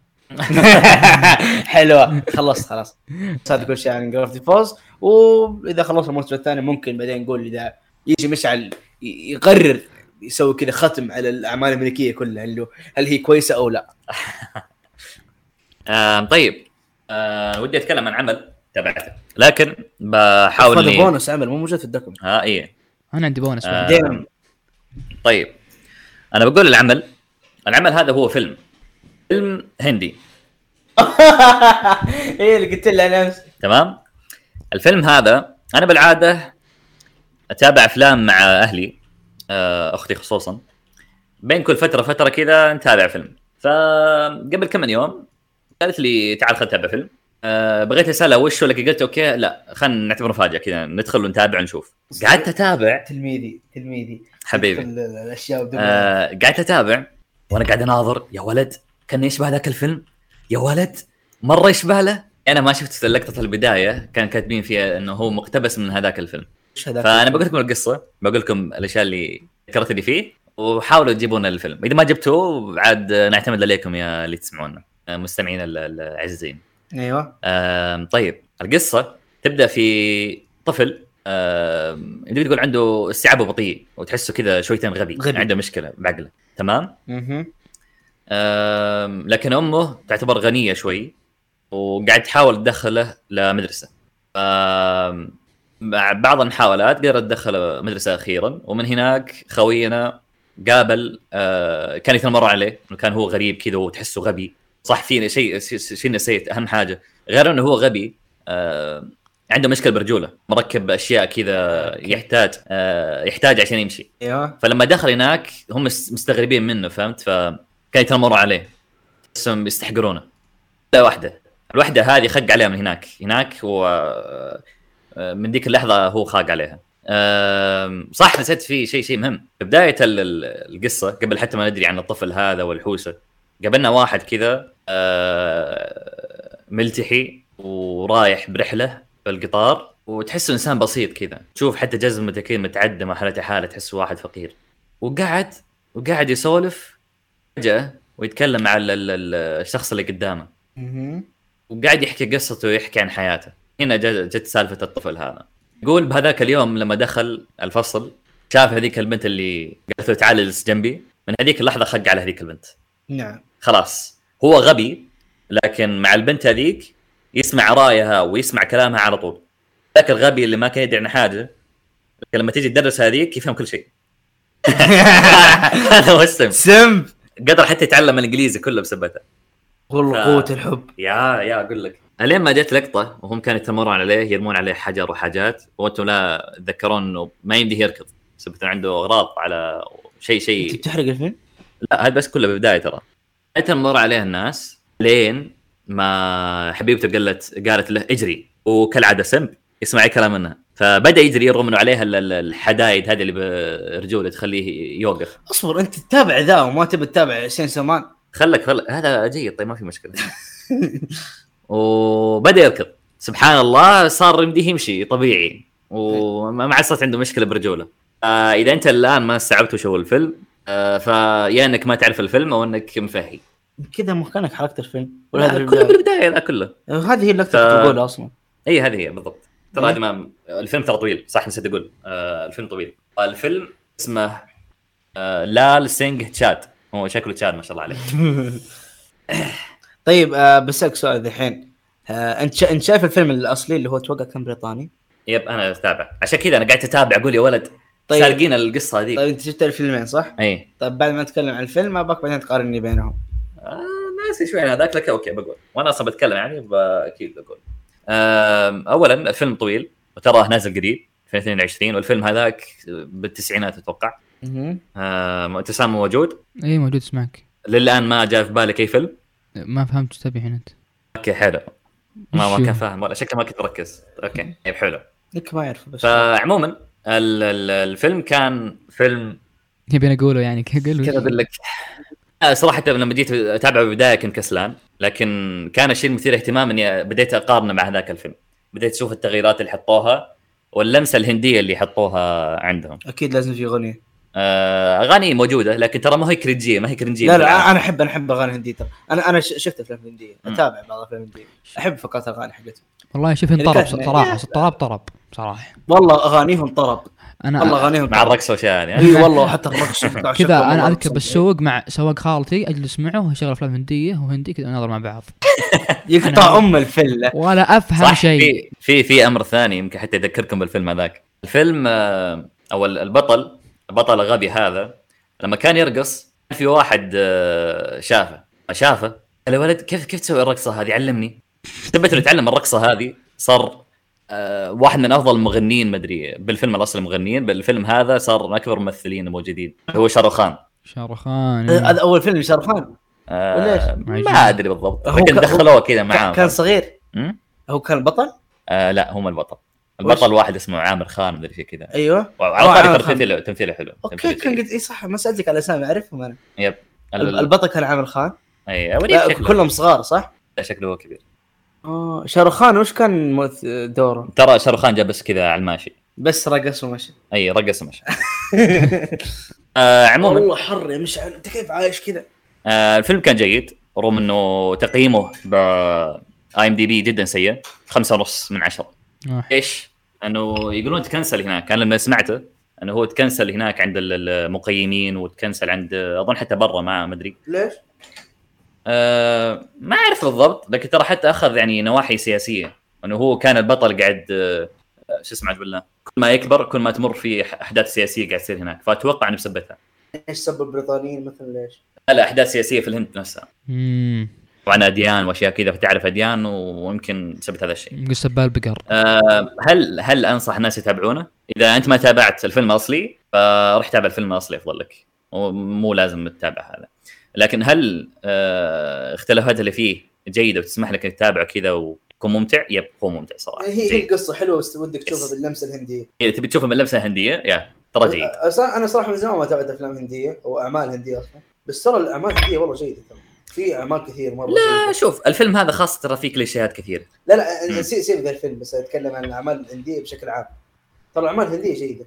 A: حلوه خلصت خلاص صار كل شيء يعني عن جرافيتي فولز واذا خلصنا الموسم الثاني ممكن بعدين نقول اذا يجي مشعل ي- يقرر يسوي كذا ختم على الاعمال الملكيه كلها اللي هو هل هي كويسه او لا
C: آم، طيب آه، ودي اتكلم عن عمل تابعته لكن بحاول آه،
A: هذا
C: اني
A: بونس عمل مو موجود في الدوكيمنت
C: ها اي
D: انا عندي بونس بعد.
C: آه.
A: دائما
C: طيب انا بقول العمل العمل هذا هو فيلم فيلم هندي
A: ايه اللي قلت له انا امس
C: تمام الفيلم هذا انا بالعاده اتابع افلام مع اهلي آه، اختي خصوصا بين كل فتره فتره كذا نتابع فيلم فقبل كم من يوم قالت لي تعال خلينا نتابع فيلم آه، بغيت اسالها وش ولا قلت اوكي لا خلينا نعتبره مفاجاه كذا ندخل ونتابع ونشوف قعدت اتابع
A: تلميذي تلميذي
C: حبيبي
A: ال- الاشياء ودمها.
C: آه، قعدت اتابع وانا قاعد اناظر يا ولد كان يشبه ذاك الفيلم يا ولد مره يشبه له انا ما شفت لقطه البدايه كان كاتبين فيها انه هو مقتبس من هذاك الفيلم
A: ايش هذاك؟
C: فانا بقول لكم القصه بقول لكم الاشياء اللي ذكرتني فيه وحاولوا تجيبون الفيلم اذا ما جبتوه عاد نعتمد عليكم يا اللي تسمعونا آه، مستمعين ال- العزيزين
A: ايوه
C: آم، طيب القصه تبدا في طفل آم، نقدر نقول عنده استيعابه بطيء وتحسه كذا شويتين غبي,
A: غبي.
C: عنده مشكله بعقله تمام
A: مهم.
C: آم، لكن امه تعتبر غنيه شوي وقاعد تحاول تدخله لمدرسه آم، مع بعض المحاولات قدرت تدخله مدرسه اخيرا ومن هناك خوينا قابل آه، كان يتنمر عليه إنه كان هو غريب كذا وتحسه غبي صح في شيء شيء نسيت اهم حاجه غير انه هو غبي آه، عنده مشكله برجوله مركب اشياء كذا يحتاج آه، يحتاج عشان يمشي
A: ايوه
C: فلما دخل هناك هم مس- مستغربين منه فهمت فكان يتنمروا عليه بس هم يستحقرونه واحده واحده الوحده هذه خق عليها من هناك هناك هو آه، من ذيك اللحظه هو خاق عليها آم، صح نسيت في شيء شيء مهم في بدايه ال- ال- القصه قبل حتى ما ندري عن الطفل هذا والحوسه قابلنا واحد كذا آه، ملتحي ورايح برحله بالقطار وتحسه انسان بسيط كذا تشوف حتى جزم المتكين متعدى ما حالته حاله تحسه واحد فقير وقعد وقعد يسولف فجاه ويتكلم مع ال- ال- ال- الشخص اللي قدامه وقاعد يحكي قصته ويحكي عن حياته هنا جا- جت سالفه الطفل هذا يقول بهذاك اليوم لما دخل الفصل شاف هذيك البنت اللي قالت له تعال اجلس جنبي من هذيك اللحظه خق على هذيك البنت
A: نعم
C: خلاص هو غبي لكن مع البنت هذيك يسمع رايها ويسمع كلامها على طول ذاك الغبي اللي ما كان يدري عن حاجه لكن لما تيجي تدرس هذيك يفهم كل شيء هذا هو السم
A: سم
C: قدر حتى يتعلم الانجليزي كله بسبتها
A: والله
C: ف-
A: قوه الحب
C: يا يا اقول لك الين ما جت لقطه وهم كانوا يتمرون عليه يرمون عليه حجر وحاجات وانتم لا تذكرون انه ما يمديه يركض سبت عنده اغراض على شيء
A: انت
C: شيء
A: بتحرق الفيلم؟
C: لا هذا بس كله بالبدايه ترى حتى مر عليها الناس لين ما حبيبته قالت قالت له اجري وكالعاده سمب يسمع أي كلام منها فبدا يجري يرغم انه عليها ال- ال- الحدايد هذه اللي برجوله تخليه يوقف
A: اصبر انت تتابع ذا وما تبي تتابع حسين سمان
C: خلك خلك هذا جيد طيب ما في مشكله وبدا يركض سبحان الله صار يمديه يمشي طبيعي وما ما عاد صارت عنده مشكله برجوله آه اذا انت الان ما استوعبت وش هو الفيلم آه فيا انك ما تعرف الفيلم او انك مفهي
A: كذا مكانك حركت الفيلم ولا هذا
C: لا، كله
A: البداية؟
C: بالبدايه لا كله
A: هذه هي اللقطه
C: ف-
A: اللي تقولها اصلا
C: اي هذه هي بالضبط ترى
A: إيه.
C: هذه ما الفيلم ترى طويل صح نسيت اقول آه الفيلم طويل الفيلم اسمه آه لال سينج تشاد هو شكله تشاد ما شاء الله عليه
A: طيب آه بسالك سؤال ذحين آه انت شا... انت شايف الفيلم الاصلي اللي هو اتوقع كان بريطاني
C: يب انا اتابع عشان كذا انا قاعد اتابع اقول يا ولد
A: طيب.
C: طيب. سارقين القصه هذيك
A: طيب
C: طيب.
A: انت شفت الفيلمين صح؟
C: اي
A: طيب بعد ما نتكلم عن الفيلم اباك بعدين تقارني بينهم
C: آه ناسي شوي عن هذاك لكن اوكي بقول وانا اصلا بتكلم يعني ب- اكيد بقول آم، اولا الفيلم طويل وتراه نازل قريب في 22 والفيلم هذاك بالتسعينات اتوقع آم، ابتسام موجود
D: اي إيه، موجود اسمعك
C: للان ما جاء في بالك اي فيلم
D: ما فهمت ايش تبي الحين انت
C: اوكي حلو ما
D: شو؟
C: ما كان فاهم ولا شكله ما كنت مركز اوكي طيب حلو
A: لك ما يعرف بس
C: فعموما ال- ال- الفيلم كان فيلم
D: يبي انا اقوله يعني قول
C: كذا اقول لك آه، صراحه لما جيت اتابعه بالبدايه كنت كسلان لكن كان الشيء المثير اهتمام اني بديت اقارنه مع ذاك الفيلم بديت اشوف التغييرات اللي حطوها واللمسه الهنديه اللي حطوها عندهم
A: اكيد لازم في اغنيه
C: آه، اغاني موجوده لكن ترى ما هي كرنجيه ما هي كرنجيه
A: لا
C: بالعام.
A: لا انا احب انا احب اغاني هنديه ترى انا انا ش- شفت افلام هنديه
C: مم.
A: اتابع بعض الافلام الهنديه احب فقرات الاغاني حقتهم
D: والله شوف
A: اللي
D: انطرب
A: كان-
D: صراحه طرب طرب صراحه
A: والله اغانيهم طرب والله
D: انا
A: اغانيهم
C: مع
A: طرب
C: الرقص والاشياء يعني
A: اي والله وحتى الرقص
D: نعم. كذا انا اذكر بالسوق مع سواق خالتي اجلس معه واشغل افلام هنديه وهندي كذا ننظر مع بعض
A: يقطع ام الفله
D: ولا افهم
C: صح إيه.
D: شيء
C: في في في امر ثاني يمكن حتى يذكركم بالفيلم هذاك الفيلم آه، او ال- البطل البطل الغبي هذا لما كان يرقص كان في واحد آه، شافه شافه قال يا ولد كيف كيف تسوي الرقصه هذه علمني ثبت انه يتعلم الرقصه هذه صار آه، واحد من افضل المغنيين مدري بالفيلم الاصلي مغنيين بالفيلم هذا صار من اكبر الممثلين الموجودين هو شاروخان
D: شاروخان
A: هذا اول فيلم شرفان
C: آه
D: وليش؟
C: ما ادري بالضبط
A: هو
C: لكن
A: ك-
C: دخلوه كذا معاه
A: كان صغير
C: مم؟
A: هو كان البطل
C: آه لا هم البطل البطل واحد اسمه عامر خان مدري شيء كذا
A: ايوه
C: وعلى
A: آه، عامر
C: طاري
A: خان.
C: تمثيله تمثيله حلو
A: اوكي
C: تمثيله
A: كان
C: جيد.
A: قد اي صح ما سالتك على اسامي اعرفهم انا
C: يب
A: ال-
C: البطل
A: البطل كان عامر خان
C: اي أوريك
A: لا
C: إيه، شكله
A: كلهم صغار صح؟
C: لا، شكله هو كبير
A: اه شاروخان وش كان مؤث- دوره؟
C: ترى شاروخان جاء بس كذا على الماشي
A: بس رقص ومشى
C: اي رقص مش آه عموما
A: والله حر يا مشعل انت كيف عايش كذا؟
C: آه الفيلم كان جيد رغم انه تقييمه ب اي ام دي بي جدا سيء خمسة ونص من عشرة
D: آه.
C: ايش؟ انه يقولون تكنسل هناك انا لما سمعته انه هو تكنسل هناك عند ال- المقيمين وتكنسل عند اظن حتى برا ما ما ادري
A: ليش؟
C: آه، ما اعرف بالضبط لكن ترى حتى اخذ يعني نواحي سياسيه انه هو كان البطل قاعد آه، آه، شو اسمه عبد الله كل ما يكبر كل ما تمر في أح- احداث سياسيه قاعد تصير هناك فاتوقع انه بسبتها
A: ايش سب البريطانيين مثلا ليش؟
C: لا احداث سياسيه في الهند نفسها
D: امم
C: وعن اديان واشياء كذا فتعرف اديان ويمكن بسبت هذا الشيء
D: يقول سبال بقر
C: آه، هل هل انصح الناس يتابعونه؟ اذا انت ما تابعت الفيلم الاصلي فروح تابع الفيلم الاصلي افضل لك ومو لازم تتابع هذا. لكن هل آه، اختلافات اللي فيه جيده وتسمح لك انك تتابعه كذا ويكون ممتع يب هو ممتع صراحه
G: هي هي
C: جيد
G: قصه حلوه بس ودك تشوفها
C: Yes.
G: باللمسه الهنديه
C: اذا تبي تشوفه من لمسه هنديه يا ترى جيد
G: أ- أصلاً انا صراحه من زمان ما تابعت افلام هنديه او اعمال هنديه اصلا بس ترى الاعمال الهنديه والله جيده ترى في اعمال كثير مره
C: لا
G: جيدة.
C: آه، شوف الفيلم هذا خاصه ترى فيه كليشيهات كثيره
G: لا لا أ- سيب سيب ذا الفيلم بس اتكلم عن الاعمال الهنديه بشكل عام ترى الاعمال الهنديه جيده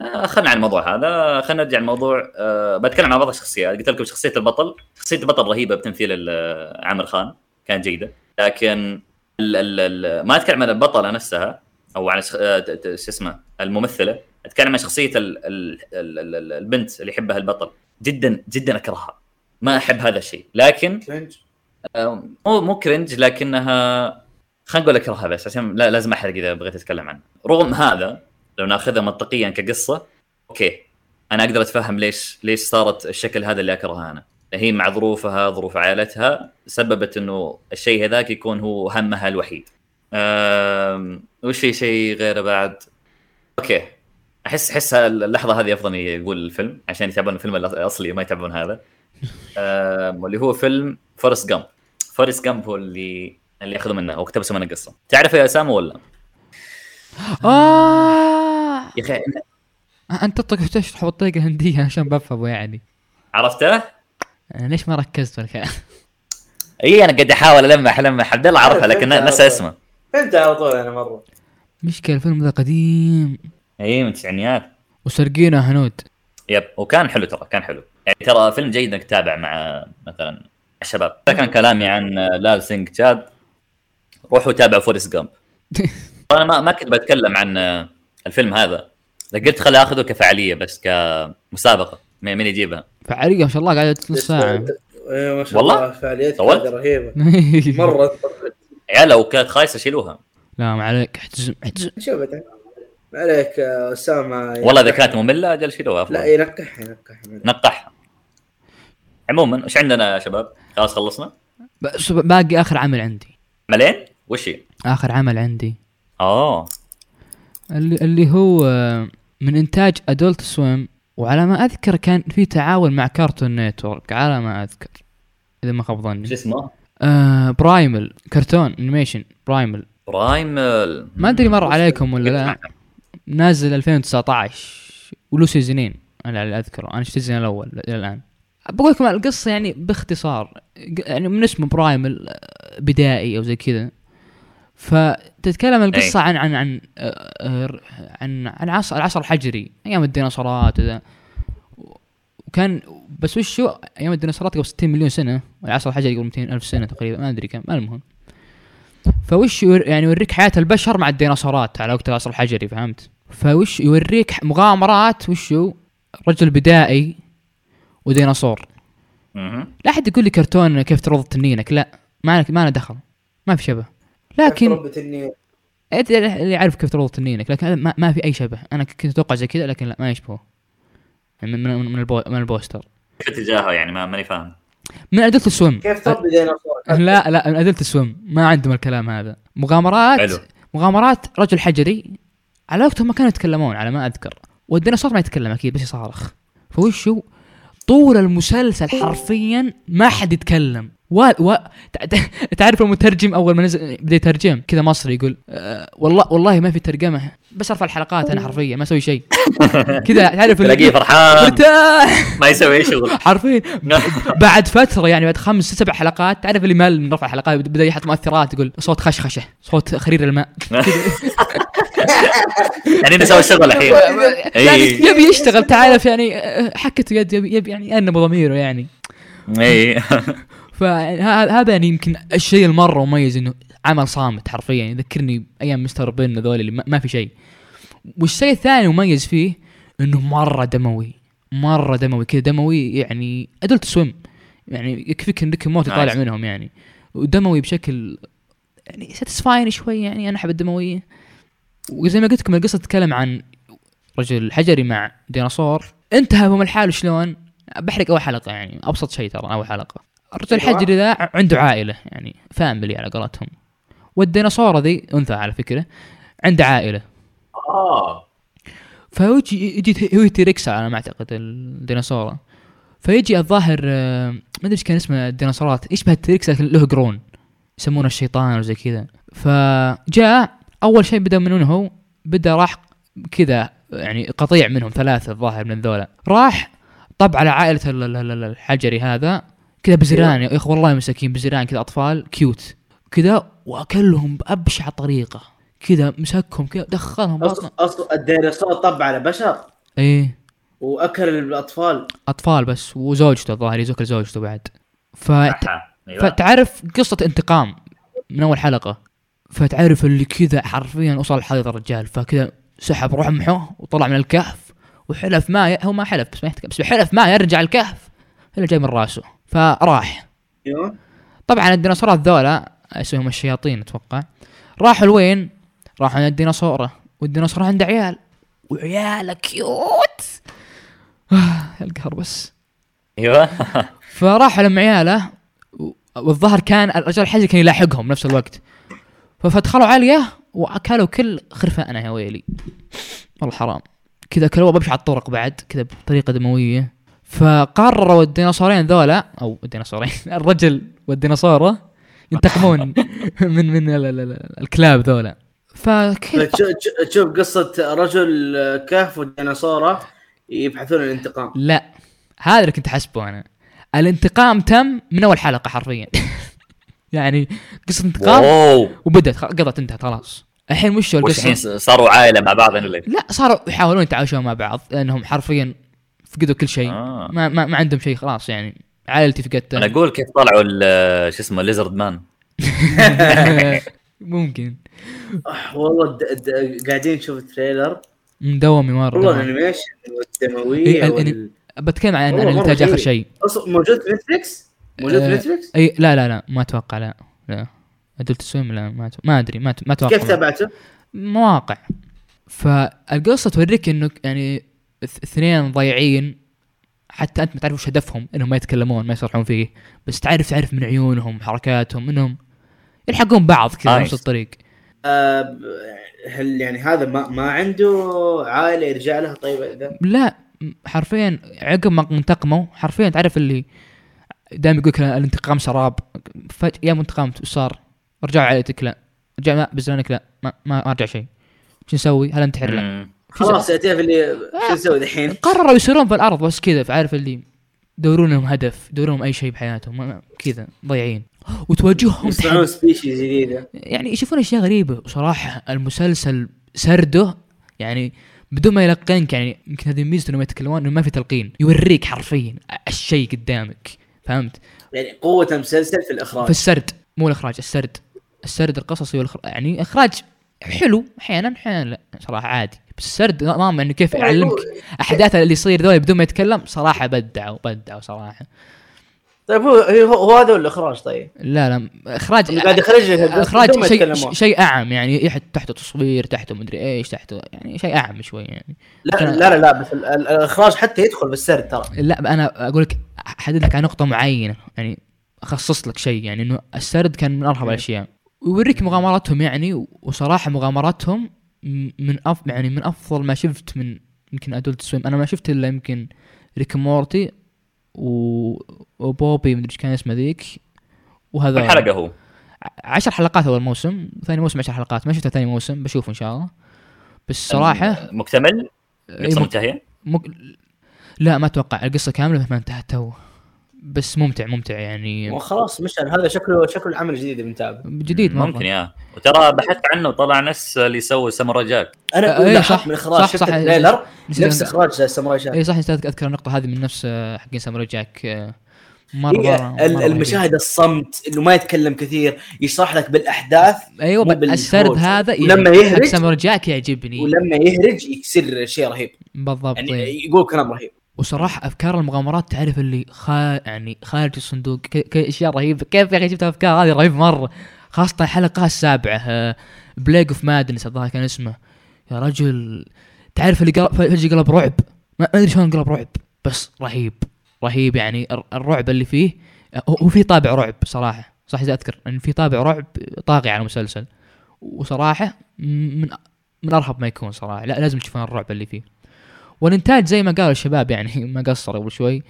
C: آه خلنا عن الموضوع هذا خلنا نرجع لموضوع آه بتكلم عن بعض الشخصيات قلت لكم شخصيه البطل شخصيه البطل رهيبه بتمثيل ال- آه، عامر خان كان جيده لكن ال ال ال ما اتكلم عن البطله نفسها او عن شخ- آه، ت- ت- شو اسمه الممثله اتكلم عن شخصيه ال ال ال ال ال البنت اللي يحبها البطل جدا جدا اكرهها ما احب هذا الشيء لكن
G: كرنج
C: آه، مو مو كرنج لكنها خلينا نقول اكرهها بس عشان لا لازم احرق اذا بغيت اتكلم عنه رغم هذا لو ناخذها منطقيا كقصه اوكي انا اقدر اتفهم ليش ليش صارت الشكل هذا اللي اكرهه انا هي مع ظروفها ظروف عائلتها سببت انه الشيء هذاك يكون هو همها الوحيد أم... وش في شيء غيره بعد اوكي احس احس اللحظه هذه افضل يقول الفيلم عشان يتابعون الفيلم الاصلي ما يتابعون هذا أم... واللي هو فيلم فورست جامب فورست جامب هو اللي اللي اخذوا منه واقتبسوا منه قصه تعرف يا اسامه ولا
D: آه
C: يا اخي
D: انت طقطش تحط طريقه هنديه عشان بفهمه يعني
C: عرفته؟
D: أنا آه، ليش ما ركزت بالكلام
C: اي انا قاعد احاول المح المح عبد الله عرفها لكن نسى اسمه
G: فهمت على طول انا مره
D: مشكلة الفيلم ذا قديم
C: اي من التسعينيات
D: وسرقينه هنود
C: يب وكان حلو ترى كان حلو يعني ترى فيلم جيد انك تتابع مع مثلا الشباب هذا كان كلامي عن لال سينج تشاد روحوا تابعوا فورست جامب انا ما ما كنت بتكلم عن الفيلم هذا قلت خلي اخذه كفعاليه بس كمسابقه مين مين يجيبها
D: فعالية ما شاء الله قعدت نص ساعة
G: إيه، ما شاء الله
C: والله؟
G: فعاليتك
C: طولت؟
G: هذه رهيبه مره
C: يا لو كانت خايسه شيلوها
D: لا ما عليك احتزم احتزم
G: شوف أنت. ما عليك آه، اسامه
C: والله اذا كانت ممله اجل شيلوها
G: لا إيه،
C: افضل
G: ينكح ينكح
C: نقحها عموما وش عندنا يا شباب؟ خلاص خلصنا؟
D: بس باقي اخر عمل عندي
C: ملين؟ وش هي؟
D: اخر عمل عندي
C: اه
D: اللي, اللي هو آه، من انتاج ادولت سويم وعلى ما اذكر كان في تعاون مع كارتون نيتورك على ما اذكر اذا ما خاب
C: شو
D: ظني
C: اسمه؟
D: آه برايمل كرتون انيميشن برايمل
C: برايمل
D: ما ادري مر عليكم ولا لا نازل 2019 وله سيزونين انا اللي اذكره انا شفت السيزون الاول الى الان بقول لكم القصه يعني باختصار يعني من اسمه برايمل آه، بدائي او زي كذا فتتكلم القصه عن عن عن آه، آه، عن عن عصر العصر الحجري ايام الديناصورات وذا وكان بس وش هو ايام الديناصورات قبل 60 مليون سنه والعصر الحجري قبل 200 الف سنه تقريبا ما ادري كم المهم فوش يور يعني يوريك حياة البشر مع الديناصورات على وقت العصر الحجري فهمت؟ فوش يوريك ح- مغامرات وشو رجل بدائي وديناصور
C: مهم.
D: لا أحد يقول لي كرتون كيف ترضى تنينك لا ما لك- ما له دخل ما في شبه لكن
G: ربة النيل
D: أنت اللي يعرف كيف ترضى تنينك لكن هذا ما, ما في اي شبه انا ك- كنت اتوقع زي كذا لكن لا ما يشبهه من من من, البو من البوستر
C: في اتجاهه يعني ما ماني فاهم
D: من ادلت السويم
G: كيف تربي ديناصور
D: أه، لا لا من ادلت السويم ما عندهم الكلام هذا مغامرات
C: حلو.
D: مغامرات رجل حجري على وقتهم ما كانوا يتكلمون على ما اذكر والديناصور ما يتكلم اكيد بس يصارخ فوشو طول المسلسل حرفيا ما حد يتكلم و... و... تع- تع- تعرف المترجم اول ما نزل بدا يترجم كذا مصري يقول أه والله والله ما في ترجمه بس ارفع الحلقات انا حرفيا ما اسوي شيء كذا تعرف اللي-
C: تلاقيه فرحان
D: مرتاح
C: ما يسوي اي شغل
D: حرفيا بعد فتره يعني بعد خمس ست سبع حلقات تعرف اللي مل من رفع الحلقات بدا يحط مؤثرات يقول صوت خشخشه صوت خرير الماء
C: يعني نسوي الشغل الحين
D: يعني
C: اي
D: يبي يشتغل تعرف يعني آه، حكته يد يبي, يبي يعني انب ضميره يعني
C: اي
D: فهذا يعني يمكن الشيء المره مميز انه عمل صامت حرفيا يذكرني ايام مستر بين هذول اللي ما- ما في شيء والشيء الثاني المميز فيه انه مره دموي مره دموي كذا دموي يعني ادلت سويم يعني يكفيك ان ريك موت طالع
C: Nice.
D: منهم يعني ودموي بشكل يعني ساتسفاين شوي يعني انا احب الدمويه وزي ما قلت لكم القصه تتكلم عن رجل حجري مع ديناصور انتهى بهم الحال شلون بحرق اول حلقه يعني ابسط شيء ترى اول حلقه الرجل الحجري ذا ع- عنده عائله يعني فاملي على قولتهم والديناصوره ذي انثى على فكره عنده عائله
C: اه
D: فهو يجي يجي هو تيركس على ما اعتقد الديناصوره فيجي الظاهر آه، ما ادري ايش كان اسمه الديناصورات يشبه التريكس لكن له قرون يسمونه الشيطان وزي كذا فجاء اول شيء بدا من هو بدا راح كذا يعني قطيع منهم ثلاثه الظاهر من ذولا راح طب على عائله ال- ال- ال- الحجري هذا كذا بزران يا اخي والله مساكين بزران كذا اطفال كيوت كذا واكلهم بابشع طريقه كذا مسكهم كذا دخلهم بطنه
A: اصلا الديناصور طب على بشر
D: ايه
A: واكل الاطفال
D: اطفال بس وزوجته الظاهر يزوك زوجته بعد فت...
C: آه، أيوة.
D: فتعرف قصه انتقام من اول حلقه فتعرف اللي كذا حرفيا وصل حيض الرجال فكذا سحب رمحه وطلع من الكهف وحلف ما ي... هو ما حلف بس ما يحتكم بس حلف ما يرجع الكهف الا جاي من راسه فراح
A: ايوه
D: طبعا الديناصورات ذولا اسمهم الشياطين اتوقع راحوا لوين؟ راحوا عند الديناصوره والديناصور عنده عيال وعياله كيوت آه، القهر بس
C: ايوه
D: فراح لم عياله و- والظهر كان الرجال الحجري كان يلاحقهم نفس الوقت فدخلوا عليه واكلوا كل خرفانه يا ويلي والله حرام كذا كلوه ببشع الطرق بعد كذا بطريقه دمويه فقرروا الديناصورين ذولا او الديناصورين الرجل والديناصوره ينتقمون من من ال- ال- ال- الكلاب ذولا فكذا
A: فتشو- تشو- تشوف قصه رجل آه، كهف وديناصوره يبحثون عن الانتقام
D: لا هذا اللي كنت حسبه انا الانتقام تم من اول حلقه حرفيا يعني قصه انتقام
C: واو
D: وبدت خ- قضت انتهت خلاص الحين وش هو
C: وش الحين
D: القصه؟
C: س- صاروا عائله مع بعض ولا
D: لا صاروا يحاولون يتعايشون مع بعض لانهم حرفيا فقدوا كل شيء
C: آه.
D: ما, ما, ما عندهم شيء خلاص يعني عائلتي
C: انا
D: فقدت
C: اقول كيف طلعوا ال- شو اسمه ليزرد مان
D: ممكن
A: والله د- د- قاعدين نشوف التريلر
D: مدومي مره
A: والله
D: دوامي.
A: الانيميشن
D: إيه،
A: والدمويه
D: الأني-
A: وال...
D: بتكلم عن عن
A: والله مرة
D: الانتاج
A: جميل.
D: اخر شيء
A: اصلا موجود في نتفلكس؟ موجود في
D: آه،
A: نتفلكس؟
D: اي لا لا لا ما اتوقع لا لا ادلت سويم لا ما أتوقع. ما ادري ما أت- ما اتوقع
A: كيف تابعته؟
D: مواقع فالقصه توريك انه يعني اث- اثنين ضايعين حتى انت ما تعرف وش هدفهم انهم ما يتكلمون ما يصرحون فيه بس تعرف تعرف من عيونهم حركاتهم انهم يلحقون بعض كذا
C: آه،
D: نفس الطريق
A: آه، ب- هل يعني هذا ما, ما عنده عائله يرجع لها طيب اذا
D: لا م- حرفيا عقب ما انتقموا حرفيا تعرف اللي دائما يقول لك الانتقام شراب فجاه يا انتقام وش صار؟ رجعوا عائلتك لا رجع ما بزرانك لا ما, ما ارجع شيء شو نسوي؟ هل انتحر لا
C: مم.
A: خلاص يا تعرف اللي شو نسوي الحين؟
D: قرروا يسيرون في الارض بس كذا عارف اللي يدورون لهم هدف يدورون لهم اي شيء بحياتهم ما- ما- كذا ضايعين وتواجههم
A: يصنعون
D: تحدي
A: سبيشيز جديده
D: يعني يشوفون اشياء غريبه وصراحه المسلسل سرده يعني بدون ما يلقنك يعني يمكن هذه ميزته انه ما يتكلمون انه ما في تلقين يوريك حرفيا الشيء قدامك فهمت؟
A: يعني قوه المسلسل في الاخراج
D: في السرد مو الاخراج السرد السرد القصصي والإخراج يعني اخراج حلو احيانا احيانا لا صراحه عادي بس السرد نظام انه كيف يعلمك احداث اللي يصير ذول بدون ما يتكلم صراحه بدعوا بدعوا صراحه
A: طيب هو هو, هو هذا الاخراج طيب
D: لا لا اخراج
A: اللي قاعد يخرجها بدون
D: اخراج
A: ما
D: شيء
A: يتكلمون.
D: ش- شيء اعم يعني يحت تحته تصوير تحته مدري ايش تحته يعني شيء اعم شوي يعني
A: لا لا لا, لا بس ال- ال- الاخراج حتى يدخل بالسرد ترى
D: لا انا اقول لك احدد لك على نقطه معينه يعني اخصص لك شيء يعني انه السرد كان من ارهب الاشياء ويوريك مغامراتهم يعني وصراحه مغامراتهم م- من أف يعني من افضل ما شفت من يمكن ادولت سويم انا ما شفت الا يمكن ريك مورتي و... وبوبي مدري ايش كان اسمه ذيك وهذا
C: كم حلقه هو؟
D: عشر حلقات اول موسم ثاني موسم عشر حلقات ما شفته ثاني موسم بشوفه ان شاء الله بس صراحه
C: مكتمل؟ قصه
D: إيه، مك-
C: منتهيه؟
D: مك... لا ما اتوقع القصه كامله ما انتهت تو بس ممتع ممتع يعني
A: وخلاص مشعل هذا شكله شكله العمل الجديد بنتابعه
D: جديد مره
C: ممكن يعني. يا وترى بحثت عنه وطلع نفس اللي سوى ساموراي جاك
A: انا
D: آه، إيه،
A: أه
D: صح،
A: صح من اخراج
D: صح،
A: شفت
D: صح،
A: التريلر
D: نسيت
A: نفس
D: أنت-
A: اخراج ساموراي شاك
D: اي صح نسيت اذكر النقطه هذه من نفس آه، حقين ساموراي جاك آه، مره
A: هي
D: مره, مرة
A: ال-
D: رهيبين.
A: المشاهد الصمت انه ما يتكلم كثير يشرح لك بالاحداث
D: ايوه
A: مو
D: بل-
A: بالهروج.
D: السرد هذا
A: ولما
D: يعني حق
A: يهرج-
D: ساموراي جاك يعجبني
A: ولما يهرج يصير شيء رهيب
D: بالضبط
A: يعني
D: إيه.
A: يقول كلام رهيب
D: وصراحة أفكار المغامرات تعرف اللي خا يعني خارج الصندوق ك... ك... أشياء رهيبة كيف يا أخي جبت أفكار هذه رهيبة مرة خاصة الحلقة السابعة آه، بليج اوف مادنس الظاهر كان اسمه يا رجل تعرف اللي قلب فجأة قلب رعب ما ما أدري شلون قلب رعب بس رهيب رهيب يعني الر- الرعب اللي فيه آه، هو هو في طابع رعب صراحة صح إذا أذكر إن في طابع رعب طاغي على المسلسل وصراحة من من أرهب ما يكون صراحة لا لازم تشوفون الرعب اللي فيه والانتاج زي ما قال الشباب يعني ما قصروا قبل شوي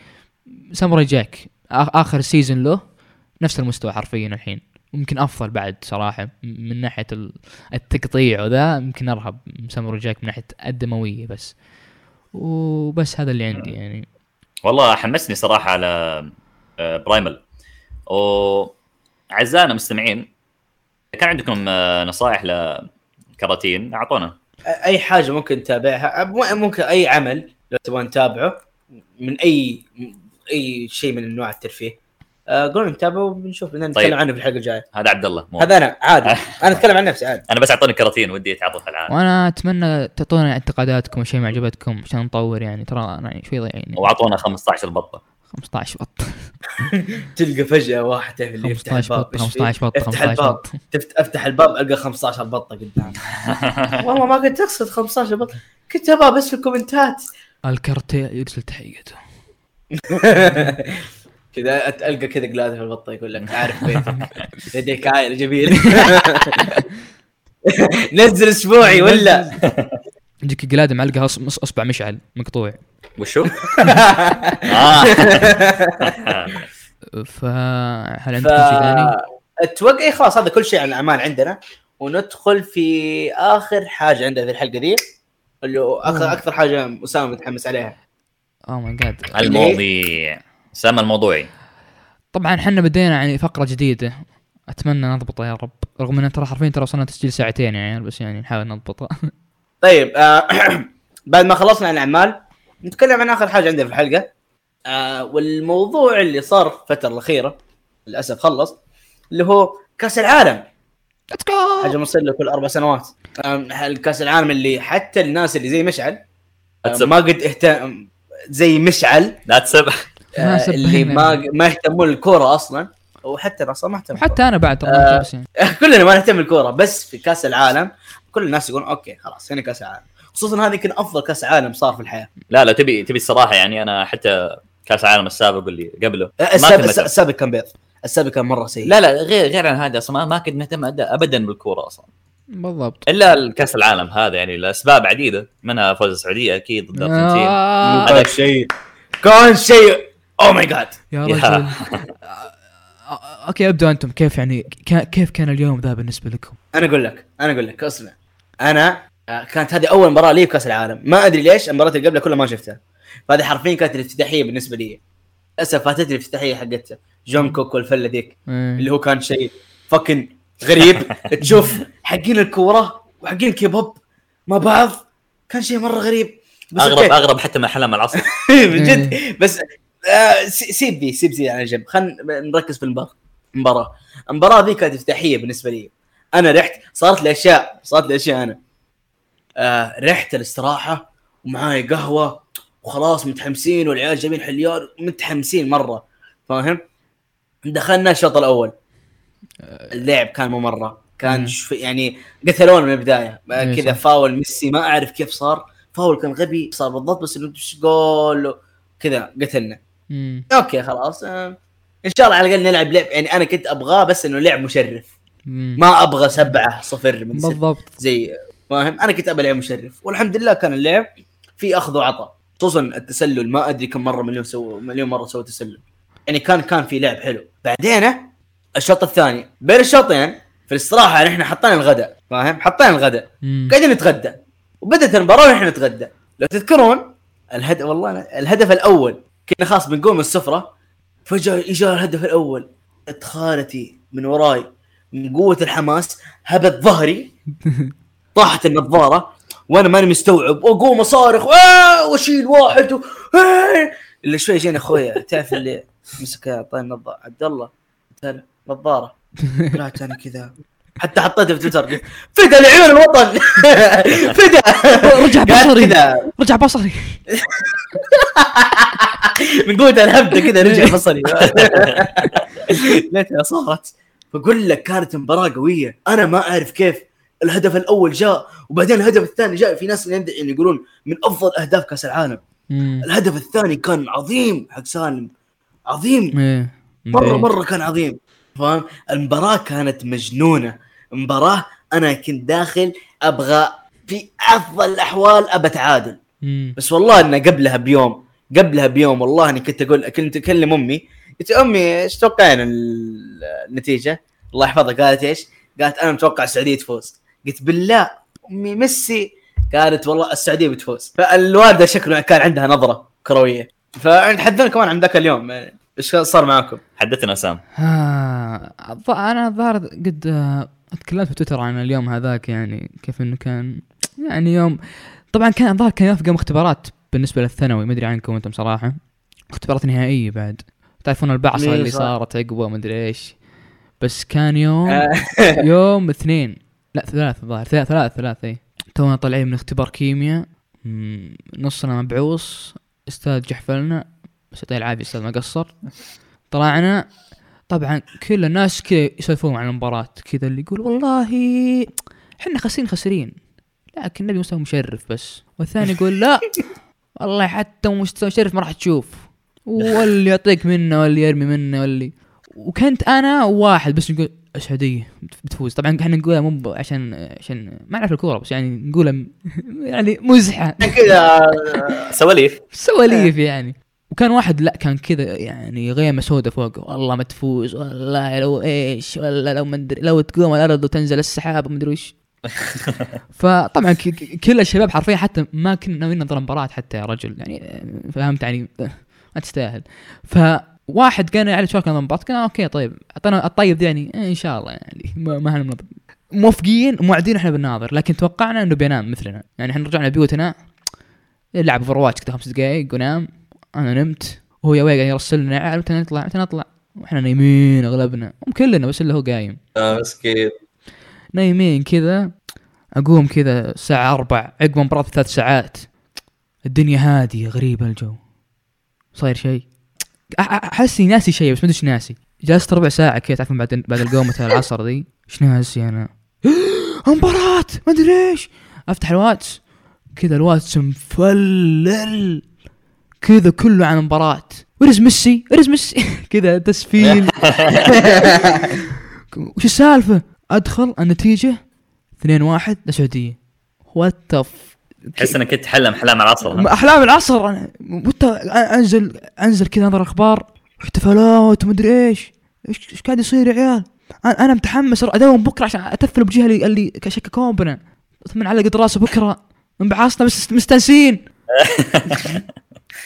D: ساموراي جاك آ- اخر سيزون له نفس المستوى حرفيا الحين ممكن افضل بعد صراحه م- من ناحيه ال- التقطيع وذا يمكن ارهب من ساموراي جاك من ناحيه الدمويه بس وبس هذا اللي عندي يعني
C: والله حمسني صراحه على آه، برايمال وعزائنا المستمعين كان عندكم آه، نصائح لكراتين اعطونا
A: اي حاجه ممكن تتابعها أب- ممكن اي عمل لو تبغون تتابعه من اي اي شيء من انواع الترفيه آه، قولوا نتابعه ونشوف بدنا نتكلم
C: طيب.
A: عنه في الحلقه الجايه
C: هذا عبد الله مو
A: هذا انا عادي انا اتكلم عن نفسي عادي
C: انا بس اعطوني كراتين ودي اتعرف على العالم
D: وانا اتمنى تعطونا انتقاداتكم وشيء ما عجبتكم عشان نطور يعني ترى انا شوي ضايعين يعني.
C: واعطونا 15 بطه
D: 15 بط
A: تلقى فجاه واحد تعرف اللي يفتح
D: 15
A: الباب
D: بط
A: إيش فيه؟
D: 15 بط
A: افتح
D: 15
A: الباب
D: بط
A: تفت... افتح الباب القى 15 بطه قدام والله ما كنت اقصد 15 بطه كنت ابغى بس في الكومنتات
D: الكارتيل يقتل تحيته
A: كذا أت- القى كذا قلاده في البطه يقول لك عارف بيتك لديك عائله جميله نزل اسبوعي ولا
D: يجيك قلاده معلقه أص- أص- اصبع مشعل مقطوع
C: وشو؟ آه.
D: فهل
A: ف
D: عندك شيء ثاني؟
A: اتوقع إيه خلاص هذا كل شيء عن الاعمال عندنا وندخل في اخر حاجه عندنا في الحلقه دي اللي هو اكثر اكثر حاجه اسامه متحمس عليها
D: اوه ماي جاد
C: المواضيع سامة الموضوعي
D: طبعا احنا بدينا يعني فقره جديده اتمنى نضبطها يا رب رغم ان ترى حرفيا ترى وصلنا تسجيل ساعتين يا عيال بس يعني نحاول نضبطها
A: طيب آه بعد ما خلصنا عن الاعمال نتكلم عن اخر حاجه عندنا في الحلقه آه والموضوع اللي صار في الفتره الاخيره للاسف خلص اللي هو كاس العالم
D: ليتس جو
A: حاجه مصير له كل اربع سنوات آه الكاس العالم اللي حتى الناس اللي زي مشعل آه ما قد اهتم زي مشعل
C: لا تسب
D: ما
A: آه اللي
D: سبينا.
A: ما ما يهتمون الكوره اصلا وحتى انا اصلا ما اهتم
D: حتى انا بعد ترى
A: آه.
D: ما جبت يعني.
A: كلنا ما نهتم بالكوره بس في كاس العالم كل الناس يقولون اوكي خلاص هنا كاس العالم خصوصا هذا يمكن افضل كاس عالم صار في الحياه
C: لا لا تبي تبي الصراحه يعني انا حتى كاس العالم السابق اللي قبله
A: آه،
C: ما
A: السابق
C: كنت مهتم.
A: السابق كان بيض السابق كان مره سيء
C: لا لا غير غير عن هذا اصلا ما- ما كنت مهتم أد- ابدا بالكوره اصلا
D: بالضبط
C: الا الكاس العالم هذا يعني لاسباب عديده منها فوز السعوديه اكيد ضد الارجنتين
D: آه،
C: هذا
F: شيء
A: كان شيء Oh او ماي جاد
D: يا
C: يا.
D: رجل آه، اوكي ابدوا انتم كيف يعني كا- كيف كان اليوم ذا بالنسبه لكم؟
A: انا اقول لك انا اقول لك اسمع انا آه، كانت هذه اول مباراه لي بكاس العالم ما ادري ليش المباريات اللي قبلها كلها ما شفتها فهذه حرفيا كانت الافتتاحيه بالنسبه لي للاسف فاتتني الافتتاحيه حقتها جون كوك والفله ذيك
D: إيه.
A: اللي هو كان شيء فكن غريب تشوف حقين الكوره وحقين الكيبوب مع بعض كان شيء مره غريب بس
C: اغرب
A: أوكي.
C: اغرب حتى من احلام العصر
A: من جد بس آه، سي- سيب دي سيب دي على جنب خلينا نركز في المباراه المباراه المباراه ذي كانت افتتاحيه بالنسبه لي انا رحت صارت لي اشياء صارت لي اشياء انا آه، رحت الاستراحه ومعاي قهوه وخلاص متحمسين والعيال جايبين حليار متحمسين مره فاهم دخلنا الشوط الاول اللعب كان مو مره
D: مم.
A: كان شف يعني قتلونا من البدايه
D: إيه،
A: آه، كذا
D: صح.
A: فاول ميسي ما اعرف كيف صار فاول كان غبي صار بالضبط بس انه دش جول كذا قتلنا
D: مم.
A: اوكي خلاص آه، ان شاء الله على الاقل نلعب لعب يعني انا كنت ابغاه بس انه لعب مشرف
D: مم.
A: ما ابغى سبعه صفر من ست
D: بالضبط
A: زي فاهم انا كنت ابى لعب مشرف والحمد لله كان اللعب في اخذ وعطاء خصوصا التسلل ما ادري كم مره مليون سو مليون مره سوى تسلل يعني كان كان في لعب حلو بعدين الشوط الثاني بين الشوطين في الاستراحه نحن حطينا الغداء فاهم حطينا الغداء
D: مم.
A: قاعدين نتغدى وبدت المباراه ونحن نتغدى لو تذكرون الهدف والله أنا- الهدف الاول كنا خلاص بنقوم من السفره فجاه اجى الهدف الاول جت خالتي من وراي من قوه الحماس هبت ظهري طاحت النظاره وانا ماني مستوعب واقوم اصارخ "آه!" واشيل واحد و... آه! اللي شوي جينا اخويا تعرف اللي مسك طيب النظاره عبد الله قلت له، نظاره طلعت انا كذا حتى حطيتها في تويتر قلت، فدا لعيون الوطن فدا
D: رجع
A: قاعد
D: بصري.
A: كذا
D: رجع بصري
A: من قوه الهبده كذا رجع بصري ليتها صارت بقول لك كانت مباراه قويه انا ما اعرف كيف الهدف الاول جاء وبعدين الهدف الثاني جاء في ناس يند- يعني يقولون من افضل اهداف كاس العالم
D: مم.
A: الهدف الثاني كان عظيم حق سالم عظيم
D: إيه.
A: مره
D: إيه.
A: مره كان عظيم فاهم المباراه كانت مجنونه مباراه انا كنت داخل ابغى في افضل الاحوال ابى تعادل
D: مم.
A: بس والله انه قبلها بيوم قبلها بيوم والله اني كنت اقول كنت اكلم امي قلت يا امي ايش تتوقعين ال- النتيجه؟ الله يحفظها قالت ايش؟ قالت انا متوقع السعوديه تفوز قلت بالله امي ميسي قالت والله السعوديه بتفوز فالوالده شكله كان عندها نظره كرويه فحذرنا كمان عن ذاك اليوم يعني ايش صار معاكم؟
C: حدثنا سام
D: ها الظ- انا الظاهر قد آه، تكلمت في تويتر عن اليوم هذاك يعني كيف انه كان يعني يوم طبعا كان الظاهر كان يوافق يوم اختبارات بالنسبه للثانوي ما ادري عنكم انتم صراحه اختبارات نهائيه بعد تعرفون البعصه
A: إيه
D: اللي
A: صح.
D: صارت عقبه ما ادري ايش بس كان يوم يوم اثنين لا ثلاث الظاهر ثلاث ثلاث ثلاث اي تونا طالعين من اختبار كيمياء مم، نصنا مبعوث استاذ جحفلنا بس يعطيه العافيه استاذ ما قصر طلعنا طبعا كل الناس كذا يسولفون عن المباراة كذا اللي يقول والله احنا خاسرين خاسرين لكن النبي مستوى مشرف بس والثاني يقول لا والله حتى مستوى مشرف ما راح تشوف واللي يعطيك منه واللي يرمي منه واللي وكنت انا واحد بس نقول السعوديه بتفوز طبعا احنا نقولها مو ب- عشان عشان ما نعرف الكوره بس يعني نقولها م- يعني مزحه
A: كذا
C: سواليف
D: سواليف يعني وكان واحد لا كان كذا يعني غيمه سوداء فوقه والله ما تفوز والله لو ايش ولا لو ما ادري لو تقوم الارض وتنزل السحاب ما ادري وش فطبعا ك- ك- كل الشباب حرفيا حتى ما كنا ناويين ننظر مباراه حتى يا رجل يعني آه، فهمت يعني آه، ما تستاهل فواحد قال يعني شارك نظام مباراه قلنا اوكي طيب اعطينا الطيب ده يعني آه، ان شاء الله يعني ما ما احنا بننظر موافقين وموعدين احنا بالناظر لكن توقعنا انه بينام مثلنا يعني احنا رجعنا بيوتنا لعب اوفر واتش كذا خمس دقائق ونام انا نعم. نمت وهو يا ويل قاعد يرسل لنا "عال، متى نطلع متى نطلع واحنا نايمين اغلبنا هم كلنا بس اللي هو قايم
C: آه، مسكين
D: نايمين كذا اقوم كذا الساعة أربع عقب مباراة ثلاث ساعات الدنيا هادية غريبة الجو صاير شيء أ- أ- احس إني ناسي شيء بس ما ادري إيش ناسي جلست ربع ساعة كذا تعرفون بعد بعد القومة تاع العصر ذي ايش ناسي انا مباراة ما ادري ايش افتح الواتس كذا الواتس مفلل كذا كله عن مباراة ورز ميسي ورز ميسي كذا تسفيل وش السالفة ادخل النتيجة 2 1 للسعودية وات
C: تحس انك كنت حلم حلام العصر ها؟
D: ما احلام العصر انا وانت انزل انزل كذا انظر اخبار احتفالات ومدري ايش ايش ايش قاعد يصير يا عيال انا انا متحمس اداوم بكره عشان اتثل بالجهه اللي اللي شككون بنا من علقة راسه بكره انبعاصنا بس مستانسين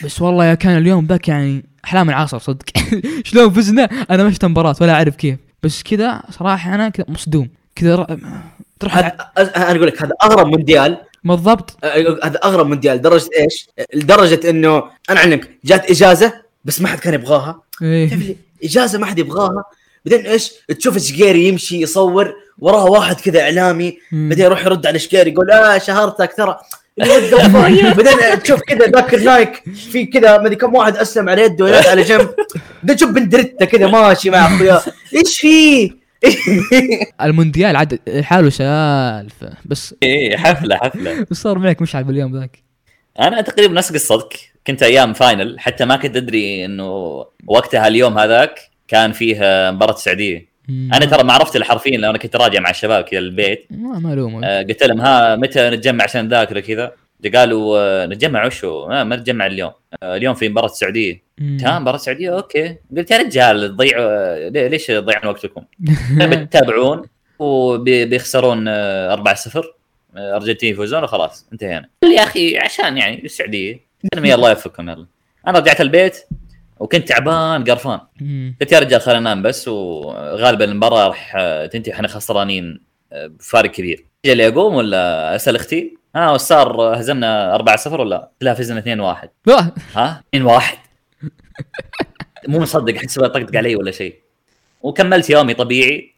D: بس والله يا كان اليوم ذاك يعني احلام العصر صدق شلون فزنا انا ما شفت مباراه ولا اعرف كيف بس كذا صراحه انا كذا مصدوم كذا ر- تروح
A: هذا- انا اقول لك هذا اغرب مونديال
D: بالضبط
A: آه، هذا اغرب مونديال لدرجه ايش؟ لدرجه انه انا اعلمك جات اجازه بس ما حد كان يبغاها،
D: إيه.
A: تعرف اللي اجازه ما حد يبغاها، بعدين ايش؟ تشوف الشقيري يمشي يصور وراه واحد كذا اعلامي، بعدين يروح يرد على الشقيري يقول اه شهرتك ترى What the fuck؟ بعدين تشوف كذا ذاك النايك في كذا ما ادري كم واحد اسلم على يده ويد على جنب بعدين تشوف بندرته كذا ماشي مع اخوياه ايش فيه؟
D: المونديال عاد حاله سالفه بس
C: ايه حفله حفله
D: وش صار معك مشعل باليوم ذاك؟
C: انا تقريبا نفس قصتك كنت ايام فاينل حتى ما كنت ادري انه وقتها اليوم هذاك كان فيه آه، مباراه السعوديه انا ترى ما عرفت الحرفين لو انا كنت راجع مع الشباب كذا البيت
D: ما ما الومك
C: آه، قلت لهم ها متى نتجمع عشان نذاكر كذا قالوا آه، نتجمع وشو ما, ما نتجمع اليوم آه، اليوم في مباراه السعوديه
D: مم.
C: ها مباراة سعودية اوكي قلت يا رجال تضيعوا ليه- ليش تضيعون وقتكم؟ بتتابعون وبيخسرون 4-0 آه، ارجنتين يفوزون وخلاص انتهينا. قال لي يا اخي عشان يعني السعودية قلت لهم يا الله يوفقكم يلا. انا رجعت البيت وكنت تعبان قرفان
D: مم.
C: قلت يا رجال خلينا ننام بس وغالبا المباراة راح آه، تنتهي احنا خسرانين آه، بفارق كبير. اجي لي اقوم ولا اسال اختي ها وش صار هزمنا 4-0 ولا؟ قلت لها فزنا 2-1
D: آه،
C: ها 2 واحد مو مصدق احسبها طقطق علي ولا شيء وكملت يومي طبيعي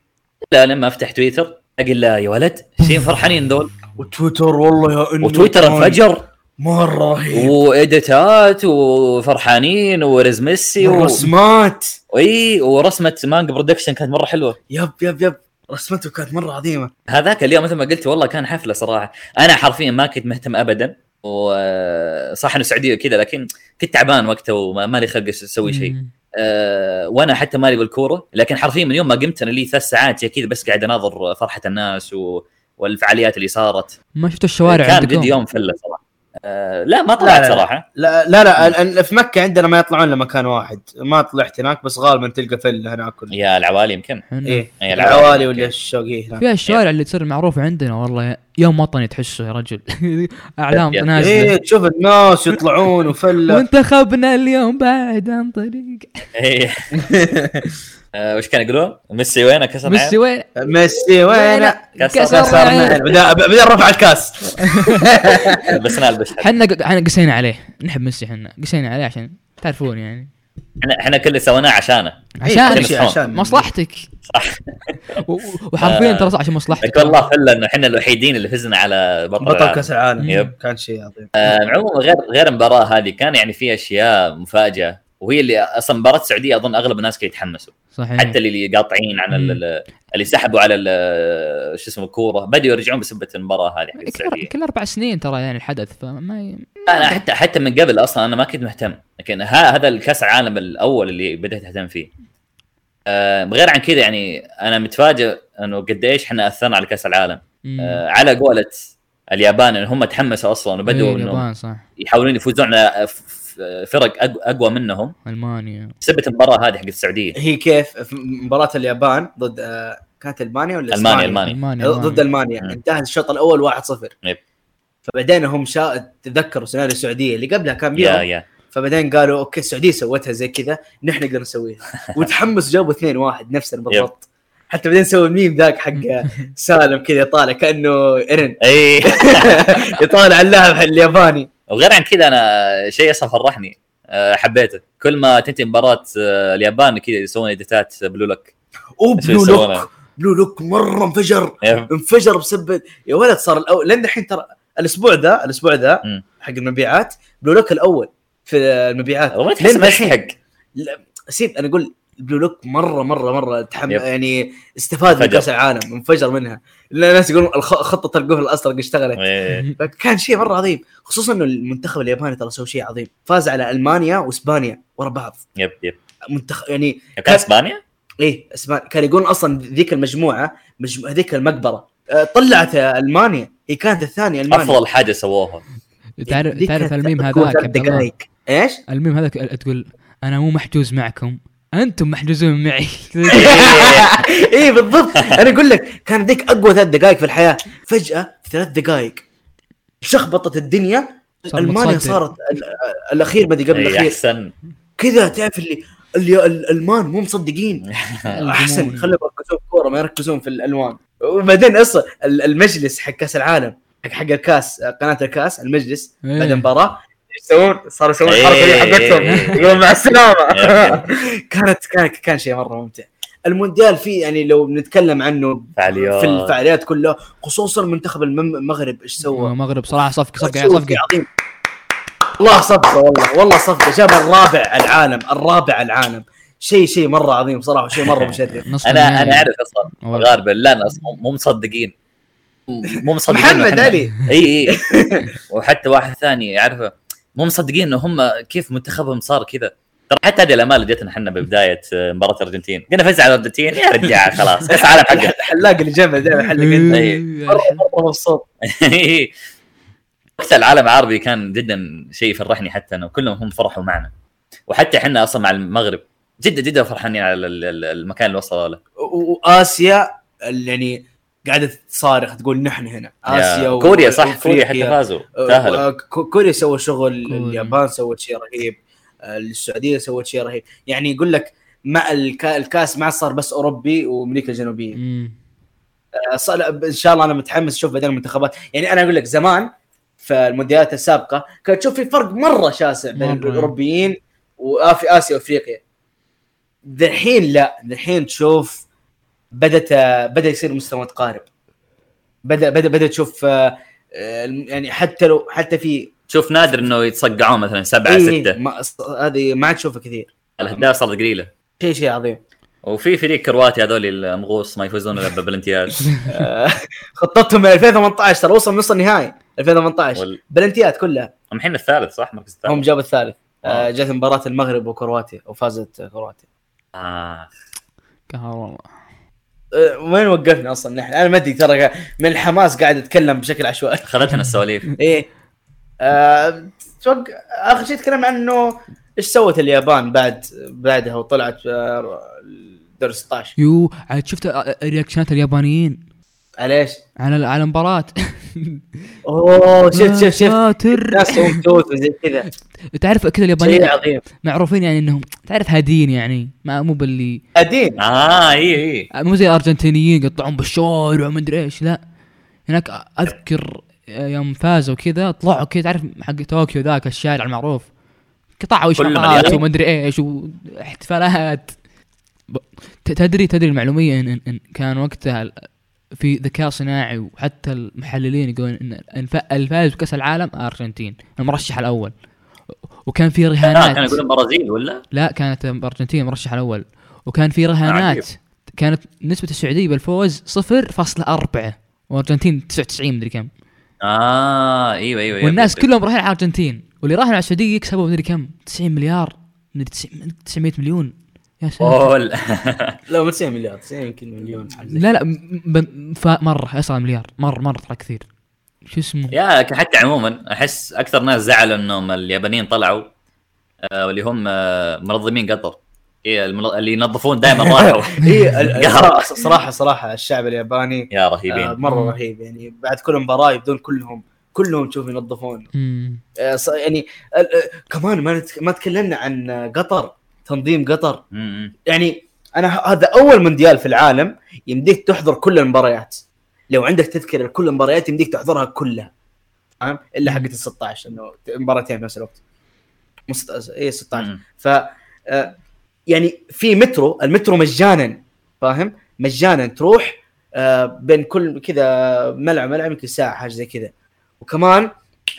C: لا لما افتح تويتر اقول لا يا ولد شين فرحانين ذول
A: وتويتر والله يا انه
C: وتويتر انفجر
A: مره رهيب
C: واديتات وفرحانين ورز ميسي و...
A: ورسمات
C: اي ورسمه مانج برودكشن كانت مره حلوه
A: يب يب يب رسمته كانت مره عظيمه
C: هذاك اليوم مثل ما قلت والله كان حفله صراحه انا حرفيا ما كنت مهتم ابدا وصح انه سعوديه كذا لكن كنت تعبان وقتها ومالي خلق اسوي شيء
D: مم.
C: آه، وانا حتى مالي بالكوره لكن حرفيا من يوم ما قمت انا لي ثلاث ساعات زي كذا بس قاعد اناظر فرحه الناس و... والفعاليات اللي صارت
D: ما شفت الشوارع
C: كان
D: عندكم؟
C: جد يوم فله صراحه آه لا ما طلعت
A: لا، لا.
C: صراحه
A: لا لا لا ال- ال- في مكه عندنا ما يطلعون لمكان واحد ما طلعت هناك بس غالبا تلقى فل هناك ولا-
C: يا العوالي يمكن
D: حنا-
A: ايه
C: إيه،
A: العوالي ولا الشوقيه هناك
D: فيها الشوارع اللي تصير معروفة عندنا والله يوم وطني تحسه يا رجل اعلام
C: يب- يب.
D: نازلة
A: ايه تشوف الناس يطلعون وفله
D: وانتخبنا اليوم بعد عن طريق
C: إيه. آه، وش كانوا يقولون؟ ميسي وينه كسر
D: ميسي
C: عين؟
D: وين
A: ميسي وين
C: كسر
D: كسر
A: صار
D: عين.
A: بدا بدا رفع الكاس إيه،
C: لبسناه البشر
D: حنا حنا قسينا عليه نحب ميسي حنا قسينا عليه عشان تعرفون يعني
C: احنا احنا كل اللي سويناه عشانه
D: عشان
C: عشان-
D: مصلحتك
C: إيه، صح
D: و- و- وحرفيا ترى صح عشان مصلحتك
C: لك والله فلا انه احنا الوحيدين اللي فزنا على بطل,
A: بطل
C: العالم.
A: كاس العالم
C: يب.
A: كان شيء عظيم
C: آه، عموما غير غير المباراه هذه كان يعني في اشياء مفاجاه وهي اللي اصلا مباراه السعوديه اظن اغلب الناس كانوا يتحمسوا
D: صحيح
C: حتى اللي قاطعين عن ال- ال- اللي سحبوا على ال- شو اسمه الكوره بدوا يرجعون بسبه المباراه هذه حق
D: كل,
C: السعوديه
D: كل اربع سنين ترى يعني الحدث فما ي-
C: انا حتى حتى من قبل اصلا انا ما كنت مهتم لكن ها هذا الكاس العالم الاول اللي بدات اهتم فيه آه، غير عن كذا يعني انا متفاجئ انه قديش احنا اثرنا على كاس العالم
D: مم.
C: آه، على قولة اليابان ان هم تحمسوا اصلا
D: إيه،
C: وبدوا انه
D: اليابان صح
C: يحاولون يفوزون على ف- ف- فرق أق- اقوى منهم
D: المانيا
C: بسبب المباراه هذه حق السعوديه
A: هي كيف في مباراه اليابان ضد آه، كانت المانيا ولا
C: المانيا
A: إسبانيا؟
C: المانيا
D: المانيا
A: ضد
D: المانيا
A: المانيا
C: مم.
A: انتهى الشوط الاول 1-0
C: يب.
A: فبعدين هم شا... تذكروا سيناريو السعوديه اللي قبلها كان
C: يا
A: يوم
C: يا
A: فبعدين قالوا اوكي السعوديه سوتها زي كذا نحن نقدر نسويها وتحمس جابوا 2-1 نفسنا بالضبط حتى بعدين سووا الميم ذاك حق سالم كذا طالع كانه ايرن
C: اي
A: يطالع اللاعب الياباني
C: إيه. وغير عن كذا انا شيء اصلا فرحني آه، حبيته كل ما تنتهي مباراه آه، اليابان كذا يسوون اديتات بلو لوك شو
A: وبلو
C: يسوونه؟
A: لوك بلو لوك مره انفجر
C: يب.
A: انفجر بسبب يا ولد صار الاول لان الحين ترى الاسبوع ذا الاسبوع ذا
C: مم.
A: حق المبيعات بلو لوك الاول في المبيعات
C: والله تحس
A: لين
C: إنه
A: الحين.
C: يستحق
A: سيب انا اقول بلو لوك مره مره مره تحم...
C: يب.
A: يعني استفاد من
C: انفجر.
A: كاس العالم انفجر منها لان الناس يقولون الخ- خطه القفل الازرق اشتغلت
C: إيه.
A: فكان شيء مره عظيم خصوصا انه المنتخب الياباني ترى سوى شيء عظيم فاز على المانيا واسبانيا ورا بعض
C: يب يب
A: منتخب يعني
C: كان اسبانيا؟
A: ايه اسبانيا كان يقولون اصلا ذيك المجموعه مجم... ذيك المقبره آه، طلعت آه، المانيا هي كانت الثانيه المانيا
C: افضل حاجه سووها
D: تعرف
A: ذيك
D: تعرف
A: كانت
D: الميم
A: تكون
D: هذاك
A: ثلاث
D: عبد الله؟
A: دقائق ايش؟
D: الميم هذاك تقول انا مو محجوز معكم انتم محجوزون معي
A: ايه بالضبط انا اقول لك كان ذيك اقوى ثلاث دقائق في الحياه فجاه في ثلاث دقائق شخبطت الدنيا
D: صار
A: المانيا
D: متصدر.
A: صارت ال- ال- الاخير ما أدري قبل
C: إيه،
A: الاخير
C: احسن
A: كذا تعرف اللي اللي الالمان مو مصدقين احسن خليهم يركزون في الكوره ما يركزون في الالوان وبعدين اصلا ال- المجلس حق كاس العالم حق حق الكاس قناه الكاس المجلس
D: إيه.
A: بعد المباراه يسوون صاروا يسوون الحركه
C: إيه.
A: اللي حقتهم يقولون مع السلامه كانت كان كان شيء مره ممتع المونديال فيه يعني لو بنتكلم عنه
C: فعاليات.
A: في الفعاليات كلها خصوصا منتخب المم- المغرب
D: إيه.
A: ايش سوى؟
D: المغرب صراحه صفقه صفقه يعني
A: شيء
D: صفقه
A: عظيم. والله صفقه والله والله صفقه جاب الرابع على العالم الرابع على العالم شيء شيء مره عظيم صراحه شيء مره مشرف
D: نصف
C: انا
D: النهائي.
C: انا اعرف اصلا
D: والله.
C: غارب لا ناس مو- مو مصدقين مو مصدقين إنه
A: محمد
C: إحنا-
A: علي
C: اي اي وحتى واحد ثاني يعرفه مو مصدقين انه هم كيف منتخبهم صار كذا ترى حتى هذه الامال اللي جتنا احنا ببدايه مباراه الارجنتين قلنا فزع على الارجنتين يا رجال خلاص كاس العالم حقنا
A: الحلاق اللي جنبه دائما حلق
D: إيه.
A: انت
C: إيه.
A: مره مبسوط
C: وقت العالم العربي كان جدا شيء فرحني حتى انا وكلهم هم فرحوا معنا وحتى احنا اصلا مع المغرب جدا جدا فرحانين على ال- ال- المكان اللي وصلوا له
A: و- واسيا اللي يعني قاعده تصارخ تقول نحن هنا اسيا
C: يا
A: و-
C: كوريا صح كوريا
A: وأفريقيا.
C: حتى فازوا تاهلوا
A: آه، كو- كوريا سوى شغل
D: كوريا.
A: اليابان سوت شيء رهيب آه، السعوديه سوت شيء رهيب يعني يقول لك مع الكا- الكاس ما صار بس اوروبي وامريكا الجنوبيه
D: مم.
A: آه، صار- ان شاء الله انا متحمس اشوف بعدين المنتخبات يعني انا اقول لك زمان في المونديالات السابقه كنت تشوف في فرق مره شاسع بين
D: مرة.
A: الاوروبيين وفي اسيا وافريقيا دحين لا دحين تشوف بدات آه، بدا يصير مستوى متقارب بدا بدا بدا تشوف آه، آه، يعني حتى لو حتى في
C: شوف نادر انه يتصقعون مثلا سبعه
A: إيه،
C: سته
A: ما هذه ما عاد تشوفها كثير
C: الاهداف صارت قليله
A: شيء شيء عظيم
C: وفي فريق كرواتي هذول المغوص ما يفوزون الا ببلنتيات
A: آه، خطتهم من 2018 ترى وصل نص النهائي 2018
C: وال- طيب.
A: بلنتيات كلها
C: هم الحين الثالث صح مركز
A: هم
C: الثالث
A: جابوا الثالث آه، جت مباراه المغرب وكرواتيا وفازت كرواتيا
C: آه.
D: قهر والله
A: آه، وين وقفنا اصلا نحن انا ما ادري ترى من الحماس قاعد اتكلم بشكل عشوائي
C: خذتنا السواليف
A: ايه آه، آه، اتوقع اخر شيء تكلمنا عنه ايش سوت اليابان بعد بعدها وطلعت آه، دور 16
D: يو عاد شفت رياكشنات اليابانيين
A: على ايش؟
D: على على المباراه
A: اوه شفت شفت شفت
D: ساتر.
A: ناس تسوون توت وزي كذا
D: تعرف كذا
A: شيء
D: اليابانيين
A: عظيم
D: معروفين يعني انهم تعرف هادين يعني ما مو باللي
A: قديم
C: اه اي اي
D: مو زي الارجنتينيين يقطعون بالشارع وما ادري ايش لا هناك اذكر يوم فازوا كذا طلعوا كذا تعرف حق طوكيو ذاك الشارع المعروف قطعوا
C: كله
D: اشراقات
C: مليان.
D: وما ادري ايش واحتفالات ب- ت- تدري تدري المعلوميه ان, إن, إن كان وقتها ال- في ذكاء صناعي وحتى المحللين يقولون ان الف- الفائز بكاس العالم ارجنتين المرشح الاول وكان في
C: آه،
D: رهانات
C: كان يقولون برازيل ولا؟
D: لا كانت الارجنتين مرشح الاول وكان في
C: عجيب.
D: رهانات كانت نسبة السعودية بالفوز 0.4 والارجنتين 99 مدري كم
C: اه ايوه ايوه أيوة،
D: والناس
C: أيوة.
D: كلهم رايحين على الارجنتين واللي راحوا على السعودية كسبوا مدري كم 90 مليار مدري 90 900 مليون يا ساتر
C: اوه لا.
A: لا مو 90 مليار 90 يمكن مليون حاجة زي كذا.
D: لا لا م- ب- ف- مرة يصل مليار مرة مرة ترى كثير شو اسمه
C: يا لكن حتى عموما احس اكثر ناس زعلوا انهم اليابانيين طلعوا آه، واللي هم آه، منظمين قطر إيه المنظ- اللي ينظفون دائما راحوا
A: إيه، ال- ال- صراحة- صراحه صراحه الشعب الياباني
C: يا
A: آه،
C: رهيبين
A: مره رهيب يعني بعد كل مباراه يبدون كلهم كلهم تشوف ينظفون
D: مم.
A: آه، ص- يعني ال- آه، كمان ما نت- ما تكلمنا عن آه، قطر تنظيم قطر
C: مم.
A: يعني انا ه- هذا اول مونديال في العالم يمديك تحضر كل المباريات لو عندك تذكره لكل المباريات يمديك تحضرها كلها فاهم الا حقت ال 16 انه مباراتين في نفس الوقت إيه، مو ست- اي 16
C: مم.
A: ف آه، يعني في مترو المترو مجانا فاهم مجانا تروح آه، بين كل كذا ملعب ملعب يمكن ساعه حاجه زي كذا وكمان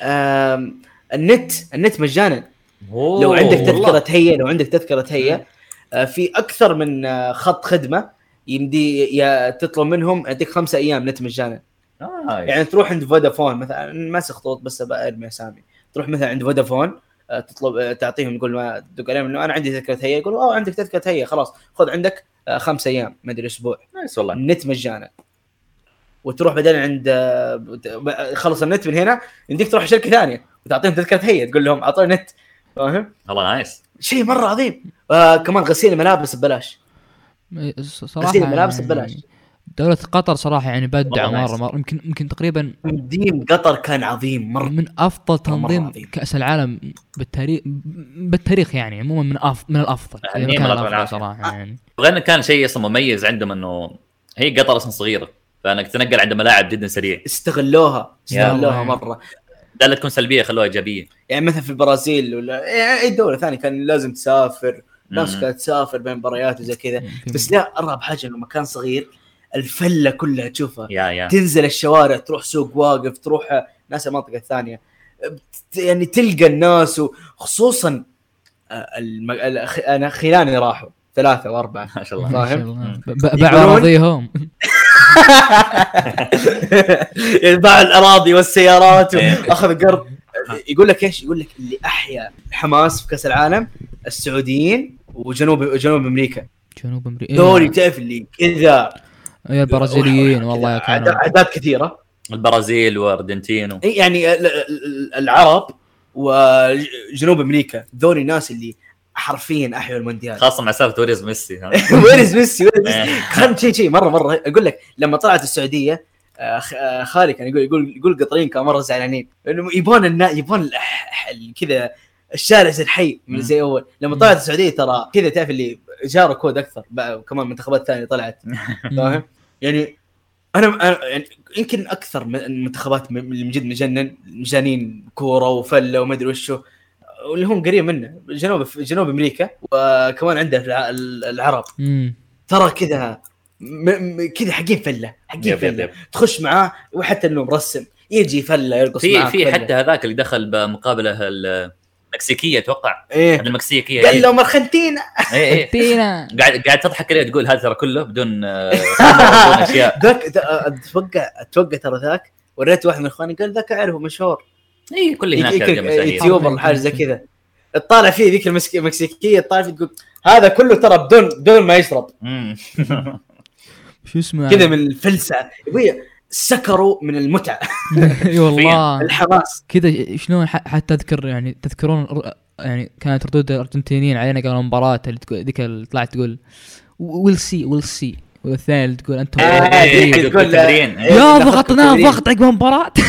A: آم، النت النت مجانا لو
C: أوه،
A: عندك تذكره
C: والله.
A: هيا لو عندك تذكره هيا آه، في اكثر من آه، خط خدمه يمدي يا تطلب منهم يعطيك خمسة ايام نت مجانا
C: نايس.
A: يعني تروح عند فودافون مثلا ماسك خطوط بس أبقى ارمي اسامي تروح مثلا عند فودافون آه، تطلب آه، تعطيهم تقول ما تدق عليهم انه انا عندي تذكره هيا يقولوا اه عندك تذكره هيا خلاص خذ عندك آه، خمسة ايام ما ادري اسبوع
C: نايس والله
A: النت مجانا وتروح بعدين عند آه، ب- خلص النت من هنا يمديك تروح شركه ثانيه وتعطيهم تذكره هي تقول لهم اعطوني نت فاهم؟
C: والله نايس
A: شيء مره عظيم آه كمان غسيل الملابس ببلاش
D: إيه، ص- صراحة
A: غسيل الملابس
D: يعني
A: ببلاش
D: دولة قطر صراحة يعني بدعوا
C: والله
D: مرة
C: نايس.
D: مرة يمكن يمكن تقريبا
A: تنظيم قطر كان عظيم مره
D: من افضل تنظيم
A: عظيم.
D: كاس العالم بالتاريخ بالتاريخ يعني عموما من أف... من الافضل
A: يعني
C: أهلاً
D: إذا
C: بكم
D: ما كان
C: الله
D: الافضل
C: بالعافية.
A: آه.
D: صراحه يعني
C: وغير انه كان شيء اصلا مميز عندهم انه هي قطر اصلا صغيره فانك تنقل عند ملاعب جدا سريع
A: استغلوها استغلوها
D: الله.
A: مره
C: لا لا تكون سلبيه خلوها ايجابيه
A: يعني مثلا في البرازيل ولا يعني اي دوله ثانيه كان لازم تسافر ناس
C: مم.
A: كانت تسافر بين مباريات وزي كذا
D: في-
A: بس لا ارهب حاجه انه مكان صغير الفله كلها تشوفها
C: يا يا
A: تنزل الشوارع تروح سوق واقف تروح ناس المنطقه الثانيه بت- يعني تلقى الناس وخصوصا آه، الم... ال- أخ- انا خلاني راحوا ثلاثه واربعه
C: ما شاء
D: ما
C: الله
D: شاء
A: فاهم؟
D: الله.
C: مم.
D: ب- ب- باعوا
A: يقولون-
D: اراضيهم
A: يعني باع الاراضي والسيارات
C: إيه.
A: واخذ قرض يقول لك ايش؟ يقول لك اللي احيا حماس في كاس العالم السعوديين وجنوب جنوب امريكا
D: جنوب امريكا
A: دوري تعرف اللي كذا يعني
D: يا البرازيليين والله
A: عدا-
D: كانوا
A: عادات كثيره
C: البرازيل وارجنتين و...
A: إي يعني ال- ال- ال- العرب وجنوب امريكا ذول الناس اللي حرفيا احيوا المونديال
C: خاصه مع سالفه توريز ميسي ها؟ إيه.
A: وين از ميسي وين إز- كان شيء شيء مره مره اقول لك لما طلعت السعوديه آه، خ- آه، خالي كان يقول يقول يقول القطريين كانوا مره زعلانين انه يبون النا يبون ال- ح- ال- كذا الشارع زي الحي من زي اول لما طلعت السعوديه ترى كذا تعرف اللي جاروا كود اكثر بقى كمان منتخبات ثانيه طلعت فاهم يعني انا أنا- يعني يمكن اكثر من المنتخبات م- اللي من جد مجنن مجانين كوره وفله وما ادري وشو واللي هم قريب منه جنوب جنوب امريكا وكمان عندنا الع- العرب
D: مم.
A: ترى كذا م- م- كذا حقين فله حقين
C: يب يب
A: فله
C: يب.
A: تخش معاه وحتى انه مرسم يجي فله يرقص
C: في
A: معاك
C: في
A: فلة.
C: حتى هذاك اللي دخل بمقابله المكسيكيه اتوقع
A: ايه
C: هذا المكسيكيه
A: قال
C: إيه.
A: لهم ارجنتينا
C: إيه، إيه.
D: تينا
C: قاعد قاعد تضحك عليه تقول هذا ترى كله بدون آه، بدون اشياء
A: ذاك ذا- اتوقع اتوقع ترى ذاك وريت واحد من اخواني قال ذاك اعرفه مشهور
C: اي كل إيه، هناك
A: يك- يك-
C: مشاهير
A: يوتيوبر ولا حاجه زي كذا تطالع فيه ذيك المكس- المكسيكيه تطالع فيه تقول هذا كله ترى بدون بدون ما يشرب
C: مم.
D: شو اسمه
A: كذا من الفلسه يبوي سكروا من المتعه
D: آه. اي والله
A: الحماس
D: كذا شلون ح- حتى اذكر يعني تذكرون الر- يعني كانت ردود الارجنتينيين علينا قبل المباراه اللي تقول ذيك اللي طلعت تقول ويل سي ويل سي والثانيه اللي تقول انتم
C: إيه،
A: آه، تقول-
C: حق التمرين. إيه.
D: يا
A: دخلت
D: ضغطناه
A: التمرين.
D: ضغط عقب المباراة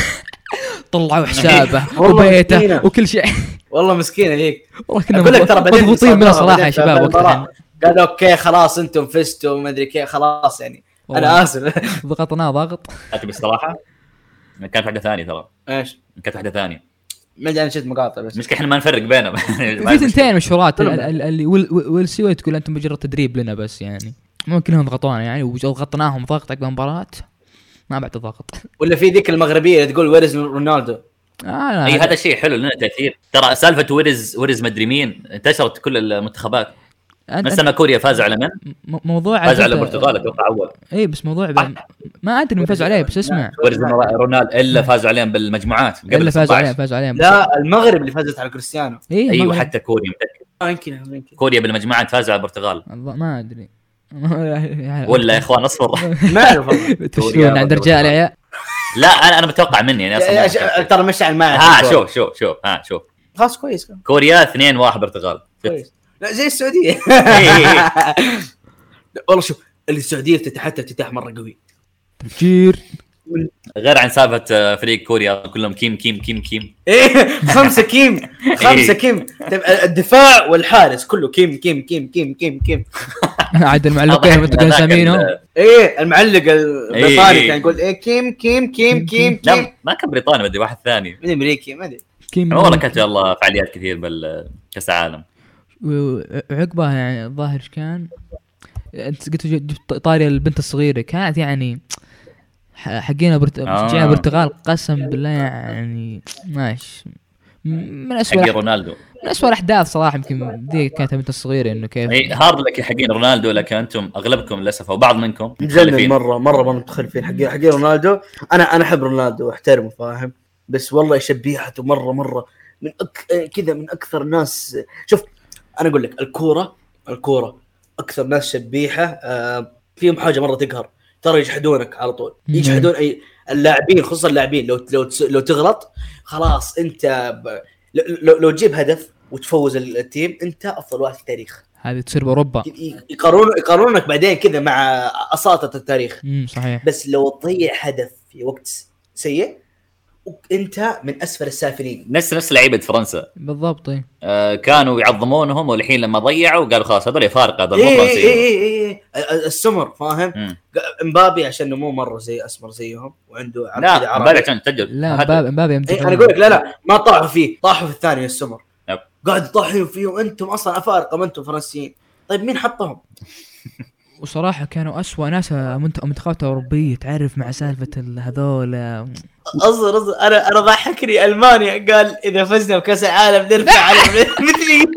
D: طلعوا حسابه
A: والله
D: وبيته
A: مسكينة.
D: وكل شيء
A: والله مسكين هيك
D: والله كنا
A: اقول لك ترى بعدين
D: مضغوطين منه
A: صابوها بعدين
D: صراحه يا
A: في
D: شباب
A: المباراة.
D: وقتها
A: قالوا اوكي خلاص انتم فزتوا وما ادري كيف خلاص يعني انا
D: والله
A: اسف
D: ضغطناه ضغط
C: لكن بصراحه كانت واحده ثانيه ترى
A: ايش
C: كانت واحده ثانيه
A: ما ادري انا شفت مقاطع بس
C: المشكله احنا ما نفرق بينهم يعني
D: في ثنتين مشهورات ال-
A: كلهم.
D: ال- اللي ويل- ويل ويل سيوي تقول انتم مجرد تدريب لنا بس يعني ممكن هم ضغطونا يعني وضغطناهم ضغط عقب المباراة ما بعد ضغط
A: ولا في ذيك المغربيه اللي تقول ويرز رونالدو
D: آه لا،
C: اي هذا الشيء حلو لنا تاثير ترى سالفه ويرز ويرز مدري مين انتشرت كل المنتخبات
D: أنت-
C: نفس لما كوريا فازوا على من؟
D: م- موضوع
C: فازوا على
D: عزيزة-
C: البرتغال اتوقع اول
D: اي بس موضوع ب- ما ادري من فازوا عليه بس اسمع
C: ويرز رونالدو الا فازوا عليهم بالمجموعات قبل
D: الا فازوا
C: 16.
D: عليه فازوا عليه
A: لا أيوة، المغرب اللي فازت على كريستيانو
D: اي
C: ايوه
D: إيه، ما-
C: حتى كوريا متأكد.
A: آه، يمكن يمكن
C: كوريا بالمجموعات فازوا على البرتغال
D: الله ما ادري
C: ولا يا اخوان اصبر
A: ما اعرف والله.
D: تشوفون عند رجال عيال
C: لا انا انا متوقع مني يعني اصلا
A: يا-
C: ما
A: يا-
C: أعرف.
A: ترى مشعل ما يعرف
C: ها
A: الكورة.
C: شوف شوف شوف ها شوف
A: خلاص كويس
C: كوريا 2 1 برتغال
A: كويس لا زي السعوديه
C: إي إي إي.
A: لا، والله شوف السعوديه افتتحتها افتتاح مره قوي
D: تفجير
C: غير عن سالفه آه، فريق كوريا كلهم كيم كيم كيم كيم
A: ايه خمسه كيم خمسه
C: إيه.
A: كيم طيب، الدفاع والحارس كله كيم كم كم كم كم كم
D: عاد المعلقين
C: أضحك من
D: متقن
C: ذاك
D: اساميهم
C: ال-
A: ايه المعلق
C: إيه، نعم.
A: البريطاني
C: إيه.
A: كان يقول ايه كيم كيم كيم كيم كيم
C: لا ما كان بريطاني مدري واحد ثاني
A: من امريكي ما ادري
D: كيم
C: والله كانت والله فعاليات كثير بالكاس العالم
D: وعقبها يعني الظاهر ايش كان؟ انت قلت جبت جبت طاري البنت الصغيره كانت يعني ح- حقين برت...
C: آه.
D: مشجعين البرتغال قسم بالله يعني ماشي م- من اسوء
C: حقين
D: الأح-
C: رونالدو
D: من اسوء الاحداث صراحه يمكن ذي كانت البنت الصغيره انه كيف
C: اي هارد لك يا حقين رونالدو لكن انتم اغلبكم للاسف او بعض منكم
F: مجنن
C: مخلفين.
F: مره مره مره متخلفين حقين حقين رونالدو انا انا احب رونالدو واحترمه فاهم بس والله شبيحته مره مره من أك... كذا من اكثر ناس شوف انا اقول لك الكوره الكوره اكثر ناس شبيحه آه فيهم حاجه مره تقهر ترى يجحدونك على طول
D: مم.
F: يجحدون اي اللاعبين خصوصا اللاعبين لو لو تس- لو تغلط خلاص انت ب... لو- لو لو تجيب هدف وتفوز ال- التيم انت افضل واحد في التاريخ
D: هذه تصير باوروبا
F: يقارون يقارونك بعدين كذا مع اساطه التاريخ
D: امم صحيح
F: بس لو تضيع هدف في وقت سيء انت من اسفل السافلين
C: نفس نفس لعيبه فرنسا
D: بالضبط إيه. اي
C: آه، كانوا يعظمونهم والحين لما ضيعوا قالوا خلاص هذول فارقه هذول مو
A: ايه ايه
C: فرنسيين
A: ايه ايه إيه. السمر فاهم
C: مم.
A: امبابي عشان مو مره زي اسمر زيهم وعنده عرض كذا
C: لا
A: عربي.
C: امبابي عشان تسجل
D: لا
C: هدف.
D: مبابي مبابي
A: إيه انا اقول لك لا لا ما طاحوا فيه طاحوا في الثاني السمر
C: يب.
A: قاعد يطاحون فيهم انتم اصلا افارقه ما انتم فرنسيين طيب مين حطهم؟
D: وصراحة كانوا أسوأ ناس منت- منتخبات أوروبية تعرف مع سالفة ال- هذول
A: اصبر اصبر انا انا ضحكني المانيا قال اذا فزنا بكاس العالم نرفع على مثلي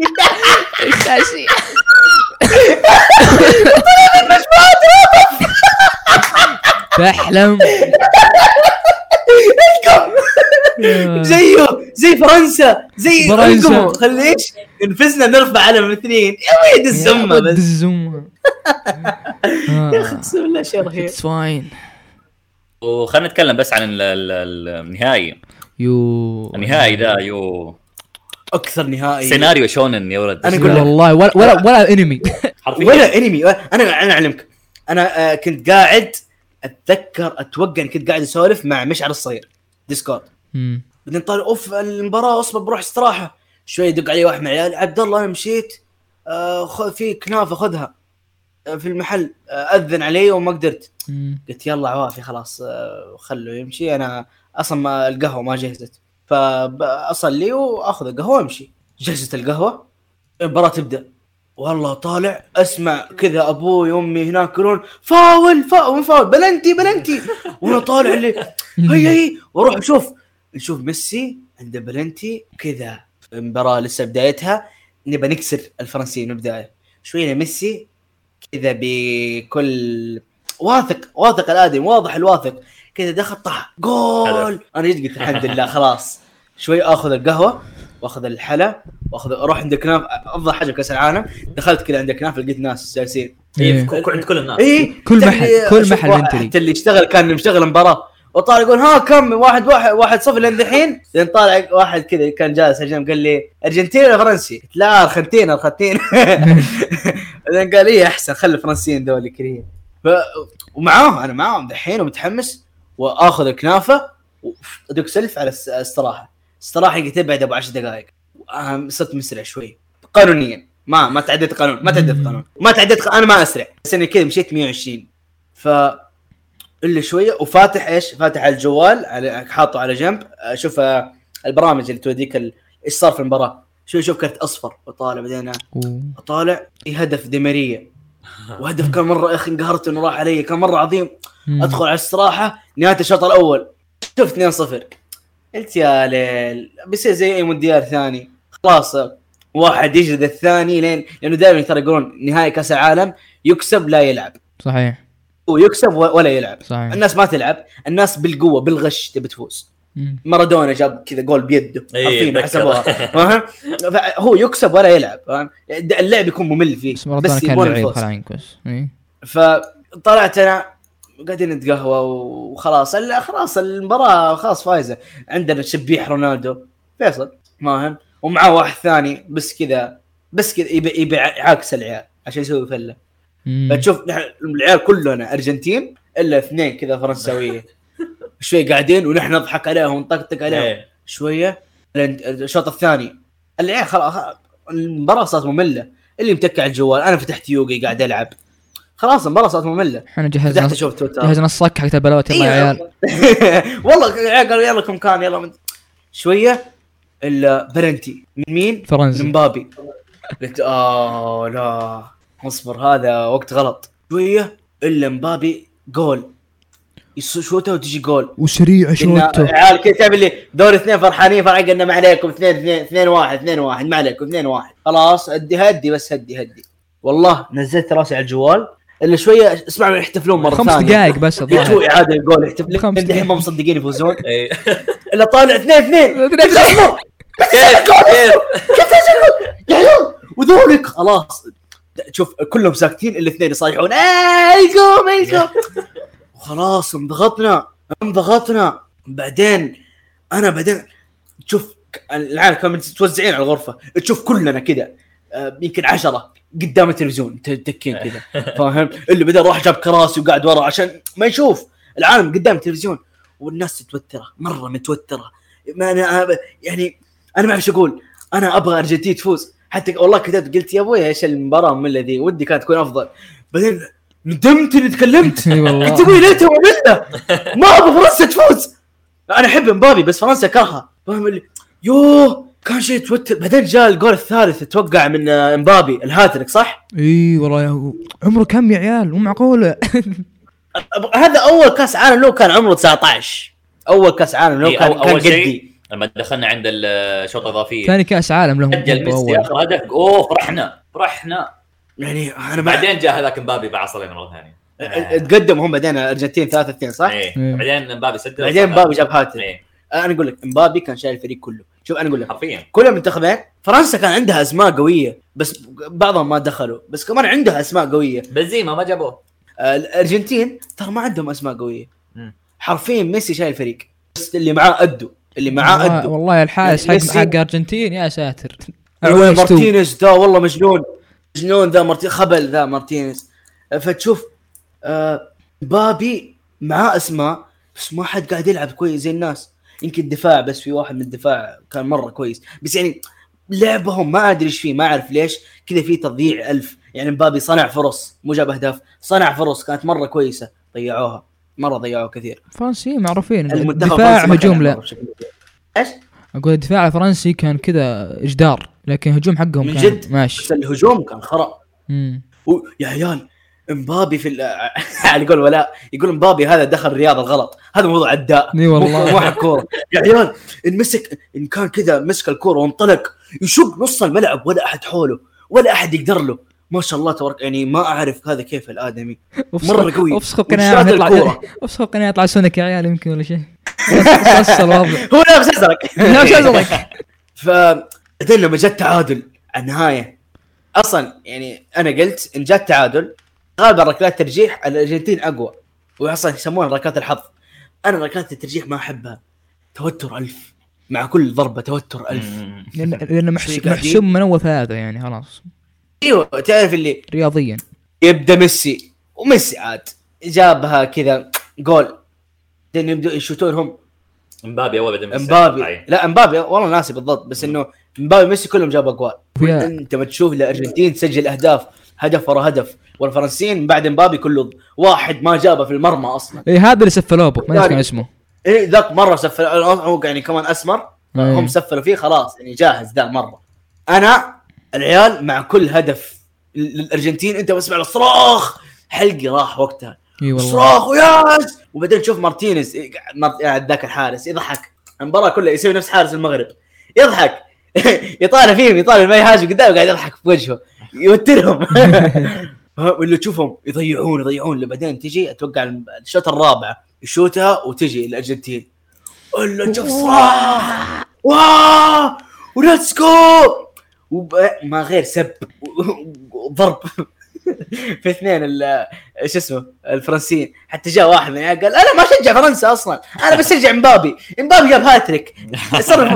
D: تحلم يا-
A: زيه زي فرنسا زي
D: فرنسا.
A: فرنسا خليش ان فزنا نرفع على مثلين يا ويد الزمه
D: يا
A: بس
D: الزمة
A: اقسم بالله شيء رهيب
D: اتس فاين
C: وخلنا نتكلم بس عن ال- ال- ال- النهائي
D: يو
C: النهائي ذا يو
A: اكثر نهائي
C: سيناريو شونن يا ولد
A: طيب. أنا
D: أنا
A: أقول لك.
D: والله ولا ولا ولا انمي
C: حرفيا
A: ولا انمي ولا- انا انا اعلمك انا آه، كنت قاعد اتذكر اتوقع إن كنت قاعد اسولف مع مشعل الصغير ديسكورد
D: أمم.
A: بعدين طالع اوف المباراه اصبر بروح استراحه شوي يدق علي واحد من عيالي عبد الله انا مشيت آه خ- في كنافه خذها آه، في المحل آه، اذن علي وما قدرت
D: أمم.
A: قلت يلا عوافي خلاص آه، خله يمشي انا اصلا ما القهوه ما جهزت فاصلي واخذ القهوه وامشي جهزت القهوه المباراه تبدا والله طالع اسمع كذا ابوي وامي هناك يقولون فاول فاول فاول بلنتي بلنتي وانا طالع اللي هي هي واروح اشوف نشوف ميسي عنده بلنتي كذا المباراه لسه بدايتها نبى نكسر الفرنسيين من البدايه شوينا ميسي كذا بكل واثق واثق الادمي واضح الواثق كذا دخل طاح جول انا جد قلت الحمد لله خلاص شوي اخذ القهوه واخذ الحلا واخذ اروح عند كناف افضل حاجه بكاس العالم دخلت كذا عند كناف لقيت ناس جالسين
D: إيه.
C: عند كل الناس
A: اي
D: كل محل- كل محل أنت لي.
A: حتى اللي اشتغل كان مشتغل مباراه وطالع يقول ها كم واحد واحد واحد صفر لين دحين لين طالع واحد كذا كان جالس جنب قال لي ارجنتين ولا فرنسي؟ قلت لا ارجنتين ارجنتين بعدين قال ايه احسن خلي الفرنسيين دول يكرهين ف... ومعاهم انا معاهم دحين ومتحمس واخذ الكنافه وادق سلف على الس- الصراحه الصراحه يجي تبعد ابو 10 دقائق أهم- صرت مسرع شوي قانونيا ما ما تعديت قانون ما تعديت قانون ما تعديت قانون. انا ما اسرع بس اني كذا مشيت 120 ف الا شويه وفاتح ايش؟ فاتح على الجوال على حاطه على جنب اشوف آه، البرامج اللي توديك ال- ايش صار في المباراه شو اشوف كرت اصفر وطالع بعدين
D: و-
A: اطالع في هدف ديماريا وهدف كان مره يا اخي انقهرت انه راح علي كان مره عظيم
D: مم.
A: ادخل على الاستراحه نهايه الشوط الاول شفت 2-0 قلت يا ليل بيصير زي اي مونديال ثاني خلاص واحد يجلد الثاني لين لانه دائما ترى يقولون نهائي كاس العالم يكسب لا يلعب
D: صحيح
A: ويكسب و- ولا يلعب
D: صحيح
A: الناس ما تلعب الناس بالقوه بالغش تبي تفوز
D: مم.
A: مارادونا جاب كذا جول بيده
C: إيه،
A: حرفيا
C: أتذكر.
A: حسبوها فاهم هو يكسب ولا يلعب فاهم اللعب يكون ممل فيه
D: بس مارادونا كان
A: يبون
D: لعيب
A: الفوز.
D: خل عينك بس إيه.
A: فطلعت انا قاعدين نتقهوى وخلاص ال- خلاص المباراه خلاص فايزه عندنا شبيح رونالدو فيصل ماهم ومعاه واحد ثاني بس كذا بس كذا يبي يبي عاكس العيال عشان يسوي فله
D: مم.
A: فتشوف نحن العيال كلنا ارجنتين الا اثنين كذا فرنساويه شوي قاعدين ونحن نضحك عليهم ونطقطق عليهم
C: إيه.
A: شويه لين الشوط الثاني العيال خلاص خلاص- المباراه صارت ممله اللي متكي على الجوال انا فتحت يوغي قاعد العب خلاص المباراه صارت ممله
D: احنا جهزنا
A: فتحت اشوف تويتر
D: جهزنا الصك حق البلوت يلا يا
A: إيه.
D: عيال
A: والله العيال قالوا يلا كم كان يلا من... شويه الا بلنتي من مين؟
D: فرنسي
A: مبابي قلت اه لا اصبر هذا وقت غلط شويه الا مبابي جول يص- شوته وتجي جول
D: وسريع
A: قلنا عيال كذا تعمل لي دور اثنين فرحانين فرحانين قلنا ما عليكم اثنين اثنين اثنين واحد اثنين واحد ما عليكم اثنين واحد خلاص هدي هدي بس هدي هدي والله نزلت راسي على الجوال الا شويه اسمعوا يحتفلون مره
D: خمس
A: ثانيه
D: دقائق بس الظاهر
A: يجوا اعاده الجول يحتفلون
D: خمس
A: الحين
D: دقايق.
A: ما مصدقين يفوزون
C: إيه.
A: الا طالع اثنين اثنين اصبر يا عيال وذولك خلاص شوف كلهم ساكتين الاثنين يصيحون ايكم ايكم خلاص انضغطنا انضغطنا بعدين انا بعدين تشوف ك- العيال كانوا متوزعين على الغرفه تشوف كلنا كذا آه، يمكن عشرة قدام التلفزيون تكين كذا فاهم اللي بدا راح جاب كراسي وقاعد ورا عشان ما يشوف العالم قدام التلفزيون والناس متوتره مره متوتره ما انا أنا- يعني انا ما اعرف شو اقول انا ابغى ارجنتين تفوز حتى والله كتبت قلت يا ابوي ايش المباراه من الذي ودي كانت تكون افضل بعدين ندمت اني تكلمت
D: إي
A: انت ابوي
D: والله
A: ليته ومله ما ابغى فرنسا تفوز انا احب مبابي بس فرنسا كرهها فاهم اللي يوه كان شيء توتر بعدين جاء الجول الثالث اتوقع من آه، مبابي الهاتريك صح؟
D: اي والله يا هو. عمره كم يا عيال مو معقوله
A: إيه. أب- هذا اول كاس عالم له كان عمره 19 اول كاس عالم له
C: إيه،
A: كان
C: أول-
A: كان
C: أول شيء
A: قدي
C: لما دخلنا عند الشوط الاضافيه
D: ثاني كاس عالم لهم
C: سجل
D: ضربة
C: ميسي
D: اول
C: اخر هدف اوه فرحنا فرحنا
A: يعني انا ما
C: بعدين جاء هذاك مبابي باع علينا مره ثانيه آه.
A: تقدم هم بعدين الارجنتين 3 2 صح؟
C: إيه.
D: إيه.
C: بعدين مبابي سجل
A: بعدين
C: وصل.
A: مبابي جاب هاتريك.
C: إيه.
A: انا اقول لك مبابي كان شايل الفريق كله شوف انا اقول لك
C: حرفيا
A: كل المنتخبين فرنسا كان عندها اسماء قويه بس بعضهم ما دخلوا بس كمان عندها اسماء قويه
C: بنزيما ما جابوه
A: آه، الارجنتين ترى ما عندهم اسماء قويه
C: مم.
A: حرفيا ميسي شايل الفريق بس اللي معاه ادوا اللي معاه
D: والله-
A: ادوا
D: والله الحارس حق
A: ميسي.
D: حق ارجنتين يا ساتر
A: والله
D: عويش تو.
A: مارتينيز ذا والله مجنون مجنون ذا مارتينيز خبل ذا مارتينيز أه، فتشوف آه بابي معاه اسماء بس ما حد قاعد يلعب كويس زي الناس يمكن الدفاع بس في واحد من الدفاع كان مره كويس بس يعني لعبهم ما ادري ايش فيه ما اعرف ليش كذا في تضييع الف يعني مبابي صنع فرص مو جاب اهداف صنع فرص كانت مره كويسه ضيعوها مره ضيعوها كثير
D: فرنسيين معروفين
A: المنتخب
D: دفاع
A: الفرنسي ما كان
D: هجوم
A: يلعب
D: لا
A: بشكل كبير.
D: اقول الدفاع الفرنسي كان كذا اجدار لكن هجوم حقهم
A: من
D: كان
A: جد. بس
D: ماشي
A: الهجوم كان خرا
D: مم.
A: و- يا عيال امبابي في ال- على قول ولاء يقول امبابي هذا دخل الرياضه الغلط هذا موضوع عداء
D: اي والله
A: مو حق كوره يا عيال ان مسك ان كان كذا مسك الكوره وانطلق يشق نص الملعب ولا احد حوله ولا احد يقدر له ما شاء الله تبارك يعني ما اعرف هذا كيف الادمي مره قوي
D: افسخوا
A: وشاط
D: القناة يطلع
A: الكورة.
D: افسخوا القناة يطلع سونك يا عيال يمكن ولا شيء وصل الوضع
A: هو لابس ازرق
D: نفس ازرق
A: فبعدين لما جاء التعادل على النهايه اصلا يعني انا قلت ان جاء التعادل غالبا ركلات ترجيح الارجنتين اقوى واصلا يسمونها ركلات الحظ انا ركلات الترجيح ما احبها توتر الف مع كل ضربه توتر الف
C: مم.
D: لان لان محس-
A: قاعدين.
D: محسوم من اول ثلاثه يعني خلاص
A: ايوه تعرف اللي
D: رياضيا
A: يبدا ميسي وميسي عاد جابها كذا جول بعدين يبدأ يشوتون هم
C: مبابي اول بعدين ميسي.
A: امبابي
C: أي.
A: لا امبابي والله ناسي بالضبط بس انه امبابي ميسي كلهم جابوا اجوال
D: فيها-
A: انت ما تشوف الارجنتين تسجل اهداف هدف ورا هدف والفرنسيين بعد امبابي كله واحد ما جابه في المرمى اصلا
D: اي هذا اللي سفلوه ابوك ما ادري إيش كان اسمه
A: إيه ذاك مره سفل هو يعني كمان اسمر
D: إيه.
A: هم سفلوا فيه خلاص يعني جاهز ذا مره انا العيال مع كل هدف لل- للارجنتين انت بسمع الصراخ حلقي راح وقتها
D: اي والله
A: صراخ وياس وبعدين تشوف مارتينيز قاعد- مارت- قاعد ذاك الحارس يضحك المباراه كلها يسوي نفس حارس المغرب يضحك يطالع فيهم يطالع ما يهاجم قدامه قاعد يضحك في وجهه يوترهم واللي تشوفهم يضيعون يضيعون اللي بعدين تجي اتوقع الم- الشوط الرابع يشوتها وتجي الارجنتين الا تشوف صراخ واه وليتس جو وب- ما غير سب وضرب في اثنين ال- شو اسمه الفرنسيين حتى جاء واحد من العيال قال انا ما اشجع فرنسا اصلا انا بشجع مبابي مبابي جاب هاتريك صرف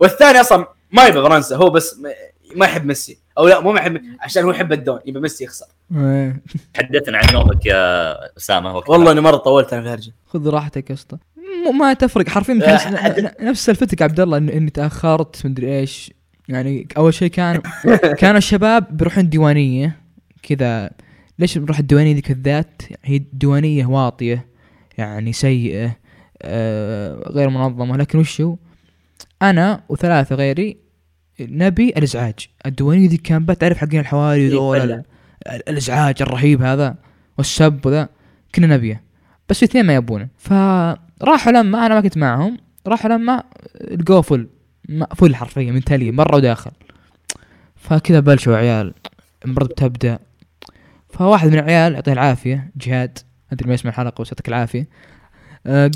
A: والثاني اصلا ما يبغى فرنسا هو بس ما- ما يحب ميسي او لا مو ما يحب عشان هو يحب الدون يبغى ميسي يخسر
D: إيه.
C: تحدثنا عن يومك يا اسامه وقتها.
A: والله اني مره طولت انا في هرجه
D: خذ راحتك يا اسطى م- ما تفرق حرفيا
A: آه،
D: نفس-
A: حد-
D: ن- نفس سالفتك عبد الله إن- اني تاخرت مدري ايش يعني اول شيء كان كانوا الشباب بيروحون ديوانيه كذا ليش بنروح الديوانيه ذيك الذات هي ديوانيه واطيه يعني سيئه آه غير منظمه لكن وش هو؟ انا وثلاثه غيري نبي الازعاج الديوانيه ذيك كان بقى تعرف حقين الحواري ذول
A: بلى.
D: ال- الازعاج الرهيب هذا والسب وذا كنا نبيه بس الاثنين ما يبونه فراحوا لما انا ما كنت معهم راحوا لما لقوه فل ما- فل حرفيا من تالي مره وداخل فكذا بلشوا عيال المباراة بتبدا فواحد من العيال يعطيه العافيه جهاد ادري ما يسمع الحلقه بس يعطيك العافيه أه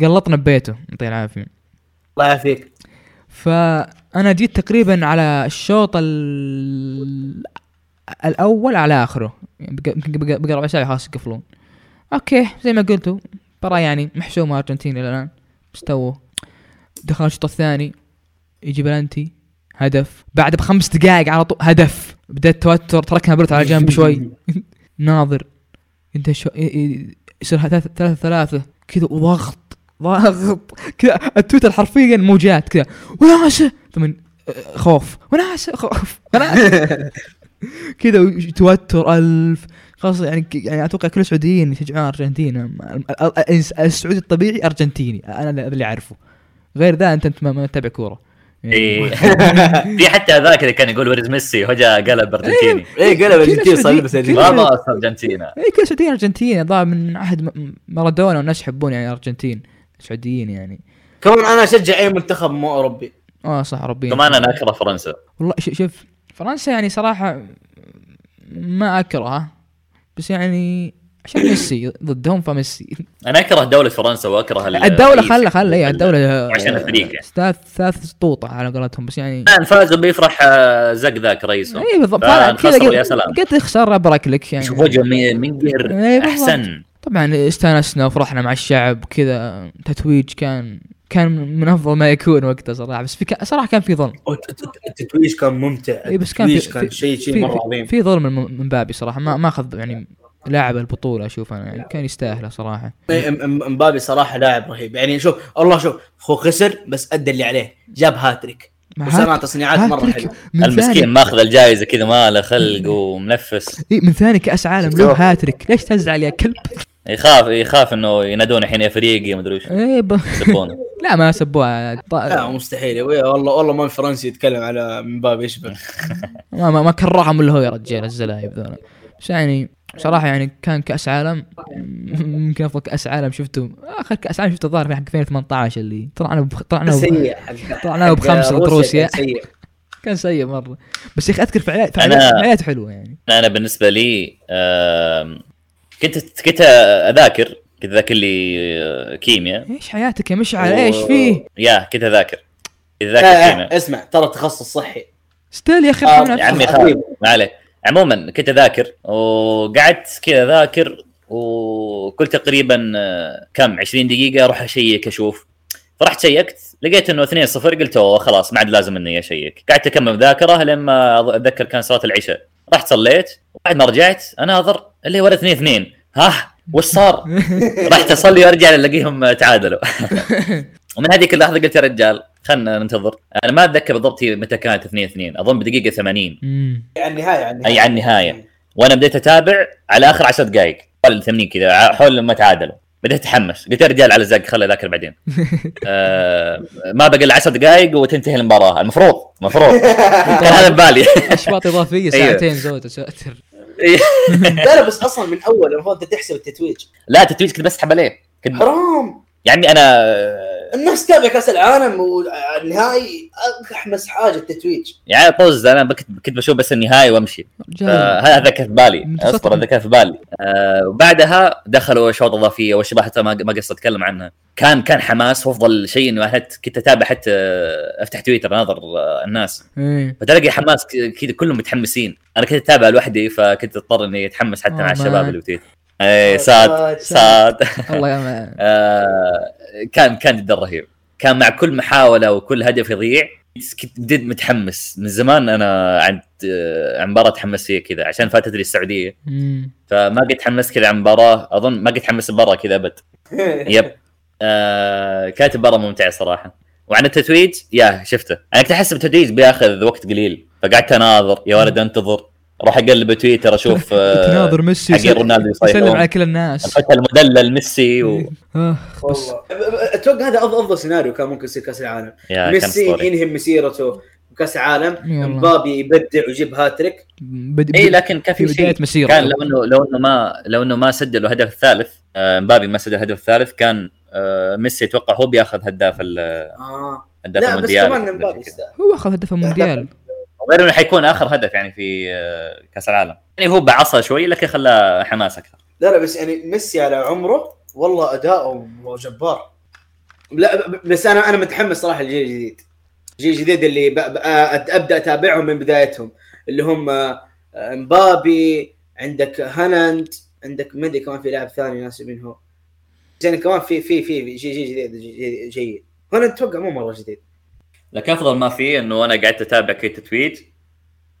D: قلطنا ببيته يعطيه العافيه
A: الله يعافيك
D: فانا جيت تقريبا على الشوط ال... الاول على اخره يعني بق- يمكن بق- بقى ربع ساعه خلاص يقفلون اوكي زي ما قلتوا برا يعني محسومه ارجنتين الى الان بس تو دخل الشوط الثاني يجي بلانتي هدف بعد بخمس دقائق على طول هدف بدا التوتر تركنا برت على جنب شوي ناظر انت شو ي- ي- يصير ثلاثة ثلاثة ثلاثة كذا ضغط ضغط كذا التويتر حرفيا موجات كذا وناسه ثم آه، خوف وناسه خوف وناسه كذا وش- توتر الف خلاص يعني ك- يعني اتوقع كل السعوديين يشجعون ارجنتين الم- ال- ال- السعودي الطبيعي ارجنتيني انا اللي- اللي اعرفه غير ذا انت انت ما- ما تتابع كوره يعني
C: إيه. في حتى هذاك اللي كان يقول ويرز ميسي هو جاء قلب ارجنتيني
A: ايه
D: كل
A: قلب الجنتين
D: السعوديين-
A: صار يلبس
D: كل-
A: الجنتين.
C: ما باص ارجنتينا
D: اي إيه، كل السعوديين ارجنتين الظاهر من عهد م- مارادونا والناس يحبون يعني ارجنتين سعوديين يعني
A: كمان انا اشجع اي منتخب مو اوروبي
D: اه صح ربي
C: كمان انا اكره فرنسا
D: والله ش- شوف فرنسا يعني صراحه ما اكرهها بس يعني عشان ميسي ضدهم فميسي
C: انا اكره دوله فرنسا واكره ال-
D: الدوله
C: الرئيس.
D: خله خله اي الدوله
C: آه، عشان الفريق يعني.
D: ثلاث آه، ثلاث سطوطه على قولتهم بس يعني
C: الان فاز بيفرح آه، زق ذاك رئيسهم
D: اي بالضبط
C: فعلا
D: فعلا كذا
C: خسروا يا
D: قلت-
C: سلام.
D: قلت اخسر ابرك لك يعني
C: شوف وجه مي- منقهر
D: إيه، بالضبط.
C: احسن
D: طبعا استانسنا وفرحنا مع الشعب كذا تتويج كان كان من افضل ما يكون وقتها صراحه بس في كا- صراحه كان في ظلم
A: التتويج كان ممتع
D: اي إيه، بس كان في
A: التتويج كان شيء شيء مره عظيم
D: في ظلم من من بابي صراحه ما ما اخذ يعني لاعب البطوله اشوف انا يعني كان يستاهله صراحه
A: إيه، م- م- مبابي صراحه لاعب رهيب يعني شوف الله شوف هو خسر بس ادى اللي عليه جاب هاتريك
D: مع
A: وصنع
D: هات-
A: تصنيعات مره
D: هاتريك
A: حلوه
D: من
C: المسكين
D: ثاني
C: ماخذ الجائزه كذا ما له خلق ومنفس
D: إيه من ثاني كاس عالم له هاتريك ليش تزعل يا كلب؟
C: يخاف يخاف انه ينادون الحين يا فريقي ما ادري وش
D: إيه ب...
C: يسبونه
D: لا ما سبوها ط-
A: لا مستحيل والله والله ما فرنسي يتكلم على مبابي يشبه
D: ما ما, ما كرههم اللي هو يا رجال الزلايب ذولا بس يعني صراحه يعني كان كاس عالم يمكن افضل كاس عالم شفته اخر كاس عالم شفته الظاهر في حق 2018 اللي طلعنا بخ... طلعنا بخ...
A: سيء
D: طلعنا بخمسه ضد روسيا
A: سيء
D: كان سيء مره بس يا اخي اذكر فعاليات
C: أنا-
D: فعاليات فعاليات حلوه يعني
C: انا بالنسبه لي آم، كنت كنت اذاكر كنت اذاكر لي آه، كيمياء
D: ايش حياتك يا مشعل ايش فيه؟
C: يا كنت اذاكر كنت اذاكر كيمياء
A: آه اسمع ترى تخصص صحي
D: ستيل يا اخي
A: آه،
D: الحين
C: يا عمي
D: نفسه.
C: خالد ما عليه عموما كنت اذاكر وقعدت كذا اذاكر وكل تقريبا آه، كم 20 دقيقه اروح اشيك اشوف فرحت شيكت لقيت انه 2 0 قلت اوه خلاص ما عاد لازم اني اشيك قعدت اكمل ذاكره لما أظ- اتذكر كان صلاه العشاء رحت صليت وبعد ما رجعت اناظر اللي ولا 2 2 ها وش صار؟ رحت اصلي وارجع الاقيهم آه، تعادلوا ومن هذيك اللحظه قلت يا رجال خلنا ننتظر انا ما اتذكر بالضبط هي متى كانت 2 2 اظن بدقيقه 80
D: امم
A: على النهايه على النهايه
C: اي على النهايه وانا بديت اتابع على اخر 10 دقائق حول 80 كذا ع- حول ما تعادلوا بديت اتحمس قلت يا رجال على الزق خلي ذاكر بعدين آه ما بقى الا 10 دقائق وتنتهي المباراه المفروض المفروض كان هذا ببالي
D: اشواط اضافيه
C: أيوه.
D: ساعتين زود يا ساتر
A: لا لا بس اصلا من اول المفروض انت تحسب التتويج
C: لا تتويج كنت بسحب عليه كنت
A: حرام
C: يا عمي انا آه،
A: الناس تتابع كاس العالم والنهائي احمس حاجه التتويج
C: يعني طز انا بك- كنت بشوف بس النهايه وامشي
D: رجال
C: فهذا هذا كان في بالي
D: متسطر.
C: اصبر هذا كان في بالي آه وبعدها دخلوا اشواط اضافيه واشياء حتى ما ما قصرت اتكلم عنها كان كان حماس وافضل شيء انه حت- كنت اتابع حتى آه، افتح تويتر اناظر آه، الناس
D: ايه
C: فتلاقي حماس ك- كذا كلهم متحمسين انا كنت اتابع لوحدي فكنت اضطر اني اتحمس حتى مع
D: آه،
C: الشباب
D: مان.
C: اللي إيه، بتويتر اي ساد ساد
D: الله يا ما-
C: آه، كان كان جدا رهيب كان مع كل محاوله وكل هدف يضيع كنت جد متحمس من زمان انا عن آه، عن مباراه اتحمس فيها كذا عشان فاتت لي السعوديه
D: مم.
C: فما قد تحمست كذا عن مباراه اظن ما قد تحمست مباراه كذا ابد يب آه كانت مباراه ممتعه صراحه وعن التتويج يا شفته انا كنت احس التتويج بياخذ وقت قليل فقعدت اناظر يا ولد انتظر راح اقلب تويتر اشوف آه،
D: تناظر ميسي
C: حق رونالدو
D: يسلم على
C: يصيح
D: كل الناس
C: الفتى المدلل ميسي و...
D: آه، بس
A: والله اتوقع هذا افضل افضل سيناريو كان ممكن يصير كاس العالم
C: يا آه، كان
A: ميسي
C: اسطوري
A: ينهي مسيرته بكاس العالم
D: إي والله.
A: مبابي يبدع ويجيب هاتريك
D: بد...
C: اي إيه، لكن كان
D: في
C: في شيء
D: بدايه مسيرته
C: كان لو انه لو انه ما لو انه ما سجل الهدف الثالث آه، مبابي ما سجل الهدف الثالث كان آه، ميسي اتوقع هو بياخذ هداف ال-
A: اه
C: هداف
A: لا بس
C: المونديال
A: كمان مبابي يستاهل
D: هو اخذ هدف المونديال
C: غير انه حيكون اخر هدف يعني في آه، كاس العالم يعني هو بعصى شوي لكن خلاه حماس اكثر
A: لا لا بس يعني ميسي على عمره والله اداؤه جبار لا ب- بس انا انا متحمس صراحه للجيل الجديد الجيل الجديد اللي ب- ب- أت- ابدا اتابعهم من بدايتهم اللي هم آه، آه، مبابي عندك هالاند عندك مدري كمان في لاعب ثاني ناسي مين هو بس يعني كمان في في في في جيل جيل جديد جيل- جيل- جيد هالاند اتوقع مو مره جديد
C: لكن افضل ما فيه انه انا قعدت اتابع كي تتويت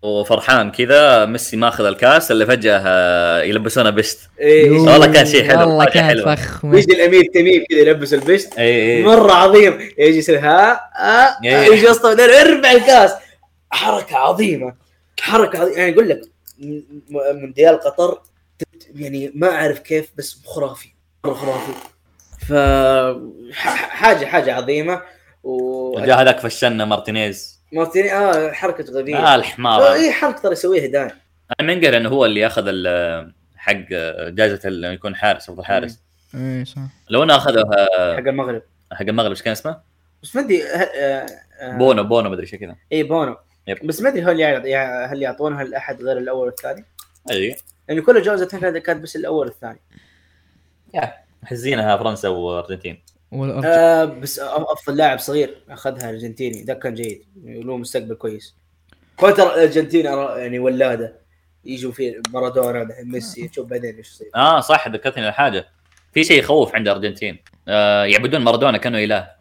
C: وفرحان كذا ميسي ماخذ الكاس اللي فجاه آه، يلبسونه بشت
A: إيه،
D: يوه.
C: والله كان شيء حلو،
D: والله
C: حاجة
D: كانت
C: حلوة.
D: فخمه
A: يجي الامير تميم كذا يلبس البشت
C: اي اي
A: مره عظيم يجي يصير ها آه، آه،
C: إيه.
A: يجي اصلا اربع الكاس حركه عظيمه حركه عظيمه يعني اقول لك م- م- مونديال قطر تت- يعني ما اعرف كيف بس خرافي مره خرافي ف ح- حاجه حاجه عظيمه و
C: وجاء هذاك فشلنا مارتينيز
A: مارتيني اه حركه غبيه
C: اه
A: آه
C: الحمار هذا.
A: اي حركه ترى يسويها دايم
C: انا منقر انه هو اللي اخذ ال- حق جائزه انه يكون حارس افضل حارس
D: ايه صح
C: لو انه اخذه
A: حق المغرب
C: حق المغرب ايش كان اسمه؟
A: بس ما ادري ه- آه، آه،
C: بونو بونو مدري ايش كذا
A: اي بونو
C: يب.
A: بس ما ادري هو اللي يع- هل يعطونها الاحد غير الاول والثاني
C: اي
A: يعني كل جوزتين كانت كانت بس الاول والثاني
C: حزينها فرنسا وارجنتين
D: والارجنتين
A: آه بس أ- افضل لاعب صغير اخذها الارجنتيني ذا كان جيد يعني له مستقبل كويس كوتر الارجنتين أرى- يعني ولاده يجوا فيه مارادونا دحين
D: آه.
A: ميسي تشوف بعدين ايش يصير
C: اه صح ذكرتني الحاجه في شيء يخوف عند الارجنتين آه يعبدون مارادونا كانه اله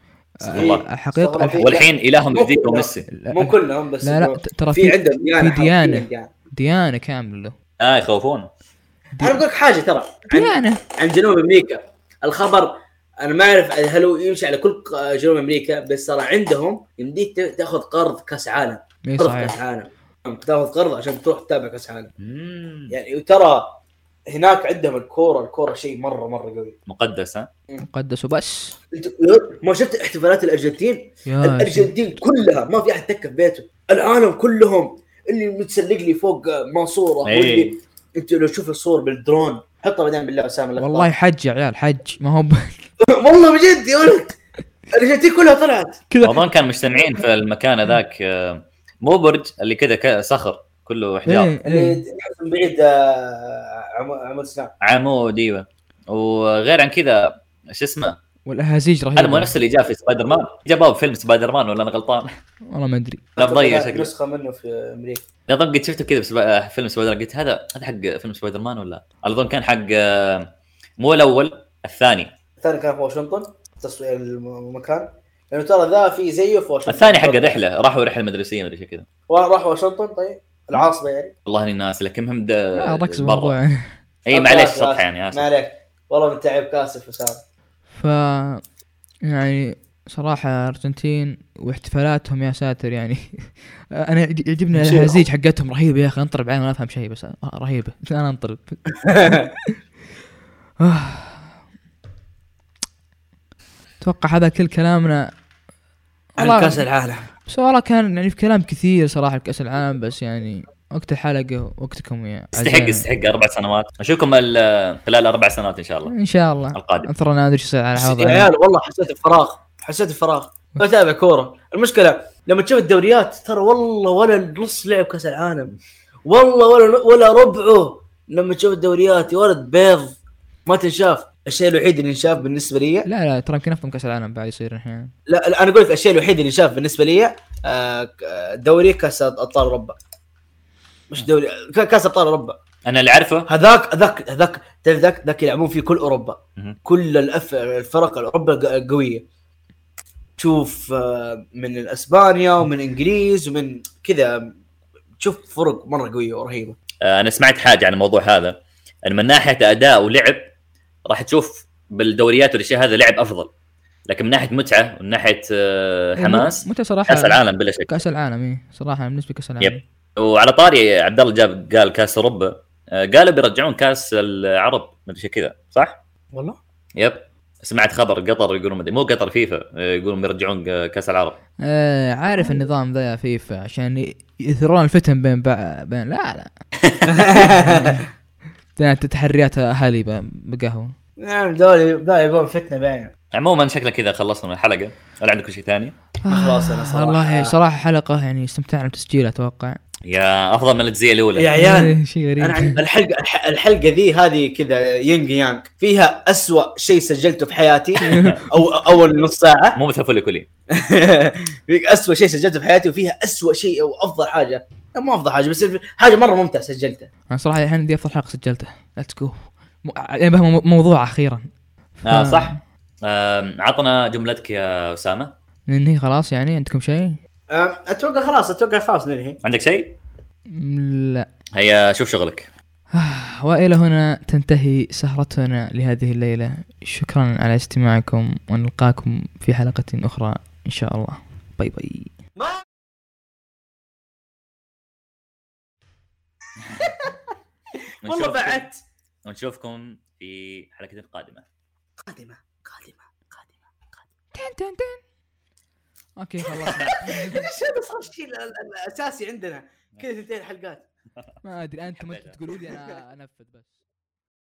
D: آه،
C: والله.
D: حقيقه
A: صغر.
C: والحين الههم يزيد وميسي
A: مو كلهم بس
D: لا لا
A: إنه
D: ترى
A: في
D: في
A: عندهم ديانه
D: في ديانة.
A: حرفياً يعني. ديانه
D: ديانه كامله
C: اه يخوفون
A: انا بقول لك حاجه ترى عن,
D: ديانه
A: عن جنوب امريكا الخبر انا ما اعرف هل هو يمشي على كل ق- جنوب امريكا بس ترى عندهم يمديك ت- تاخذ قرض كاس عالم
D: اي
A: قرض كاس
D: إيه، صحيح
A: عالم تاخذ قرض عشان تروح تتابع كاس عالم يعني وترى هناك عندهم الكوره الكوره شيء مره مره قوي
C: مقدس ها
D: مقدس وبس
A: أنت- ما شفت احتفالات الارجنتين
C: آه،
D: يا شيخ.
A: الارجنتين كلها ما في احد تكه في بيته العالم كلهم اللي متسلق لي فوق منصوره
C: إيه.
A: واللي انت لو تشوف الصور بالدرون حطها بعدين بالله اسامه الأخطاء.
D: والله حج يا عيال حج ما هو ب-
A: والله بجد يا ولد الارجنتين كلها طلعت
C: اظن كان مجتمعين في المكان هذاك آه، مو برج اللي كذا ك- صخر كله احجار
D: إيه، إيه.
A: اللي تحس من بعيد آه، عم- عمود سناب
C: عمود ايوه وغير عن إيوه. كذا شو اسمه
D: والاهازيج رهيبه
C: هذا مو نفس اللي جاء في سبايدر مان جابوه في فيلم سبايدر مان ولا انا غلطان
D: والله ما ادري
C: لا مضيع شكله
A: نسخه منه في امريكا
C: لا طب قد شفته كذا في سبا- فيلم سبايدر مان، قلت هذا هذا حق فيلم سبايدر مان ولا اظن كان حق آه، مو الاول الثاني
A: الثاني كان في واشنطن تصوير المكان لانه ترى ذا في زيه في واشنطن
C: الثاني حق الرحله راحوا رحله مدرسيه مدري شو كذا
A: راح واشنطن طيب العاصمه يعني
C: والله اني ناس لكن هم
D: لا
C: ده
D: ركز بالموضوع يعني.
C: اي معليش سطح يعني
A: ما
C: اسف
A: عليك والله من تعب كاسف وسام
D: ف يعني صراحة أرجنتين واحتفالاتهم يا ساتر يعني أنا يعج- يعجبني الهزيج حقتهم رهيبة يا أخي أنطرب عين ما أفهم شيء بس آه، رهيبة أنا أنطرب آه. أتوقع هذا كل كلامنا والله-
H: على كاس العالم
D: بس والله كان يعني في كلام كثير صراحة لكأس العالم بس يعني وقت الحلقة وقتكم يا
C: يستحق
D: عزيزي.
C: يستحق اربع سنوات اشوفكم ال- خلال اربع سنوات ان شاء الله
D: إن شاء الله
C: القادم
D: أنثر نادر شو يصير على
A: يا
D: هذا
A: عيال والله حسيت بفراغ حسيت بفراغ ما تابع كوره المشكله لما تشوف الدوريات ترى والله ولا نص لعب كاس العالم والله ولا ولا ربعه لما تشوف الدوريات يا ولد بيض ما تنشاف الشيء الوحيد اللي انشاف بالنسبه لي
D: لا لا ترى يمكن أفضل من كأس العالم بعد يصير الحين
A: لا, لا انا اقول لك الشيء الوحيد اللي انشاف بالنسبه لي آه، ك- آه، دوري كاس ابطال اوروبا مش دوري ك- كاس ابطال اوروبا
C: انا اللي اعرفه
A: هذاك هذاك هذاك تعرف ذاك ذاك يلعبون فيه كل اوروبا
C: مهم.
A: كل الأف... الفرق الاوروبا الق- القويه تشوف آه، من اسبانيا ومن انجليز ومن كذا تشوف فرق مره قويه ورهيبه
C: آه، انا سمعت حاجه عن الموضوع هذا ان من ناحيه اداء ولعب راح تشوف بالدوريات والاشياء هذا لعب افضل لكن من ناحيه متعه ومن ناحيه آه، حماس
D: متى صراحة
C: كاس العالم بلا شك
D: كاس العالم إيه، اي صراحه بالنسبه لكاس العالم
C: يب. وعلى طاري عبد الله جاب قال كاس اوروبا آه، قالوا بيرجعون كاس العرب مدري شي كذا صح؟
A: والله
C: يب سمعت خبر قطر يقولون مدري مو قطر فيفا آه، يقولون بيرجعون آه، كاس العرب
D: آه عارف النظام ذا يا فيفا عشان ي- يثيرون الفتن بين بع... بين لا لا كانت تحريات اهالي ب- بقهوه
A: نعم دوري ذا يبون فتنه بعينه
C: عموما شكله كذا خلصنا من الحلقه ولا عندكم شيء ثاني؟
A: خلاص أنا
D: آه،
A: صراحة-
D: والله صراحه حلقه يعني استمتعنا بتسجيلها اتوقع
C: يا افضل من الجزئيه الاولى
A: يا عيال
D: شيء غريب
A: انا عندي الحلقه الح- الحلقه ذي هذه كذا ينج يانج فيها أسوأ شيء سجلته في حياتي او اول نص ساعه
C: مو مثل فولي كولي
A: فيك أسوأ شيء سجلته في حياتي وفيها أسوأ شيء او افضل حاجه لا، مو افضل حاجه بس حاجه مره ممتعه سجلتها
D: انا صراحه الحين دي افضل حلقه سجلتها ليتس جو يعني موضوع اخيرا
C: آه
D: ف-
C: صح آم، عطنا جملتك يا اسامه
D: ننهي خلاص يعني عندكم شيء؟
A: أه، اتوقع خلاص اتوقع خلاص ننهي
C: عندك شيء؟
D: م، لا
C: هيا شوف شغلك
D: والى هنا تنتهي سهرتنا لهذه الليله شكرا على استماعكم ونلقاكم في حلقه اخرى ان شاء الله باي باي
A: والله
C: ونشوفكم-
A: بعدت
C: ونشوفكم في حلقه قادمه
A: قادمه قادمه قادمه
D: اوكي خلاص
A: ايش هذا صار الشيء ال- ال- الاساسي عندنا كذا ثنتين حلقات
D: ما ادري انتم انتم تقولوا لي انا انفذ بس